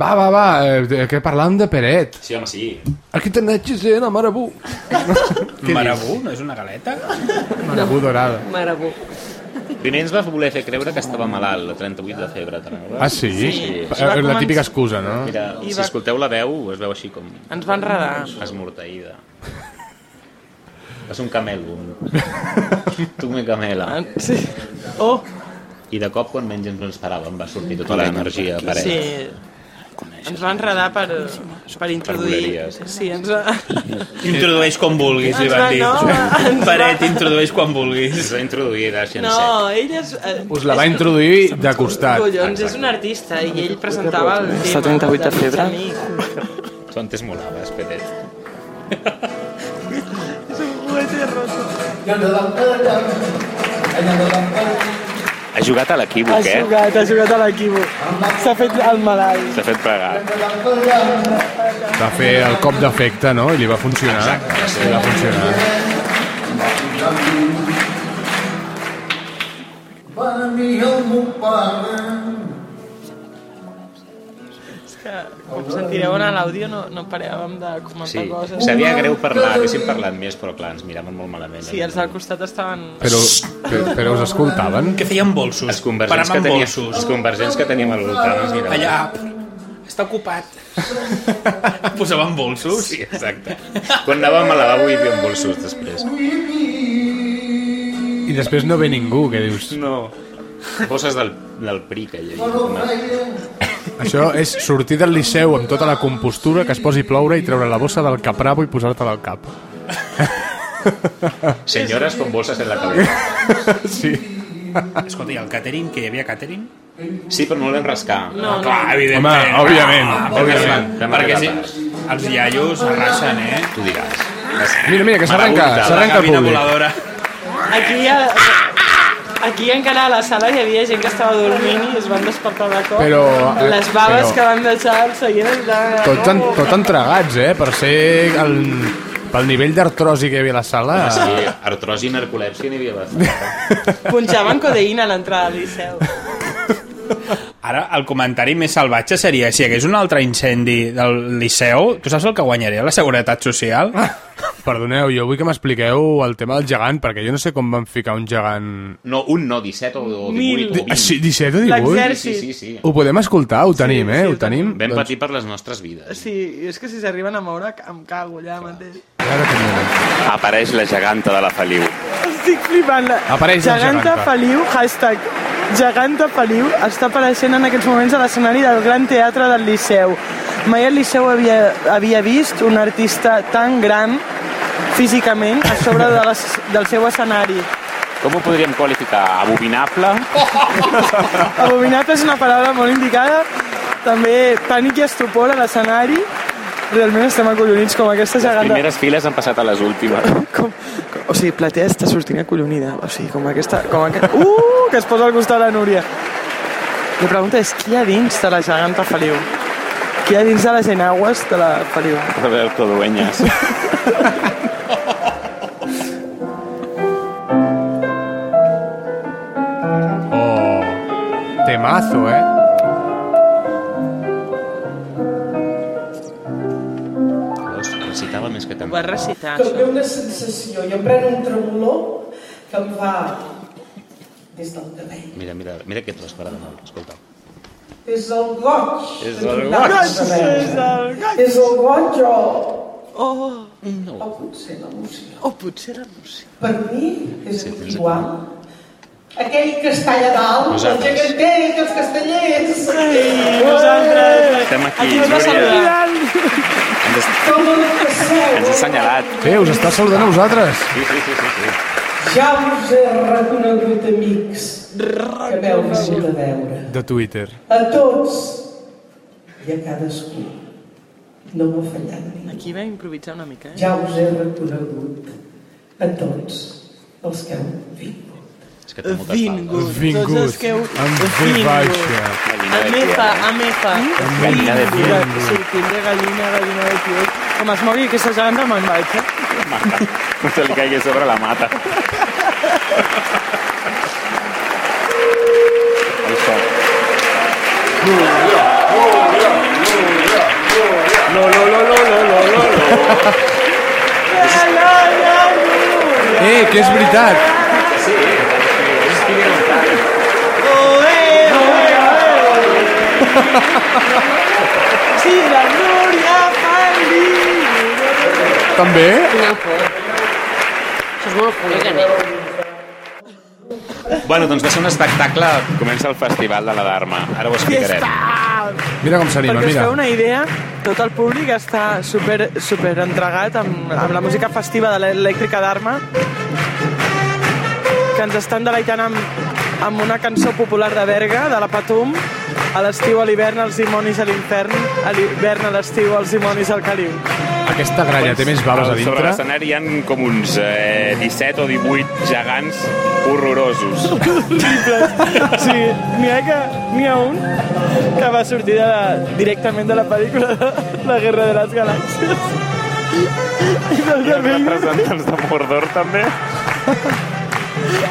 [SPEAKER 2] Va, va, va, eh, de- que parlàvem de Peret.
[SPEAKER 7] Sí, home, sí.
[SPEAKER 2] Aquí tenim Gisena, Marabú.
[SPEAKER 5] Marabú, no és una galeta?
[SPEAKER 2] Marabú dorada.
[SPEAKER 4] Marabú.
[SPEAKER 7] Primer ens va voler fer creure que estava malalt, la 38 de febre, te'n recordes?
[SPEAKER 2] Ah, sí?
[SPEAKER 7] Sí.
[SPEAKER 2] Eh, La típica excusa, no?
[SPEAKER 7] Mira,
[SPEAKER 3] I
[SPEAKER 7] si
[SPEAKER 3] va-
[SPEAKER 7] escolteu la veu, es veu així com
[SPEAKER 3] Ens va enredar.
[SPEAKER 7] esmorteïda. És un camelo. tu me camela.
[SPEAKER 3] Ah, Sí. Oh,
[SPEAKER 7] I de cop, quan menys ens ho esperàvem, va sortir tota l'energia a paret.
[SPEAKER 3] sí.
[SPEAKER 7] Sí.
[SPEAKER 3] Ens va enredar per, per introduir...
[SPEAKER 7] voleries.
[SPEAKER 3] Sí, ens va...
[SPEAKER 5] Introdueix quan vulguis, li
[SPEAKER 3] Ens
[SPEAKER 5] van
[SPEAKER 3] va-
[SPEAKER 5] dir.
[SPEAKER 3] no, ens va-
[SPEAKER 5] Paret, introdueix quan vulguis.
[SPEAKER 7] Es va introduir a Xenset. No.
[SPEAKER 3] No, ell és... eh,
[SPEAKER 2] Us la
[SPEAKER 3] és
[SPEAKER 2] va
[SPEAKER 3] un-
[SPEAKER 2] introduir de costat.
[SPEAKER 3] Collons, és un artista i ell presentava el tema.
[SPEAKER 10] Està 38 de febre.
[SPEAKER 3] Amic.
[SPEAKER 7] Tu antes molaves, Peret.
[SPEAKER 12] Ha jugat a
[SPEAKER 10] Ha
[SPEAKER 12] l'equívoc, eh?
[SPEAKER 10] jugat, ha jugat a l'equívoc. S'ha fet el malalt.
[SPEAKER 12] S'ha fet plegar.
[SPEAKER 2] Va fer el cop d'efecte, no? I li va funcionar. Exacte. Li va funcionar.
[SPEAKER 10] És
[SPEAKER 3] que, com sentireu en l'àudio, no, no paràvem de comentar
[SPEAKER 7] Sí,
[SPEAKER 3] coses.
[SPEAKER 7] sabia greu parlar, haguéssim parlat més, però clar, ens miraven molt malament. eh?
[SPEAKER 3] Sí, els del costat estaven...
[SPEAKER 2] Però, però, però us escoltaven?
[SPEAKER 5] Que feien bolsos.
[SPEAKER 7] Els convergents, que
[SPEAKER 5] Paràvem
[SPEAKER 7] tenia,
[SPEAKER 5] bolsos.
[SPEAKER 7] els convergents que tenim al voltant ens miraven.
[SPEAKER 5] Allà, està ocupat. Posaven bolsos?
[SPEAKER 7] Sí, exacte. Quan anàvem al lavabo hi havia bolsos després.
[SPEAKER 2] I després no ve ningú, que dius...
[SPEAKER 7] No. Bosses del, del PRI que hi havia. Una...
[SPEAKER 2] Això és sortir del liceu amb tota la compostura, que es posi a ploure i treure la bossa del capravo i posar-te-la al cap.
[SPEAKER 7] Senyores con bolsas en la cabeza.
[SPEAKER 2] Sí.
[SPEAKER 5] Escolta, i el catering, que hi havia catering?
[SPEAKER 7] Sí, però no el vam rascar.
[SPEAKER 5] No, no. Ah, Clar,
[SPEAKER 2] Home,
[SPEAKER 5] evidentment.
[SPEAKER 2] òbviament, òbviament.
[SPEAKER 5] Perquè, perquè si, els iaios arrasen, eh?
[SPEAKER 7] Tu diràs.
[SPEAKER 2] Mira, mira, que s'arrenca, s'arrenca el
[SPEAKER 5] La gavina
[SPEAKER 2] públic.
[SPEAKER 5] voladora.
[SPEAKER 3] Aquí, a, aquí encara a la sala hi havia gent que estava dormint i es van despertar de cop.
[SPEAKER 2] Però, eh,
[SPEAKER 3] Les baves
[SPEAKER 2] però-
[SPEAKER 3] que van deixar el seient... estaven-
[SPEAKER 2] Tots, en, tot entregats, eh? Per ser el, pel nivell d'artrosi que hi havia a la sala.
[SPEAKER 7] Ah. Sí, artrosi i narcolèpsia n'hi havia bastant.
[SPEAKER 3] Punxaven codeïna a l'entrada del Liceu.
[SPEAKER 5] Ara, el comentari més salvatge seria si hi hagués un altre incendi del Liceu, tu saps el que guanyaria la Seguretat Social?
[SPEAKER 2] Ah, Perdoneu, jo vull que m'expliqueu el tema del gegant, perquè jo no sé com van ficar un gegant...
[SPEAKER 7] No, un no, 17 o 18 o 20.
[SPEAKER 2] Ah, sí, 17 o 18?
[SPEAKER 7] Sí, sí, sí.
[SPEAKER 2] Ho podem escoltar? Ho tenim, eh? Ho tenim?
[SPEAKER 7] Vam patir per les nostres vides.
[SPEAKER 3] Sí, i és que si s'arriben a moure em cago allà mateix.
[SPEAKER 12] Apareix la geganta de la Feliu.
[SPEAKER 3] Estic flipant.
[SPEAKER 12] Apareix la
[SPEAKER 3] geganta
[SPEAKER 12] geganta.
[SPEAKER 3] Feliu, hashtag geganta Feliu, està apareixent en aquests moments a l'escenari del Gran Teatre del Liceu. Mai el Liceu havia, havia vist un artista tan gran físicament a sobre de les, del seu escenari.
[SPEAKER 11] Com ho podríem qualificar? Abominable?
[SPEAKER 3] Abominable és una paraula molt indicada. També pànic i estupor a l'escenari. Realment estem acollonits com aquesta
[SPEAKER 11] Les
[SPEAKER 3] geganta.
[SPEAKER 11] primeres files han passat a les últimes.
[SPEAKER 10] O sigui, platea està sortint acollonida. O sigui, com aquesta... Com aquest...
[SPEAKER 3] Uh, que es posa al costat la Núria. La pregunta és, qui hi ha dins de la geganta Feliu? Qui hi ha dins de les enagües de la Feliu?
[SPEAKER 11] Roberto Dueñas.
[SPEAKER 2] Oh, temazo, eh?
[SPEAKER 7] Veus? Recitava més que
[SPEAKER 3] Ho va
[SPEAKER 7] cantar.
[SPEAKER 3] recitar,
[SPEAKER 13] També una sensació, jo em pren un tremolor que em fa des del cabell,
[SPEAKER 7] Mira, mira, mira que trasparada molt, escolta.
[SPEAKER 13] des del goig.
[SPEAKER 7] És
[SPEAKER 13] de
[SPEAKER 7] el
[SPEAKER 13] mirar-te
[SPEAKER 7] goig.
[SPEAKER 13] de veure.
[SPEAKER 7] És el
[SPEAKER 13] És el goig o...
[SPEAKER 3] Oh.
[SPEAKER 13] No. O potser l'emoció.
[SPEAKER 3] O potser l'emoció.
[SPEAKER 13] Per mi és igual. Aquell que està allà dalt,
[SPEAKER 7] Nosaltres.
[SPEAKER 13] el gegantell, els castellers.
[SPEAKER 3] Ei, nosaltres.
[SPEAKER 7] Estem aquí,
[SPEAKER 13] Aquí ens va
[SPEAKER 7] Núria.
[SPEAKER 13] saludar. Com el que seu,
[SPEAKER 7] Ens ha assenyalat.
[SPEAKER 2] Sí, us està saludant a vosaltres.
[SPEAKER 7] Sí, sí, sí, sí. sí.
[SPEAKER 13] ja us he reconegut, amics, que m'heu vingut a veure.
[SPEAKER 2] De Twitter.
[SPEAKER 13] a tots i a cadascú. No m'ha fallat ningú.
[SPEAKER 3] Aquí va improvisar una mica, eh?
[SPEAKER 13] Ja us he reconegut a tots els que heu vingut.
[SPEAKER 7] És que
[SPEAKER 13] té moltes
[SPEAKER 3] Vingut.
[SPEAKER 13] paraules.
[SPEAKER 2] Vingut.
[SPEAKER 3] Tots els que heu...
[SPEAKER 2] Amb V
[SPEAKER 3] Vingut.
[SPEAKER 2] baixa.
[SPEAKER 7] Gallina de
[SPEAKER 3] Amefa,
[SPEAKER 7] tierra.
[SPEAKER 3] amefa.
[SPEAKER 7] Gallina de tierra.
[SPEAKER 3] Sortint de gallina, gallina de tierra. Com es mogui aquesta geganta me'n vaig, eh?
[SPEAKER 11] No se li caigui sobre la mata. Això.
[SPEAKER 7] No, no, no, no, no, no, no, no.
[SPEAKER 2] Eh, que és veritat.
[SPEAKER 7] Sí, és que era un tant.
[SPEAKER 3] Sí, la Núria Feliu.
[SPEAKER 2] També?
[SPEAKER 4] Quina por. Això és molt hooligan.
[SPEAKER 7] Bueno, doncs va ser un espectacle. Comença el Festival de la Dharma. Ara ho explicarem.
[SPEAKER 2] Mira com s'anima,
[SPEAKER 3] Perquè us
[SPEAKER 2] mira.
[SPEAKER 3] feu una idea, tot el públic està super, super entregat amb, amb la música festiva de l'elèctrica d'arma que ens estan deleitant amb, amb una cançó popular de Berga, de la Patum a l'estiu, a l'hivern, els dimonis a l'infern a l'hivern, a l'estiu, els dimonis al caliu
[SPEAKER 2] Aquesta gralla té més baves a
[SPEAKER 12] Sobre
[SPEAKER 2] dintre.
[SPEAKER 12] l'escenari hi ha com uns eh, 17 o 18 gegants horrorosos.
[SPEAKER 3] horribles. Sí, n'hi ha, que, n'hi ha un que va sortir de la, directament de la pel·lícula de la Guerra de les Galàxies. I doncs han vingut...
[SPEAKER 12] representants de Mordor, també.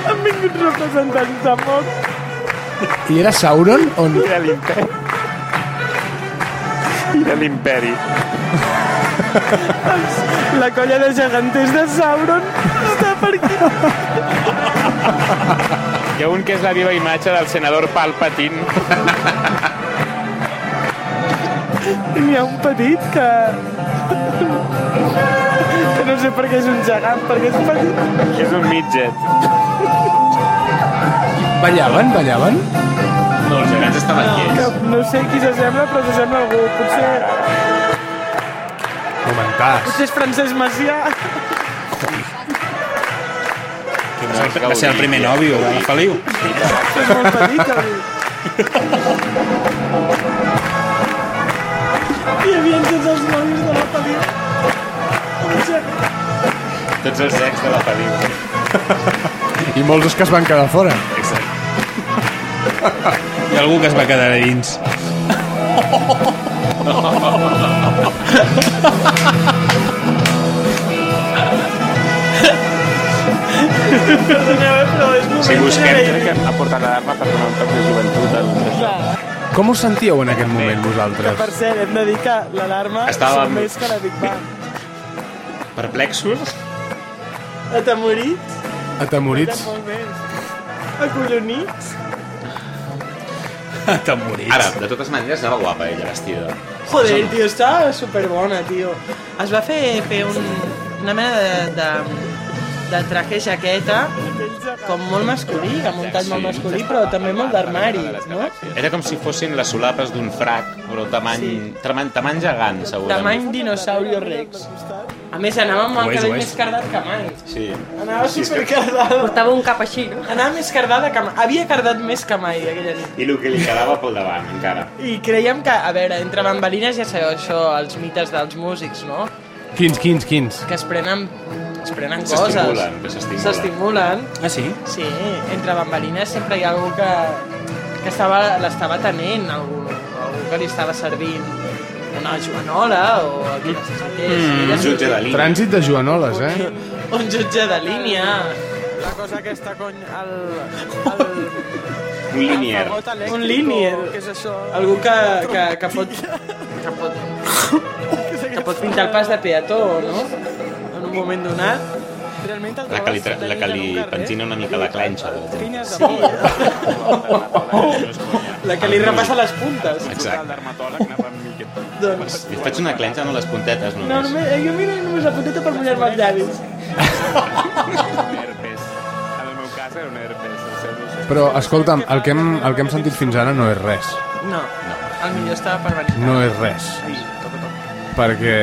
[SPEAKER 3] Han vingut representants de Moc.
[SPEAKER 2] I era Sauron? On...
[SPEAKER 12] Era l'imperi.
[SPEAKER 9] i de l'imperi.
[SPEAKER 10] La colla de geganters de Sauron està per aquí.
[SPEAKER 12] Hi ha un que és la viva imatge del senador Palpatine.
[SPEAKER 9] I n'hi ha un petit que... que no sé per què és un gegant, perquè és petit.
[SPEAKER 12] És un midget.
[SPEAKER 2] Ballaven, ballaven?
[SPEAKER 7] No, els gegants estaven
[SPEAKER 9] Que no sé qui s'assembla, però s'assembla a algú. Potser,
[SPEAKER 2] Comentars.
[SPEAKER 9] potser és Francesc Macià.
[SPEAKER 5] Va ser el primer nòvio, el Feliu.
[SPEAKER 9] És molt petit, avui. Hi havia tots els nois de la pel·lícula.
[SPEAKER 7] Tots els ex de la pel·lícula.
[SPEAKER 2] I molts que es van quedar fora.
[SPEAKER 7] Exacte.
[SPEAKER 5] Hi ha algú que es va quedar a dins.
[SPEAKER 9] Perdoneu, eh, però és moment
[SPEAKER 12] Si busquem,
[SPEAKER 9] d'agrair.
[SPEAKER 12] crec que ha portat l'arma per donar un toc de joventut al...
[SPEAKER 2] Com us sentíeu en aquest moment, vosaltres?
[SPEAKER 9] Per cert, hem de dir que l'alarma
[SPEAKER 2] Estava-
[SPEAKER 9] Estàvem... més que la Big Bang.
[SPEAKER 7] Perplexos?
[SPEAKER 9] Atemorits?
[SPEAKER 2] Atemorits?
[SPEAKER 9] Eren molt més. Ah, Acollonits?
[SPEAKER 5] Atemorits.
[SPEAKER 7] Ara, de totes maneres, anava guapa ella vestida.
[SPEAKER 3] Joder, tio, està superbona, tio. Es va fer, fer un, una mena de, de, de traje jaqueta com molt masculí, que ha muntat molt masculí, però també molt d'armari, no?
[SPEAKER 7] Era com si fossin les solapes d'un frac, però tamany, sí. tamany, tamany gegant, segurament.
[SPEAKER 3] Tamany dinosaurio rex. A més, anava amb
[SPEAKER 7] Ho
[SPEAKER 3] el
[SPEAKER 7] és,
[SPEAKER 3] cabell
[SPEAKER 7] ho és.
[SPEAKER 3] més cardat que mai.
[SPEAKER 7] Sí.
[SPEAKER 3] Anava
[SPEAKER 7] Sí, és que-
[SPEAKER 3] supercardada. Portava un cap així, no? Anava més cardada que mai. Havia cardat més que mai aquella nit.
[SPEAKER 7] I el que li quedava pel davant, encara.
[SPEAKER 3] I creiem que, a veure, entre bambalines ja sabeu això, els mites dels músics, no?
[SPEAKER 2] Quins, quins, quins?
[SPEAKER 3] Que es prenen, es prenen coses.
[SPEAKER 7] S'estimulen, que s'estimulen.
[SPEAKER 3] S'estimulen.
[SPEAKER 5] Ah, sí?
[SPEAKER 3] Sí, entre bambalines sempre hi ha algú que, que estava- l'estava tenent, algú, algú que li estava servint una joanola o el
[SPEAKER 7] Mm.
[SPEAKER 3] que necessités. Ella s'ho-
[SPEAKER 2] Trànsit de Joanoles, eh?
[SPEAKER 3] Un jutge de línia.
[SPEAKER 9] La cosa aquesta, cony, el... el...
[SPEAKER 7] Un línier.
[SPEAKER 9] elèctric,
[SPEAKER 3] Un línier.
[SPEAKER 9] o Què és això?
[SPEAKER 3] Algú que, que, que pot... Que pot, que pot pintar el pas de peató, no? En un moment donat.
[SPEAKER 9] Realment el
[SPEAKER 7] La que li, tra- la que li pentina una mica la clenxa. per exemple.
[SPEAKER 9] Sí.
[SPEAKER 3] La que li repassa les puntes.
[SPEAKER 7] Exacte.
[SPEAKER 3] Doncs...
[SPEAKER 7] Li faig una clenxa, no les puntetes, només.
[SPEAKER 9] No, només, eh, jo mira només la punteta per mullar-me els llavis.
[SPEAKER 12] En el meu cas era un herpes. el seu no sé.
[SPEAKER 2] Però, escolta'm, el que, hem, el que hem sentit fins ara no és res.
[SPEAKER 3] No, el millor estava per venir.
[SPEAKER 2] No és res. Perquè...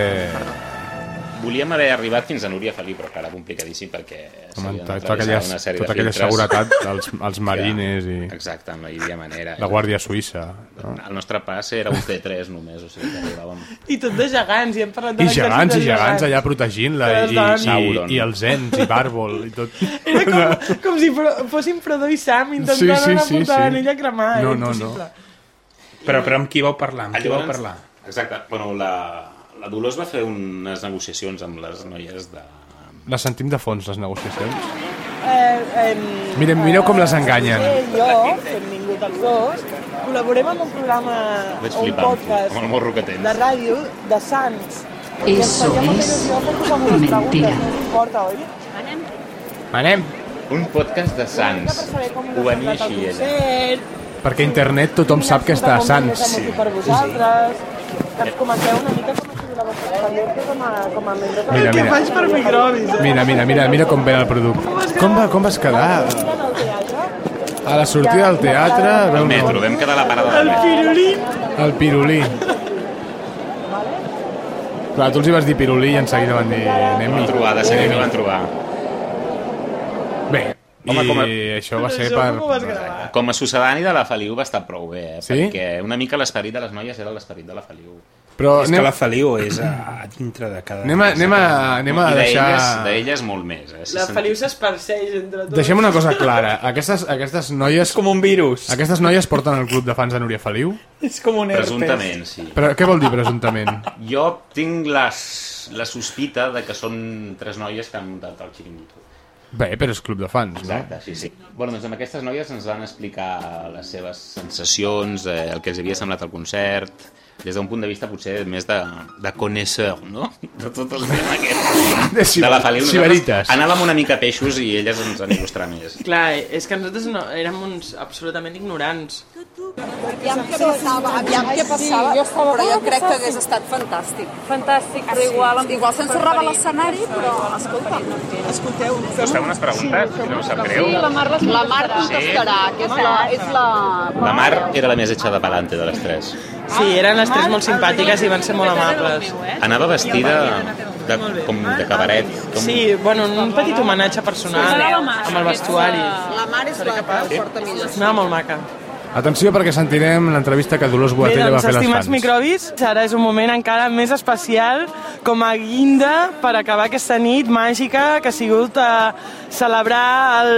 [SPEAKER 7] Volíem haver arribat fins a Núria Feliu, però clar, era complicadíssim perquè
[SPEAKER 2] Home,
[SPEAKER 7] s'havien
[SPEAKER 2] tota
[SPEAKER 7] travessat
[SPEAKER 2] aquella,
[SPEAKER 7] una sèrie
[SPEAKER 2] tota
[SPEAKER 7] de
[SPEAKER 2] aquella
[SPEAKER 7] filtres.
[SPEAKER 2] seguretat dels, els marines i
[SPEAKER 7] Exacte, no hi havia manera.
[SPEAKER 2] la Guàrdia Suïssa. No?
[SPEAKER 7] El nostre pas era un T3 només, o sigui que arribàvem...
[SPEAKER 3] I tot de gegants, i Doncs hem parlat de
[SPEAKER 2] I
[SPEAKER 3] l'exèrcit
[SPEAKER 2] gegants, i
[SPEAKER 3] de
[SPEAKER 2] gegants allà protegint-la,
[SPEAKER 3] Que les
[SPEAKER 2] i,
[SPEAKER 3] dones-
[SPEAKER 2] i,
[SPEAKER 7] Sauron.
[SPEAKER 2] i els ens, i Bàrbol, i tot.
[SPEAKER 3] Com si fro- fossin Frodo i Sam intentant
[SPEAKER 2] Sí, sí,
[SPEAKER 3] sí,
[SPEAKER 2] sí,
[SPEAKER 3] sí, una puta
[SPEAKER 2] sí.
[SPEAKER 3] anella a cremar.
[SPEAKER 2] No,
[SPEAKER 3] era
[SPEAKER 2] no, no.
[SPEAKER 3] impossible.
[SPEAKER 5] Però, però amb qui vau parlar? Amb qui vau
[SPEAKER 7] Llavors-
[SPEAKER 5] parlar?
[SPEAKER 7] Exacte, bueno, la, la Dolors va fer unes negociacions amb les noies de...
[SPEAKER 2] Les sentim de fons, les negociacions.
[SPEAKER 3] Eh, em,
[SPEAKER 2] Mireu, mireu com les enganyen.
[SPEAKER 3] Eh, jo, benvingut als dos, col·laborem amb un programa, o
[SPEAKER 7] Vaig
[SPEAKER 3] un
[SPEAKER 7] flipant,
[SPEAKER 3] podcast
[SPEAKER 7] amb el morro que tens.
[SPEAKER 3] de ràdio de Sants. I ens
[SPEAKER 1] Eso
[SPEAKER 3] faríem
[SPEAKER 1] es
[SPEAKER 3] il·lusió fer-vos algunes preguntes,
[SPEAKER 1] mentira.
[SPEAKER 3] No importa, oi?
[SPEAKER 2] Anem.
[SPEAKER 7] Un podcast de Sants. Ho va dir
[SPEAKER 3] Anat al
[SPEAKER 7] així, ella.
[SPEAKER 3] concert,
[SPEAKER 2] Perquè a internet tothom sap que està a Sants.
[SPEAKER 3] Sí. Per vosaltres, que ens comenteu una mica com ha sigut la vostra experiència com a, com a membre.
[SPEAKER 2] Mira, mira. Mira, mira, mira, mira Ah. com ve el producte. Com, va, com vas quedar? A la sortida del teatre...
[SPEAKER 7] Al
[SPEAKER 2] veu-
[SPEAKER 7] metro, eh? vam quedar a la parada del metro.
[SPEAKER 9] pirulí.
[SPEAKER 2] El pirulí. Clar, tu els hi vas dir pirulí i en seguida van dir anem
[SPEAKER 7] Van trobar, de seguida van trobar.
[SPEAKER 2] Bé,
[SPEAKER 7] Home,
[SPEAKER 2] i
[SPEAKER 7] com a-
[SPEAKER 2] això va ser per...
[SPEAKER 7] Com a sucedani de la Feliu va estar prou bé, eh?
[SPEAKER 2] Sí?
[SPEAKER 7] Perquè una mica l'esperit de les noies era l'esperit de la Feliu.
[SPEAKER 2] Però Oh,
[SPEAKER 5] és
[SPEAKER 2] anem-
[SPEAKER 5] que la Feliu és a, a dintre de cada...
[SPEAKER 2] Anem a, anem a, anem a
[SPEAKER 7] I d'elles-
[SPEAKER 2] deixar...
[SPEAKER 7] D'elles molt més, eh?
[SPEAKER 3] La Feliu s'esparceix entre tots.
[SPEAKER 2] Deixem una cosa clara. Aquestes, aquestes noies...
[SPEAKER 5] com un virus.
[SPEAKER 2] Aquestes noies porten el club de fans de Núria Feliu?
[SPEAKER 5] És com un herpes.
[SPEAKER 7] Presumptament, sí.
[SPEAKER 2] Però què vol dir presumptament?
[SPEAKER 7] Jo tinc les, la sospita de que són tres noies que han muntat el xiringuito.
[SPEAKER 2] Bé, però és club de fans, no?
[SPEAKER 7] Exacte, sí, sí. Bueno, doncs amb aquestes noies ens van explicar les seves sensacions, eh, el que els havia semblat el concert, des d'un punt de vista potser més de, de connoisseur, no? De tot el tema aquest.
[SPEAKER 2] De, ciber-
[SPEAKER 7] Nosaltres
[SPEAKER 2] ciberites.
[SPEAKER 7] Anàvem una mica a peixos i elles ens han il·lustrat més.
[SPEAKER 3] Clar, és que nosaltres no, érem uns absolutament ignorants.
[SPEAKER 14] Aviam què passava, aviam què passava,
[SPEAKER 15] Sí, jo estava
[SPEAKER 14] però jo
[SPEAKER 15] molt
[SPEAKER 14] crec que
[SPEAKER 15] fantàstic.
[SPEAKER 14] hagués estat fantàstic.
[SPEAKER 15] Fantàstic, però
[SPEAKER 14] Ah, sí?
[SPEAKER 15] igual... em
[SPEAKER 14] Igual se'ns
[SPEAKER 15] preferir-
[SPEAKER 14] serrava l'escenari, però, escolta,
[SPEAKER 15] Escolteu,
[SPEAKER 12] Us feu unes preguntes, si no us sap greu.
[SPEAKER 15] La Mar contestarà,
[SPEAKER 14] que és la... És la...
[SPEAKER 7] La Mar era la més echada pelante de les tres.
[SPEAKER 3] Sí, eren les tres molt simpàtiques i van ser molt amables.
[SPEAKER 7] Anava vestida de, com de cabaret. Com...
[SPEAKER 3] Sí, bueno, un petit homenatge personal amb el vestuari.
[SPEAKER 13] La mar és la porta millor.
[SPEAKER 3] No, molt maca.
[SPEAKER 2] Atenció perquè sentirem l'entrevista que Dolors
[SPEAKER 3] Bé,
[SPEAKER 2] Boatella va
[SPEAKER 3] doncs,
[SPEAKER 2] fer a les
[SPEAKER 3] estimats
[SPEAKER 2] fans.
[SPEAKER 3] microbis, ara és un moment encara més especial com a guinda per acabar aquesta nit màgica que ha sigut a celebrar el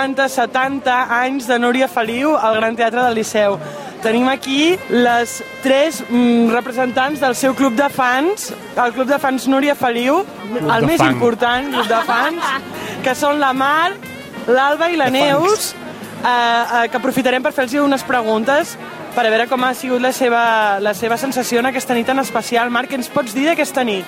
[SPEAKER 3] 50-70 anys de Núria Feliu al Gran Teatre del Liceu. Tenim aquí les tres mm, representants del seu club de fans, el club de fans Núria Feliu,
[SPEAKER 16] Club
[SPEAKER 3] el
[SPEAKER 16] de
[SPEAKER 3] més
[SPEAKER 16] fan.
[SPEAKER 3] important grup de fans, que són la Mar, l'Alba i la Neus, eh, eh, que aprofitarem per fer-los unes preguntes per a veure com ha sigut la seva, la seva sensació en aquesta nit tan especial. Marc, què ens pots dir d'aquesta nit?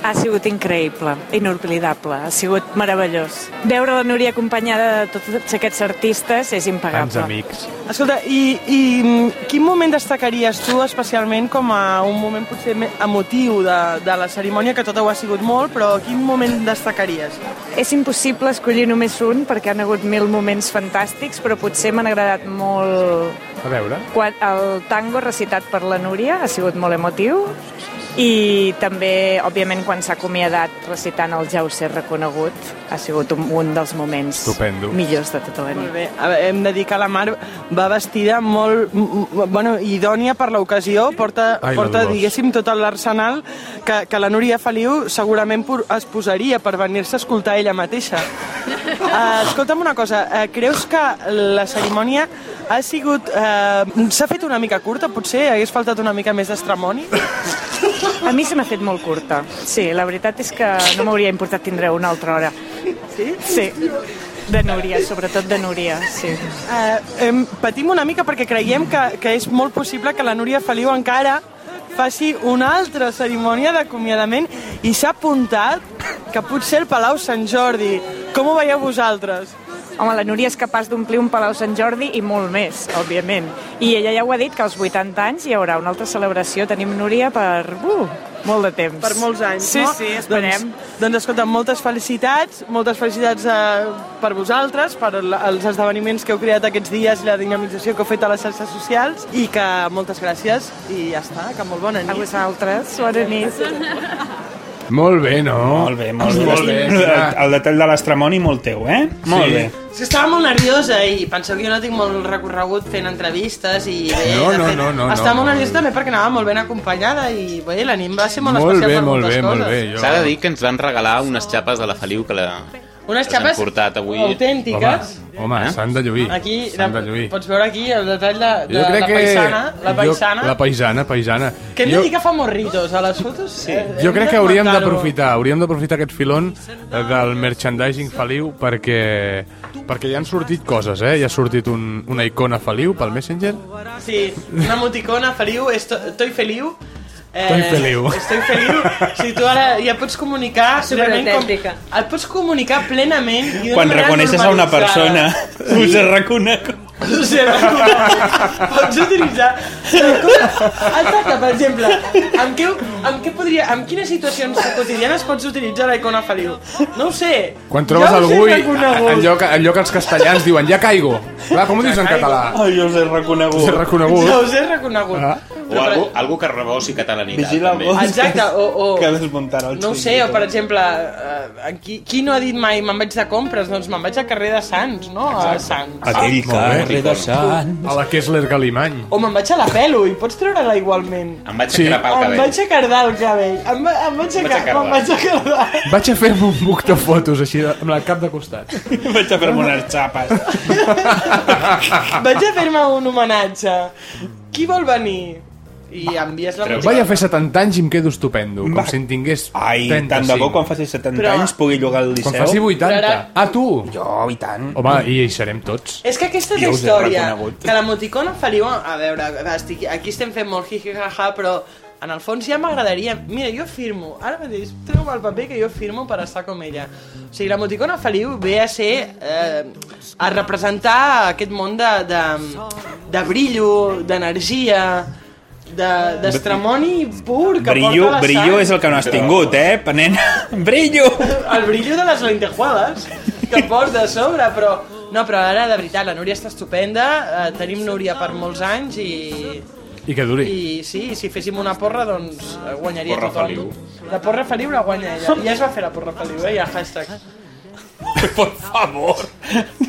[SPEAKER 16] Ha sigut increïble, inoblidable, ha sigut meravellós. Veure la Núria acompanyada de tots aquests artistes és impagable.
[SPEAKER 2] amics.
[SPEAKER 3] Escolta, i, i mm, quin moment destacaries tu especialment com a un moment potser me- emotiu de, de la cerimònia, que tot ho ha sigut molt, però quin moment destacaries?
[SPEAKER 16] És impossible escollir només un perquè han hagut mil moments fantàstics, però potser m'han agradat molt
[SPEAKER 2] A veure.
[SPEAKER 16] quan el tango recitat per la Núria ha sigut molt emotiu i també, òbviament, quan s'ha acomiadat recitant el Ja ho sé reconegut, ha sigut un, un dels moments
[SPEAKER 2] Estupendo.
[SPEAKER 16] millors de tota la nit.
[SPEAKER 3] Molt bé, A veure, hem de dir que la Mar va vestida molt, m- m- bueno, idònia per l'ocasió, porta,
[SPEAKER 2] Ai, la
[SPEAKER 3] porta
[SPEAKER 2] Dolors.
[SPEAKER 3] diguéssim, tot l'arsenal que, que la Núria Feliu segurament por- es posaria per venir-se a escoltar ella mateixa. Uh, escolta'm una cosa, uh, creus que la cerimònia ha sigut... Uh, s'ha fet una mica curta, potser? Hagués faltat una mica més d'estramoni?
[SPEAKER 16] A mi se m'ha fet molt curta. Sí, la veritat és que no m'hauria importat tindre una altra hora.
[SPEAKER 3] Sí?
[SPEAKER 16] Sí. De Núria, sobretot de Núria, sí.
[SPEAKER 3] Eh, em, patim una mica perquè creiem que, que és molt possible que la Núria Feliu encara faci una altra cerimònia d'acomiadament i s'ha apuntat que potser el Palau Sant Jordi. Com ho veieu vosaltres?
[SPEAKER 16] Home, la Núria és capaç d'omplir un Palau Sant Jordi i molt més, òbviament. I ella ja ho ha dit, que als 80 anys hi haurà una altra celebració. Tenim Núria per... Uh, molt de temps.
[SPEAKER 3] Per molts anys,
[SPEAKER 16] sí,
[SPEAKER 3] no?
[SPEAKER 16] Sí, sí, esperem.
[SPEAKER 3] Doncs, doncs escolta, moltes felicitats, moltes felicitats eh, per vosaltres, per la- els esdeveniments que heu creat aquests dies i la dinamització que heu fet a les xarxes socials i que moltes gràcies i ja està, que molt bona nit. A
[SPEAKER 16] vosaltres, bona nit.
[SPEAKER 2] Molt bé, no?
[SPEAKER 5] Molt bé, molt bé.
[SPEAKER 2] Molt bé.
[SPEAKER 5] El, el detall de l'astramoni molt teu, eh? Molt
[SPEAKER 2] Sí.
[SPEAKER 5] bé.
[SPEAKER 3] És que estava molt nerviosa i penseu que jo no tinc molt recorregut fent entrevistes i bé,
[SPEAKER 5] No,
[SPEAKER 3] de
[SPEAKER 5] no,
[SPEAKER 3] fet,
[SPEAKER 5] no, no,
[SPEAKER 3] estava
[SPEAKER 5] no.
[SPEAKER 3] molt nerviosa també perquè anava molt ben acompanyada i bé, la nit va ser molt,
[SPEAKER 7] Molt
[SPEAKER 3] especial
[SPEAKER 7] bé,
[SPEAKER 3] per
[SPEAKER 7] molt
[SPEAKER 3] moltes
[SPEAKER 7] bé,
[SPEAKER 3] coses.
[SPEAKER 7] molt bé.
[SPEAKER 2] jo-
[SPEAKER 7] S'ha de dir que ens van regalar unes xapes de la Feliu que la...
[SPEAKER 3] Unes
[SPEAKER 7] les hem
[SPEAKER 3] xapes
[SPEAKER 7] portat avui.
[SPEAKER 3] autèntiques.
[SPEAKER 2] Home, s'han de lluir.
[SPEAKER 3] Aquí
[SPEAKER 2] s'han de lluir.
[SPEAKER 3] pots veure aquí el detall de, de
[SPEAKER 2] Jo crec
[SPEAKER 3] la
[SPEAKER 2] que...
[SPEAKER 3] paisana, la paisana.
[SPEAKER 2] Jo, la paisana, paisana.
[SPEAKER 3] Que hem
[SPEAKER 2] jo,
[SPEAKER 3] de dir que fa morritos a les fotos? Eh, Sí.
[SPEAKER 2] jo crec que hauríem d'aprofitar, hauríem d'aprofitar aquest filon eh, del merchandising Feliu perquè, perquè ja han sortit coses, eh? Ja ha sortit un, una icona Feliu pel Messenger.
[SPEAKER 3] Sí, una emoticona, Feliu, esto- estoy Feliu. Eh,
[SPEAKER 2] Estoy Feliu.
[SPEAKER 3] Estoy Feliu. Si tu ara ja pots comunicar... realment
[SPEAKER 4] Superautèntica.
[SPEAKER 3] Com, et pots comunicar plenament... i d'una
[SPEAKER 5] Quan
[SPEAKER 3] manera
[SPEAKER 5] reconeixes a una persona,
[SPEAKER 3] normalitzada.
[SPEAKER 5] us reconec.
[SPEAKER 3] Us reconec. Pots utilitzar... Com, exacte, per exemple, amb què, amb què podria... Amb quines situacions quotidianes pots utilitzar la icona Feliu? No ho sé.
[SPEAKER 2] Quan trobes
[SPEAKER 3] jo us he
[SPEAKER 2] algú i
[SPEAKER 3] reconegut.
[SPEAKER 2] allò que, allò que els castellans diuen ja caigo. Clar, com ho dius en català?
[SPEAKER 5] Ai, jo us he reconegut.
[SPEAKER 2] Ah. Us he reconegut.
[SPEAKER 3] Jo us he reconegut.
[SPEAKER 2] Ah.
[SPEAKER 7] O algú, algú que rebossi catalanitat.
[SPEAKER 5] Vigila
[SPEAKER 7] també.
[SPEAKER 5] vos,
[SPEAKER 3] Exacte, o... o...
[SPEAKER 5] Que desmuntarà el
[SPEAKER 3] No ho sé, o per exemple, eh, qui, qui no ha dit mai me'n vaig de compres? Doncs me'n vaig al carrer de Sants, no? A Sants.
[SPEAKER 5] Ah,
[SPEAKER 2] Aquell carrer de Sants. A la Kessler Galimany.
[SPEAKER 3] O me'n vaig a la pelo i pots treure-la igualment.
[SPEAKER 7] Em vaig
[SPEAKER 2] Sí.
[SPEAKER 7] sí. crepar el
[SPEAKER 3] Em
[SPEAKER 7] cabell.
[SPEAKER 3] vaig a cardar el cabell. Em, va- em vaig a,
[SPEAKER 7] Vaig a
[SPEAKER 3] ca- me'n vaig a cardar.
[SPEAKER 2] Vaig a fer un buc de fotos així, de, amb el cap de costat.
[SPEAKER 5] Vaig a fer-me unes xapes.
[SPEAKER 3] Vaig a fer-me un homenatge. Qui vol venir? i envies la
[SPEAKER 2] Vaig a fer 70 anys i em quedo estupendo, com si en tingués
[SPEAKER 5] Ai,
[SPEAKER 2] 35.
[SPEAKER 5] tant de bo quan faci 70
[SPEAKER 3] Però-
[SPEAKER 5] anys pugui llogar el Liceu.
[SPEAKER 2] Quan faci 80.
[SPEAKER 3] Però
[SPEAKER 2] Ara...
[SPEAKER 3] ara-
[SPEAKER 2] Ah, tu?
[SPEAKER 5] Jo, i tant.
[SPEAKER 2] Home, i hi serem tots.
[SPEAKER 3] És que aquesta és
[SPEAKER 2] Jo us
[SPEAKER 3] la
[SPEAKER 2] he
[SPEAKER 3] història,
[SPEAKER 2] reconegut.
[SPEAKER 3] que l'emoticona feliu... A veure, estic, aquí estem fent molt hi-hi-ha-ha, però en el fons ja m'agradaria... Mira, jo firmo, ara mateix, treu el paper que jo firmo per estar com ella. O sigui, l'emoticona feliu ve a ser... Eh, a representar aquest món de, de, de brillo, d'energia, de- d'estremoni pur que
[SPEAKER 5] Brillo,
[SPEAKER 3] porta la
[SPEAKER 5] brillo
[SPEAKER 3] sang.
[SPEAKER 5] és el que no has tingut, eh, Panent? Brillo!
[SPEAKER 3] El brillo de les lentejuelas que porta a sobre, però... No, però ara, de veritat, la Núria està estupenda, eh, tenim Núria per molts anys i...
[SPEAKER 2] I que duri.
[SPEAKER 3] I sí, si féssim una porra, doncs eh, guanyaria
[SPEAKER 2] Porra
[SPEAKER 3] tothom.
[SPEAKER 2] Feliu.
[SPEAKER 3] La porra feliu la guanya ella. Ja es va fer la porra feliu, eh? Ja, hashtag.
[SPEAKER 5] Por favor!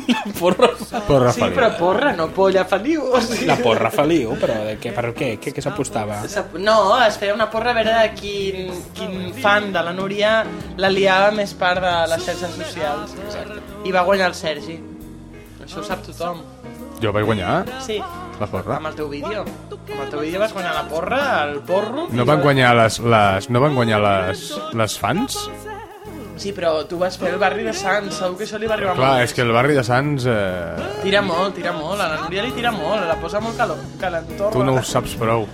[SPEAKER 5] La porra...
[SPEAKER 2] Porra
[SPEAKER 3] Sí, però porra, no polla feliu. O sigui...
[SPEAKER 5] La porra feliu, però de què, per què? Què, què s'apostava?
[SPEAKER 3] S'ap- No, es feia una porra a veure de quin, quin fan de la Núria la liava més part de les xarxes socials. Exacte. I va guanyar el Sergi. Això ho sap tothom.
[SPEAKER 2] Jo vaig guanyar
[SPEAKER 3] Sí,
[SPEAKER 2] la porra.
[SPEAKER 3] amb el teu vídeo. Amb el teu vídeo vas guanyar la porra, el porro...
[SPEAKER 2] No van guanyar les, les, no van guanyar les, les fans?
[SPEAKER 3] Sí, però tu vas fer el barri de Sants, segur que això li va arribar
[SPEAKER 2] Clar,
[SPEAKER 3] molt.
[SPEAKER 2] és que el barri de Sants... Eh,
[SPEAKER 3] Tira molt, tira molt, a la Núria li tira molt, la posa molt calor, calentorra.
[SPEAKER 2] tu no ho saps prou.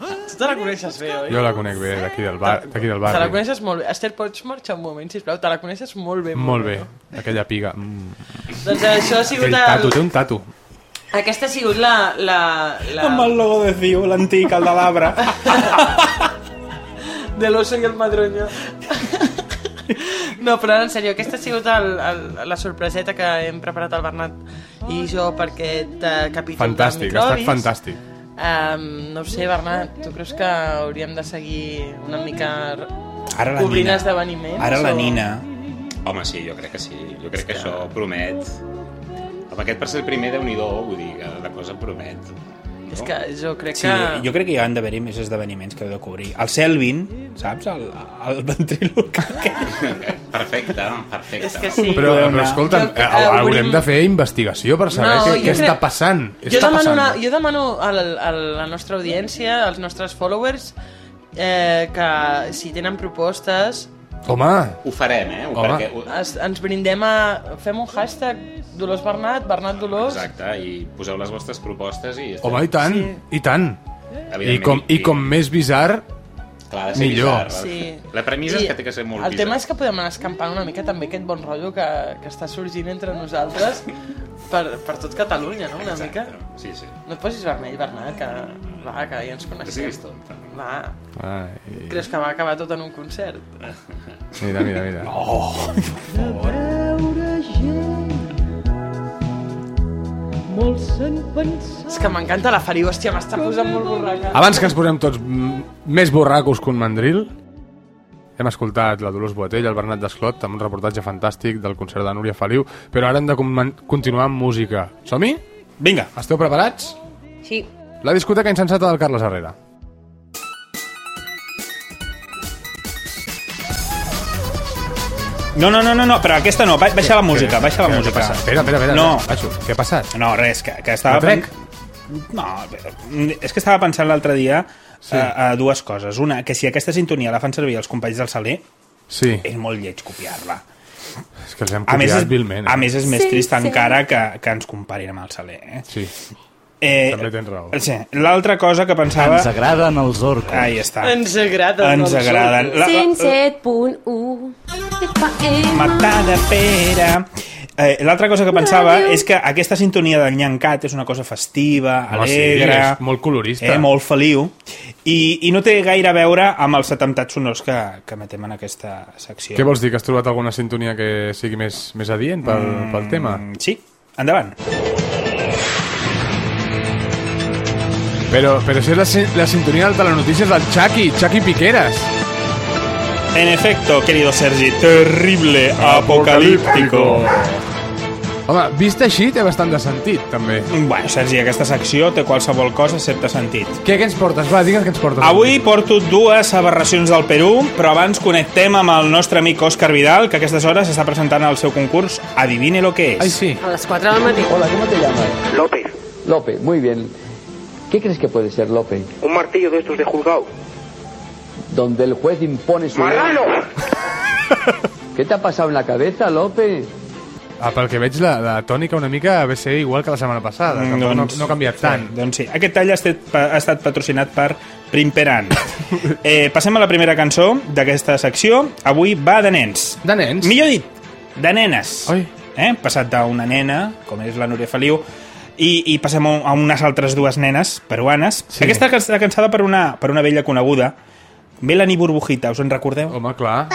[SPEAKER 3] Tu te la coneixes bé, oi?
[SPEAKER 2] Jo la conec bé, d'aquí del, bar, d'aquí del
[SPEAKER 3] Te la
[SPEAKER 2] barri.
[SPEAKER 3] coneixes molt bé. Esther, pots marxar un moment, sisplau? Te la coneixes molt bé.
[SPEAKER 2] Molt bé, aquella piga. Mm.
[SPEAKER 3] Doncs això ha sigut
[SPEAKER 2] Aquell
[SPEAKER 3] el-
[SPEAKER 2] tatu, té un tatu.
[SPEAKER 3] Aquesta ha sigut la... la, la...
[SPEAKER 5] Amb el logo de Ciu, l'antic, el de l'arbre.
[SPEAKER 3] De l'oso i el madroño. No, però ara, en sèrio, aquesta ha sigut el, el, la sorpreseta que hem preparat el Bernat i jo per aquest eh, capítol
[SPEAKER 2] Fantàstic,
[SPEAKER 3] de
[SPEAKER 2] ha estat
[SPEAKER 3] microbis.
[SPEAKER 2] fantàstic.
[SPEAKER 3] Em, no ho sé, Bernat, tu creus que hauríem de seguir una mica
[SPEAKER 5] Ara la
[SPEAKER 3] cobrint
[SPEAKER 5] Nina.
[SPEAKER 3] esdeveniments?
[SPEAKER 5] Ara la
[SPEAKER 3] o-
[SPEAKER 5] Nina.
[SPEAKER 7] Home, sí, jo crec que sí. Jo crec que això promet. Home, aquest per ser el primer, déu nhi vull dir que la cosa promet.
[SPEAKER 3] És que jo crec
[SPEAKER 5] Sí,
[SPEAKER 3] que...
[SPEAKER 5] jo crec que hi han d'haver-hi més esdeveniments que heu de cobrir. El Selvin, saps? El, el ventriloque.
[SPEAKER 7] Perfecte, perfecte.
[SPEAKER 3] És que
[SPEAKER 2] Però, però escolta,
[SPEAKER 3] Jo- eh,
[SPEAKER 2] haurem
[SPEAKER 3] obrim-
[SPEAKER 2] de fer investigació per saber
[SPEAKER 3] No,
[SPEAKER 2] què,
[SPEAKER 3] jo
[SPEAKER 2] què
[SPEAKER 3] crec-
[SPEAKER 2] està passant.
[SPEAKER 3] Jo
[SPEAKER 2] està
[SPEAKER 3] demano,
[SPEAKER 2] passant.
[SPEAKER 3] una, jo demano a la, a la nostra audiència, als nostres followers, eh, que si tenen propostes
[SPEAKER 2] Home,
[SPEAKER 7] Ho farem, eh? Ho,
[SPEAKER 2] Home.
[SPEAKER 7] perquè, ho,
[SPEAKER 3] es, ens brindem a... Fem un hashtag Dolors Bernat, Bernat Dolors...
[SPEAKER 7] exacte, i poseu les vostres propostes i...
[SPEAKER 2] home, i tant, i tant. I
[SPEAKER 7] Evidentment,
[SPEAKER 2] com, I com més bizar,
[SPEAKER 7] Clar, ha de ser
[SPEAKER 2] millor.
[SPEAKER 7] bizarr.
[SPEAKER 3] Sí.
[SPEAKER 7] La premissa
[SPEAKER 3] I
[SPEAKER 7] és que té que ser molt
[SPEAKER 3] el tema és que podem anar escampant una mica també aquest bon rotllo que, que està sorgint entre nosaltres per, per tot Catalunya, no? Una mica.
[SPEAKER 7] Sí, sí.
[SPEAKER 3] No et posis vermell, Bernat, que, va, que ja ens coneixem.
[SPEAKER 7] Sí,
[SPEAKER 3] va,
[SPEAKER 2] Ai,
[SPEAKER 3] creus que va acabar tot en un concert?
[SPEAKER 2] mira, mira, mira.
[SPEAKER 5] Oh.
[SPEAKER 3] És que m'encanta la Fariu, hòstia, m'està posant molt borraca.
[SPEAKER 2] Abans que ens posem tots mm, més borracos que un mandril, hem escoltat la Dolors Boatell, el Bernat Desclot, amb un reportatge fantàstic del concert de Núria Feliu, però ara hem de com- continuar amb música. Som-hi?
[SPEAKER 5] Vinga.
[SPEAKER 2] Esteu preparats?
[SPEAKER 4] Sí.
[SPEAKER 2] La discoteca insensata del Carles Herrera.
[SPEAKER 5] No, no, no, no, no, però aquesta no. ba- Baixa la música, baixa
[SPEAKER 2] Espera,
[SPEAKER 5] la música.
[SPEAKER 2] Què passa? Espera, espera, espera.
[SPEAKER 5] No,
[SPEAKER 2] Baixo. Què ha passat?
[SPEAKER 5] No, res, que, que estava...
[SPEAKER 2] La trec?
[SPEAKER 5] No, però, mm, és que estava pensant l'altre dia sí. a, a dues coses. Una, que si aquesta sintonia la fan servir els companys del Saler,
[SPEAKER 2] Sí.
[SPEAKER 5] és molt lleig copiar-la.
[SPEAKER 2] És que els hem
[SPEAKER 5] Eh, A més, és,
[SPEAKER 2] copiat vilment. eh.
[SPEAKER 5] a més, és més
[SPEAKER 2] Sí,
[SPEAKER 5] trist
[SPEAKER 2] sí.
[SPEAKER 5] encara que, que ens comparin amb el Saler. Eh?
[SPEAKER 2] Sí.
[SPEAKER 5] Eh,
[SPEAKER 2] També tens raó.
[SPEAKER 5] Sí. L'altra cosa que pensava...
[SPEAKER 17] Ens agraden els orcos.
[SPEAKER 5] Ahí
[SPEAKER 7] Ah.
[SPEAKER 5] està.
[SPEAKER 3] Ens doncs. agraden
[SPEAKER 5] Ens
[SPEAKER 3] els
[SPEAKER 5] agraden. La- la-
[SPEAKER 4] 107.1 FM.
[SPEAKER 5] Matada pera. Eh, L'altra cosa que pensava és que aquesta sintonia del Nyancat és una cosa festiva,
[SPEAKER 2] Home, sí,
[SPEAKER 5] alegre...
[SPEAKER 2] és molt colorista.
[SPEAKER 5] Eh, molt feliu. I, I no té gaire a veure amb els atemptats sonors que, que metem en aquesta secció.
[SPEAKER 2] Què vols dir? Que has trobat alguna sintonia que sigui més, més adient pel,
[SPEAKER 5] Mm.
[SPEAKER 2] pel tema?
[SPEAKER 5] Sí, endavant.
[SPEAKER 2] Però, però això és la, sin- la sintonia de les notícies del Chucky, Chucky Piqueras.
[SPEAKER 5] En efecto, querido Sergi, terrible apocalíptico.
[SPEAKER 2] Home, vist així té bastant de sentit, també.
[SPEAKER 5] Bueno, Sergi, aquesta secció té qualsevol cosa excepte sentit.
[SPEAKER 2] Què, què ens portes? Va, digues què ens portes.
[SPEAKER 5] Avui porto dues aberracions del Perú, però abans connectem amb el nostre amic Òscar Vidal, que a aquestes hores està presentant el seu concurs Adivine lo que és.
[SPEAKER 2] Ai, sí.
[SPEAKER 4] A les 4 del matí.
[SPEAKER 17] Hola, ¿cómo te llamas? López. López, muy bien. ¿Qué crees que puede ser, López?
[SPEAKER 18] Un martillo de estos de juzgado.
[SPEAKER 17] Donde el juez impone su...
[SPEAKER 18] ¡Marrano!
[SPEAKER 17] ¿Qué te ha pasado en la cabeza, López?
[SPEAKER 2] Ah, pel que veig, la, la tònica una mica va ser igual que la setmana passada. Mm, Tampoc doncs, no, no ha canviat tant.
[SPEAKER 5] Sí, doncs sí. Aquest tall ha estat, pa- ha estat patrocinat per Primperan. eh, passem a la primera cançó d'aquesta secció. Avui va de nens.
[SPEAKER 2] De nens?
[SPEAKER 5] Millor dit, de nenes. Oi. Eh? Hem Passat d'una nena, com és la Núria Feliu, i, i passem a unes altres dues nenes peruanes. Sí. Aquesta està cansada per una, per una vella coneguda, Melanie Burbujita, us en recordeu?
[SPEAKER 2] Home, clar.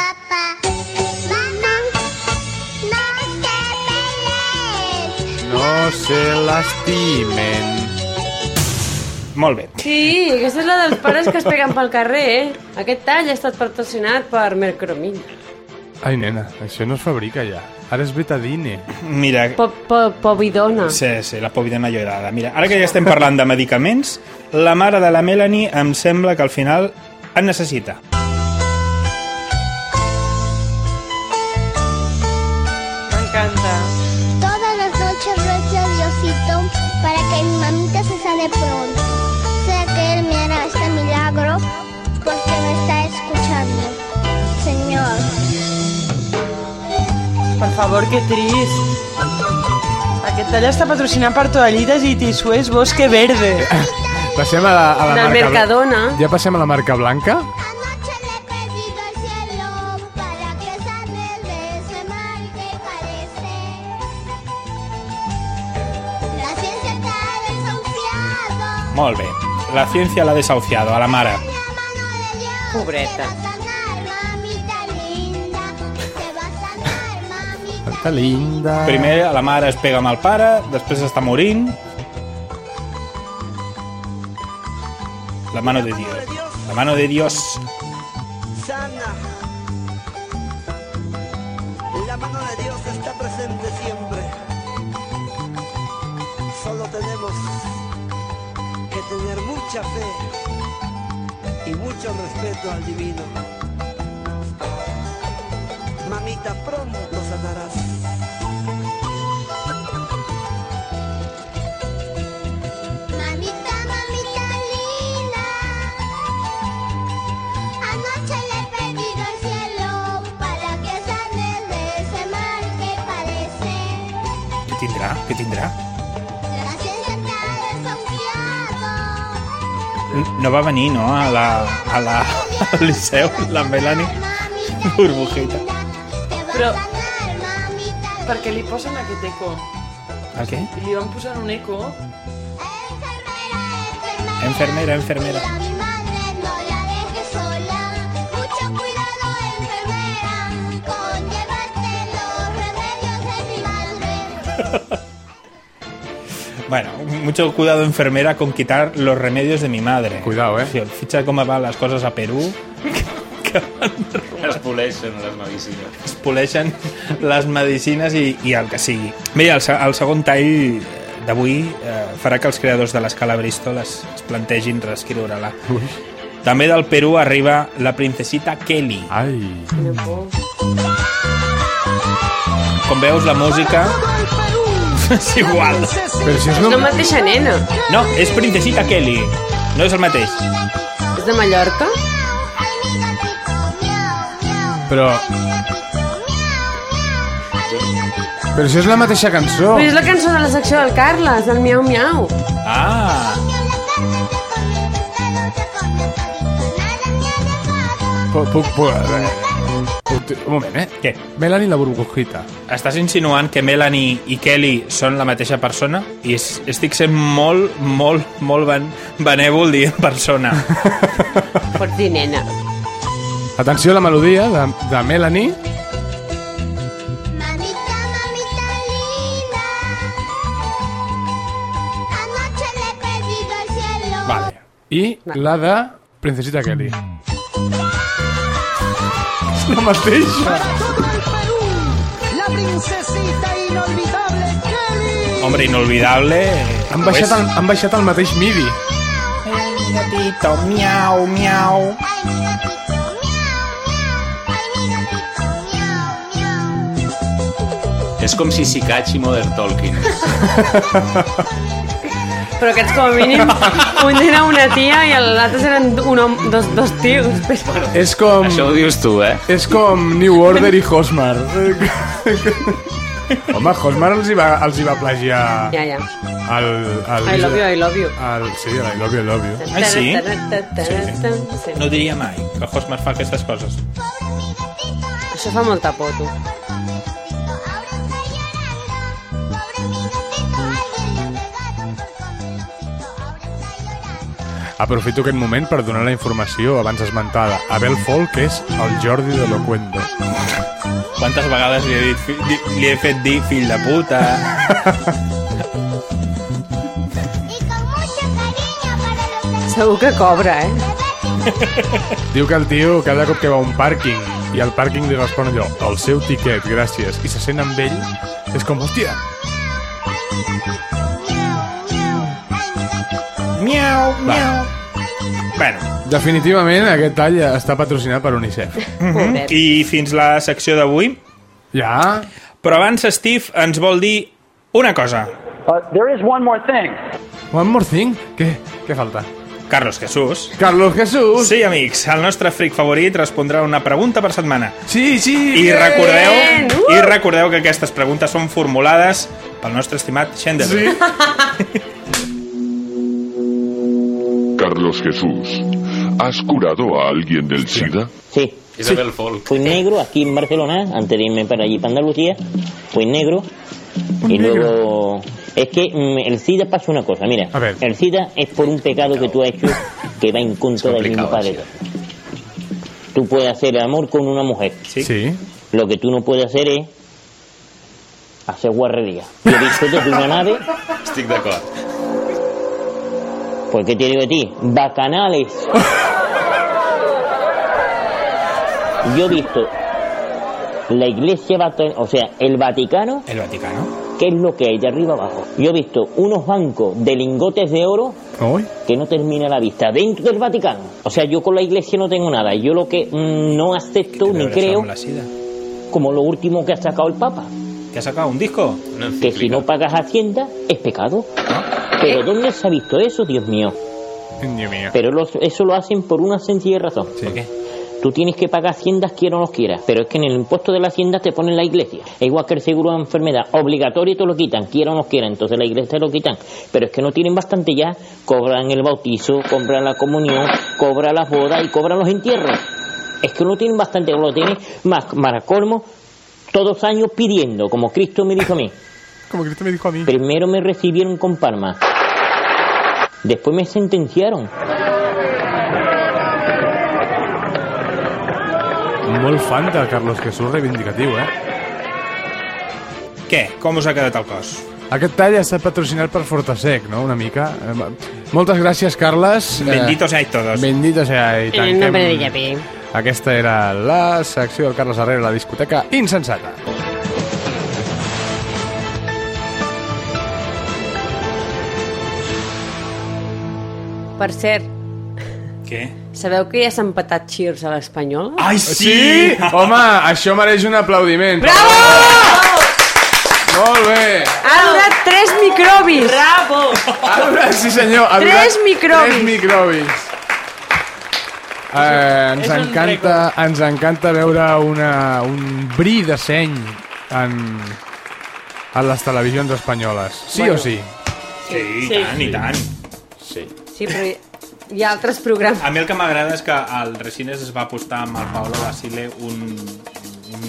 [SPEAKER 2] No se lastimen.
[SPEAKER 5] Molt bé.
[SPEAKER 4] Sí, aquesta és la dels pares que es peguen pel carrer, eh? Aquest tall ha estat patrocinat per Mercromina.
[SPEAKER 2] Ai, nena, això no es fabrica ja. Ara és betadine.
[SPEAKER 5] Mira,
[SPEAKER 4] Po, po, povidona.
[SPEAKER 5] Sí, sí, la povidona llorada. Mira, ara que ja estem parlant de medicaments, la mare de la Melanie em sembla que al final en necessita.
[SPEAKER 3] M'encanta.
[SPEAKER 19] Todas las noches rezo a Diosito para que mi mamita se sane pronto. Sé que Él me hará este milagro porque me está escuchando. Señor.
[SPEAKER 3] Per favor, que trist. Aquest tall està patrocinat per Toallitas i Tissuers Bosque Verde.
[SPEAKER 2] Passem a la, a la
[SPEAKER 3] Del
[SPEAKER 2] marca... blan-
[SPEAKER 3] Mercadona.
[SPEAKER 2] Ja passem a la marca blanca?
[SPEAKER 5] Molt bé. La ciència l'ha desahuciado, a la mare.
[SPEAKER 3] Pobreta.
[SPEAKER 2] Tanta linda.
[SPEAKER 5] Primer la mare es pega amb el pare, després està morint. La mano de Dios. La mano de Dios.
[SPEAKER 20] Sana. La mano de Dios está presente siempre. Solo tenemos que tener mucha fe y mucho respeto al divino. Mamita, pronto sanarás.
[SPEAKER 3] Doncs-
[SPEAKER 19] Mamita, mamita linda, anoche le he pedido al cielo para que sane de ese mal que parece.
[SPEAKER 5] Què tindrà? Què tindrà?
[SPEAKER 19] La ciencia está desconfiado.
[SPEAKER 5] No va venir, no? A la... A la... Al Liceu, la Melanie. Burbujita.
[SPEAKER 3] Però... Perquè li posen aquest eco.
[SPEAKER 5] El què?
[SPEAKER 3] I li van posant un eco.
[SPEAKER 5] Enfermera, enfermera.
[SPEAKER 19] Que sola, mucho cuidado enfermera, con llevarte los remedios de mi madre.
[SPEAKER 5] Bueno, mucho cuidado enfermera con quitar los remedios de mi madre. Cuidado, eh. Ficha cómo van las cosas a Perú.
[SPEAKER 7] Es poleixen les medicines.
[SPEAKER 5] Es poleixen les medicines i, i el que sigui. Bé, el, se- el segon tall d'avui eh, farà que els creadors de l'escala Bristol es, es plantegin reescriure-la. També del Perú arriba la princesita Kelly.
[SPEAKER 2] Ai.
[SPEAKER 5] Com veus, la música... és igual.
[SPEAKER 19] Però
[SPEAKER 4] si és la És la mateixa nena.
[SPEAKER 5] No, és princesita Kelly. No és el mateix.
[SPEAKER 4] És de Mallorca?
[SPEAKER 2] Però... Però això és la mateixa cançó.
[SPEAKER 4] Però és la cançó de la secció del Carles, del Miau Miau.
[SPEAKER 5] Ah!
[SPEAKER 2] Puc, puc, puc, un moment, eh?
[SPEAKER 5] Què?
[SPEAKER 2] Melanie la burbujita.
[SPEAKER 5] Estàs insinuant que Melanie i Kelly són la mateixa persona? I es- estic sent molt, molt, molt ben, benèvol dient persona.
[SPEAKER 4] Pots dir nena.
[SPEAKER 2] Atenció a la melodia de, de Melanie.
[SPEAKER 19] Anoche le he pedido al cielo.
[SPEAKER 2] Vale. I la de Princesita Kelly. És la mateixa.
[SPEAKER 20] La princesita inolvidable Kelly.
[SPEAKER 5] Hombre, inolvidable...
[SPEAKER 2] Han baixat, el, han baixat el mateix midi.
[SPEAKER 5] Gatito, miau, miau.
[SPEAKER 7] És com si Sikachi Modern Tolkien.
[SPEAKER 4] però aquests com a mínim un era una tia i l'altre eren un hom, dos, dos tios. Però...
[SPEAKER 2] És com... Això
[SPEAKER 7] ho dius tu, eh?
[SPEAKER 2] És com New Order i Hosmar. Home, Hosmar els hi va, els hi va plagiar...
[SPEAKER 4] Ja, ja.
[SPEAKER 2] El, el,
[SPEAKER 4] I love you, I love you.
[SPEAKER 2] El, sí, el I love you, I love you.
[SPEAKER 5] Ah, sí?
[SPEAKER 4] Sí.
[SPEAKER 5] No diria mai que Hosmer fa aquestes coses.
[SPEAKER 4] Això fa molta por, tu.
[SPEAKER 2] Aprofito aquest moment per donar la informació abans esmentada. Abel Folk és el Jordi de Locuendo.
[SPEAKER 5] Quantes vegades li he, dit, fi- di- li he fet dir fill de puta?
[SPEAKER 16] Segur que cobra, eh?
[SPEAKER 2] Diu que el tio cada cop que va a un pàrquing i el pàrquing li respon allò, el seu tiquet, gràcies, i se sent amb ell, és com, hòstia,
[SPEAKER 5] Miau,
[SPEAKER 2] Va.
[SPEAKER 5] miau. Bueno,
[SPEAKER 2] definitivament aquest tall està patrocinat per UNICEF.
[SPEAKER 5] Mhm. I fins la secció d'avui.
[SPEAKER 2] Ja.
[SPEAKER 5] Però abans, Steve ens vol dir una cosa.
[SPEAKER 21] Uh, there is one more thing.
[SPEAKER 2] One more thing? Què, què falta?
[SPEAKER 5] Carlos Jesús.
[SPEAKER 2] Carlos Jesús.
[SPEAKER 5] Sí, amics, el nostre fric favorit respondrà una pregunta per setmana.
[SPEAKER 2] Sí, sí.
[SPEAKER 5] I
[SPEAKER 2] bien.
[SPEAKER 5] recordeu,
[SPEAKER 2] Uh!
[SPEAKER 5] i recordeu que aquestes preguntes són formulades pel nostre estimat Xander.
[SPEAKER 2] Sí.
[SPEAKER 22] Carlos Jesús, ¿has curado a alguien del SIDA?
[SPEAKER 23] Sí.
[SPEAKER 7] Isabel Folk.
[SPEAKER 23] Fui negro aquí en Barcelona, antes de irme para allí, para Andalucía. Fui negro.
[SPEAKER 7] Un
[SPEAKER 23] y
[SPEAKER 7] negro.
[SPEAKER 23] luego. Es que mm, el SIDA pasa una cosa, mira. El SIDA es por un pecado que tú has hecho que va en contra del mismo padre. Tú puedes hacer el amor con una mujer.
[SPEAKER 2] Sí.
[SPEAKER 23] Lo que tú no puedes hacer es. hacer guarrería. Yo disfruto de una nave.
[SPEAKER 7] Estic d'acord.
[SPEAKER 23] ¿Por qué te digo a ti? Bacanales. Yo he visto la iglesia, vata- o sea, el Vaticano.
[SPEAKER 5] El Vaticano.
[SPEAKER 23] ¿Qué es lo que hay de arriba abajo? Yo he visto unos bancos de lingotes de oro que no termina la vista dentro del Vaticano. O sea, yo con la iglesia no tengo nada. Yo lo que mm, no acepto ni creo, como lo último que ha sacado el Papa.
[SPEAKER 5] ¿Que ha sacado un disco?
[SPEAKER 23] que si no pagas Hacienda es pecado. Pero ¿dónde se ha visto eso, Dios mío?
[SPEAKER 2] Dios mío.
[SPEAKER 23] Pero los- eso lo hacen por una sencilla razón. Tú tienes que pagar haciendas quiera o no quieras, pero es que en el impuesto de la hacienda te ponen la iglesia. Es igual que el seguro de enfermedad, obligatorio te lo quitan, quiera o no quiera, entonces la iglesia te lo quitan. Pero es que no tienen bastante ya, cobran el bautizo, cobran la comunión, cobran las bodas y cobran los entierros. Es que no tienen bastante, lo tienen más maracolmo todos los años pidiendo, como Cristo me dijo a mí.
[SPEAKER 2] Como Cristo me dijo a mí.
[SPEAKER 23] Primero me recibieron con palmas, después me sentenciaron.
[SPEAKER 2] Molt fan del Carlos Jesús reivindicatiu, eh?
[SPEAKER 5] Què? Com us ha quedat el cos?
[SPEAKER 2] Aquest tall ha estat patrocinat per Fortasec, no?, una mica. Eh, ma- Moltes gràcies, Carles. Eh,
[SPEAKER 5] Benditos seáis todos.
[SPEAKER 2] Benditos seáis.
[SPEAKER 4] En nombre de
[SPEAKER 2] Tanquem...
[SPEAKER 4] Yapi.
[SPEAKER 2] Aquesta era la secció del Carles Herrera, la discoteca insensata.
[SPEAKER 4] Per cert,
[SPEAKER 5] Què?
[SPEAKER 4] sabeu que ja s'ha empatat Cheers a l'Espanyol?
[SPEAKER 5] Ai,
[SPEAKER 2] Sí! Home, això mereix un aplaudiment. Bravo!
[SPEAKER 5] Ah!
[SPEAKER 2] Molt bé!
[SPEAKER 4] Ha durat tres microbis!
[SPEAKER 3] Bravo!
[SPEAKER 2] Ara, sí senyor, ha
[SPEAKER 4] Tres
[SPEAKER 2] durat
[SPEAKER 4] microbis.
[SPEAKER 2] Tres microbis. Eh, ens,
[SPEAKER 4] és un
[SPEAKER 2] encanta, ens encanta veure una, un bri de seny en, en les televisions espanyoles. Sí
[SPEAKER 4] Bueno.
[SPEAKER 2] o sí?
[SPEAKER 5] Sí, i
[SPEAKER 4] Sí.
[SPEAKER 5] tant, i tant.
[SPEAKER 7] Sí.
[SPEAKER 4] Sí, però hi- hi ha altres programes.
[SPEAKER 5] A mi el que m'agrada és que al Resines es va apostar amb el Paolo Basile un,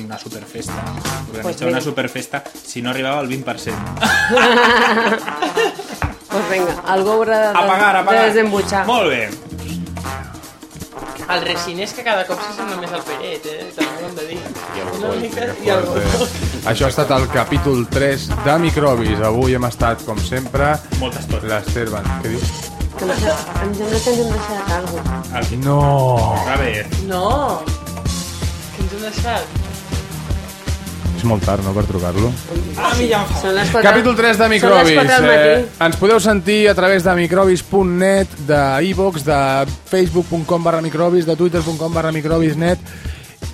[SPEAKER 5] una superfesta. Organitzar
[SPEAKER 4] Pues
[SPEAKER 5] pues
[SPEAKER 4] mira.
[SPEAKER 5] una superfesta si no arribava al 20%.
[SPEAKER 4] Pues Doncs vinga, algú haurà de,
[SPEAKER 5] A pagar, a
[SPEAKER 4] de
[SPEAKER 5] pagar.
[SPEAKER 4] desembutxar.
[SPEAKER 5] Molt bé.
[SPEAKER 3] El Recinés que cada cop s'assembla més al Peret, eh? També ho hem de dir. I el Una mica... I el
[SPEAKER 2] Això ha estat el capítol 3 de Microbis. Avui hem estat, com sempre...
[SPEAKER 5] Molta estona.
[SPEAKER 2] L'Ester Van... Què dius?
[SPEAKER 4] Que no sé- em sembla que ens hem deixat alguna cosa.
[SPEAKER 2] No!
[SPEAKER 5] A veure.
[SPEAKER 3] No! Que ens hem deixat.
[SPEAKER 2] És molt tard, no?, per trucar-lo.
[SPEAKER 3] Ah, mi ja em fa.
[SPEAKER 4] Són les quatre...
[SPEAKER 2] Capítol 3 de Microbis. Eh, ens podeu sentir a través de microbis.net, de iVox, de facebook.com barra microbis, de twitter.com barra microbisnet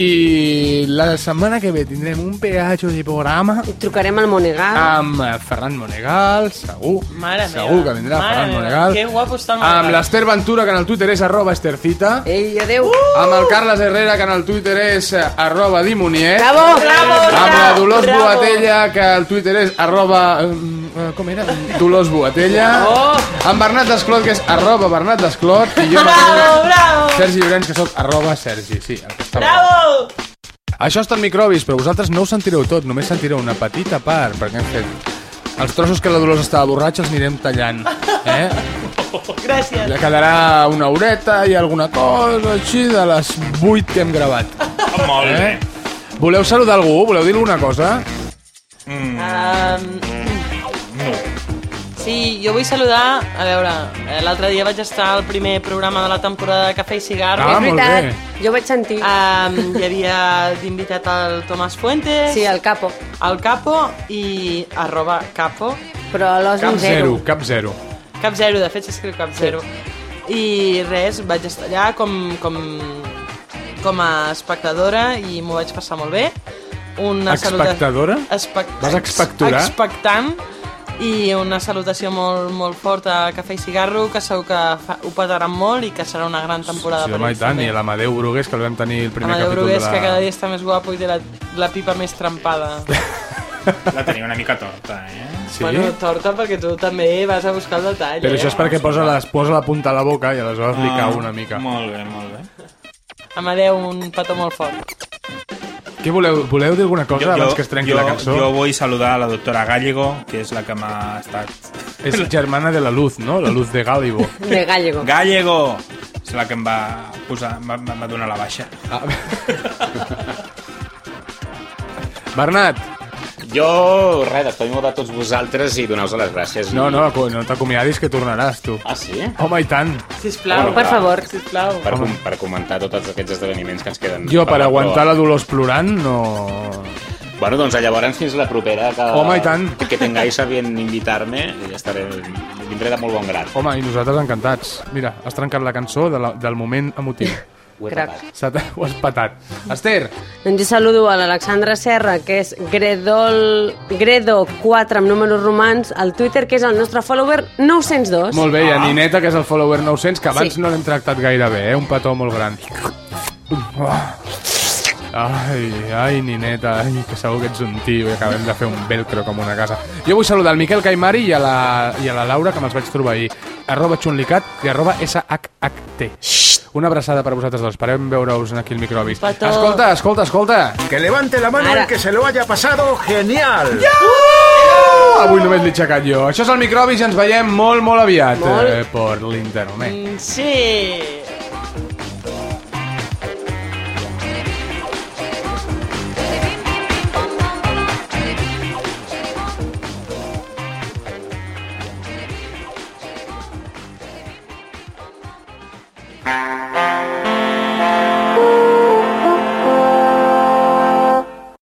[SPEAKER 2] I la setmana que ve tindrem un peatge de programa
[SPEAKER 4] Trucarem al Monegal.
[SPEAKER 2] amb eh, Ferran Monegal, segur.
[SPEAKER 3] Ah. Mare
[SPEAKER 2] segur
[SPEAKER 3] meva.
[SPEAKER 2] que vindrà
[SPEAKER 3] Mare
[SPEAKER 2] Ferran
[SPEAKER 3] meva,
[SPEAKER 2] Monegal.
[SPEAKER 3] Que guapo està el
[SPEAKER 2] Amb
[SPEAKER 3] Monegal.
[SPEAKER 2] l'Ester Ventura, que en el Twitter és arroba estercita.
[SPEAKER 4] Ei, adeu.
[SPEAKER 2] Amb
[SPEAKER 3] Uh!
[SPEAKER 2] el Carles Herrera, que en el Twitter és eh, arroba dimoniet.
[SPEAKER 4] Bravo. Bravo,
[SPEAKER 2] Amb la
[SPEAKER 4] bravo,
[SPEAKER 2] Dolors
[SPEAKER 4] bravo.
[SPEAKER 2] Boatella, que el Twitter és arroba... mm, eh, Com era? Dolors Boatella.
[SPEAKER 3] Oh.
[SPEAKER 2] Amb Bernat Desclot, que és arroba Bernat Desclot. I jo
[SPEAKER 3] Bravo, bravo.
[SPEAKER 2] Sergi Llorenç, que sóc arroba Sergi. Sí, el que està
[SPEAKER 3] Bravo!
[SPEAKER 2] això està en microbis, però vosaltres no ho sentireu tot, només sentireu una petita part, perquè hem fet... Els trossos que la Dolors estava borratxa els anirem tallant, eh?
[SPEAKER 3] Gràcies.
[SPEAKER 2] Ja quedarà una horeta i alguna cosa així de les 8 que hem gravat. Eh?
[SPEAKER 5] Molt bé.
[SPEAKER 2] Voleu saludar algú? Voleu dir alguna cosa?
[SPEAKER 3] Um, sí, jo vull saludar... A veure, eh, l'altre dia vaig estar al primer programa de la temporada de Cafè i Cigarro.
[SPEAKER 4] Ah, És molt veritat, bé. jo vaig sentir.
[SPEAKER 3] Um, hi havia d'invitat el Tomàs Fuentes.
[SPEAKER 4] Sí, el capo.
[SPEAKER 3] El capo i arroba capo.
[SPEAKER 4] Però l'os
[SPEAKER 2] Cap zero, cap zero.
[SPEAKER 3] Cap zero, de fet s'escriu cap zero. I res, vaig estar allà com, com, com a espectadora i m'ho vaig passar molt bé. Una
[SPEAKER 2] Expectadora?
[SPEAKER 3] Saluda... Espect...
[SPEAKER 2] Vas expectorar?
[SPEAKER 3] Expectant. I una salutació molt, molt forta a Cafè i Cigarro, que segur que fa, ho petaran molt i que serà una gran temporada
[SPEAKER 2] Sí, home, i tant, i l'Amadeu Brugués, que el vam tenir el primer
[SPEAKER 3] Amadeu
[SPEAKER 2] capítol
[SPEAKER 3] Brugués,
[SPEAKER 2] de la...
[SPEAKER 3] que cada dia està més guapo i té la, la pipa més trempada.
[SPEAKER 5] La tenia una mica torta, eh?
[SPEAKER 2] Sí?
[SPEAKER 3] Bueno, torta, perquè tu també vas a buscar el detall.
[SPEAKER 2] Però
[SPEAKER 3] eh?
[SPEAKER 2] això és perquè posa, les, posa la punta a la boca i aleshores li
[SPEAKER 5] Ah,
[SPEAKER 2] cau una mica.
[SPEAKER 5] Molt bé, molt bé.
[SPEAKER 3] Amadeu, un petó molt fort.
[SPEAKER 2] Què voleu? Voleu dir alguna cosa abans Pues que es trenqui
[SPEAKER 5] jo,
[SPEAKER 2] la cançó?
[SPEAKER 5] Jo vull saludar a la doctora Gallego, que és la que m'ha estat...
[SPEAKER 2] És germana de la Luz, no? La Luz de Gálibo.
[SPEAKER 4] De Gallego.
[SPEAKER 5] Gallego! És la que em va posar, em va, em va donar la baixa.
[SPEAKER 2] Ah. Bernat!
[SPEAKER 7] Jo, res, despedim de tots vosaltres i doneu-vos les gràcies.
[SPEAKER 2] No, no, aco- no t'acomiadis, que tornaràs, tu.
[SPEAKER 7] Ah, sí?
[SPEAKER 2] Home, i tant.
[SPEAKER 3] Sisplau,
[SPEAKER 7] Bueno, per clar. favor.
[SPEAKER 3] Sisplau.
[SPEAKER 7] Per, com, per comentar tots aquests esdeveniments que ens queden.
[SPEAKER 5] Ah,
[SPEAKER 2] Jo, per
[SPEAKER 7] la
[SPEAKER 2] aguantar
[SPEAKER 7] proa.
[SPEAKER 2] la Dolors plorant, no...
[SPEAKER 7] Bueno, doncs llavors fins la propera. Que,
[SPEAKER 2] Home, i tant.
[SPEAKER 7] Que tengáis a bien invitar-me i estaré... Vindré de molt bon grat.
[SPEAKER 2] Home, i nosaltres encantats. Mira, has trencat la cançó de la, del moment emotiu.
[SPEAKER 7] Ho he
[SPEAKER 4] Crac.
[SPEAKER 2] S'ha- Ho has patat. Esther!
[SPEAKER 4] Doncs jo saludo a l'Alexandra Serra, que és Gredol, Gredo4 amb números romans, al Twitter, que és el nostre follower 902.
[SPEAKER 2] Molt bé, i a Nineta, que és el follower 900, que abans
[SPEAKER 4] Sí.
[SPEAKER 2] no l'hem tractat gaire bé, eh? Un petó molt gran. Ah. Ai, ai, Nineta, ai, que segur que ets un tio i acabem de fer un velcro com una casa. Jo vull saludar el Miquel Caimari i a la, i a la Laura, que me'ls vaig trobar ahir. Arroba xunlicat i arroba SHHT. Una abraçada per a vosaltres dos. Parem veure-us aquí el microbis.
[SPEAKER 6] petó.
[SPEAKER 2] Escolta, escolta, escolta.
[SPEAKER 6] Que levante la mano
[SPEAKER 2] Ara.
[SPEAKER 6] el que se lo haya pasado genial.
[SPEAKER 2] Ah, Avui només l'he aixecat jo. Això és el microbis i ens veiem molt, molt aviat
[SPEAKER 3] Molt.
[SPEAKER 2] eh, per l'internet.
[SPEAKER 3] Mm, Sí.
[SPEAKER 1] Ah.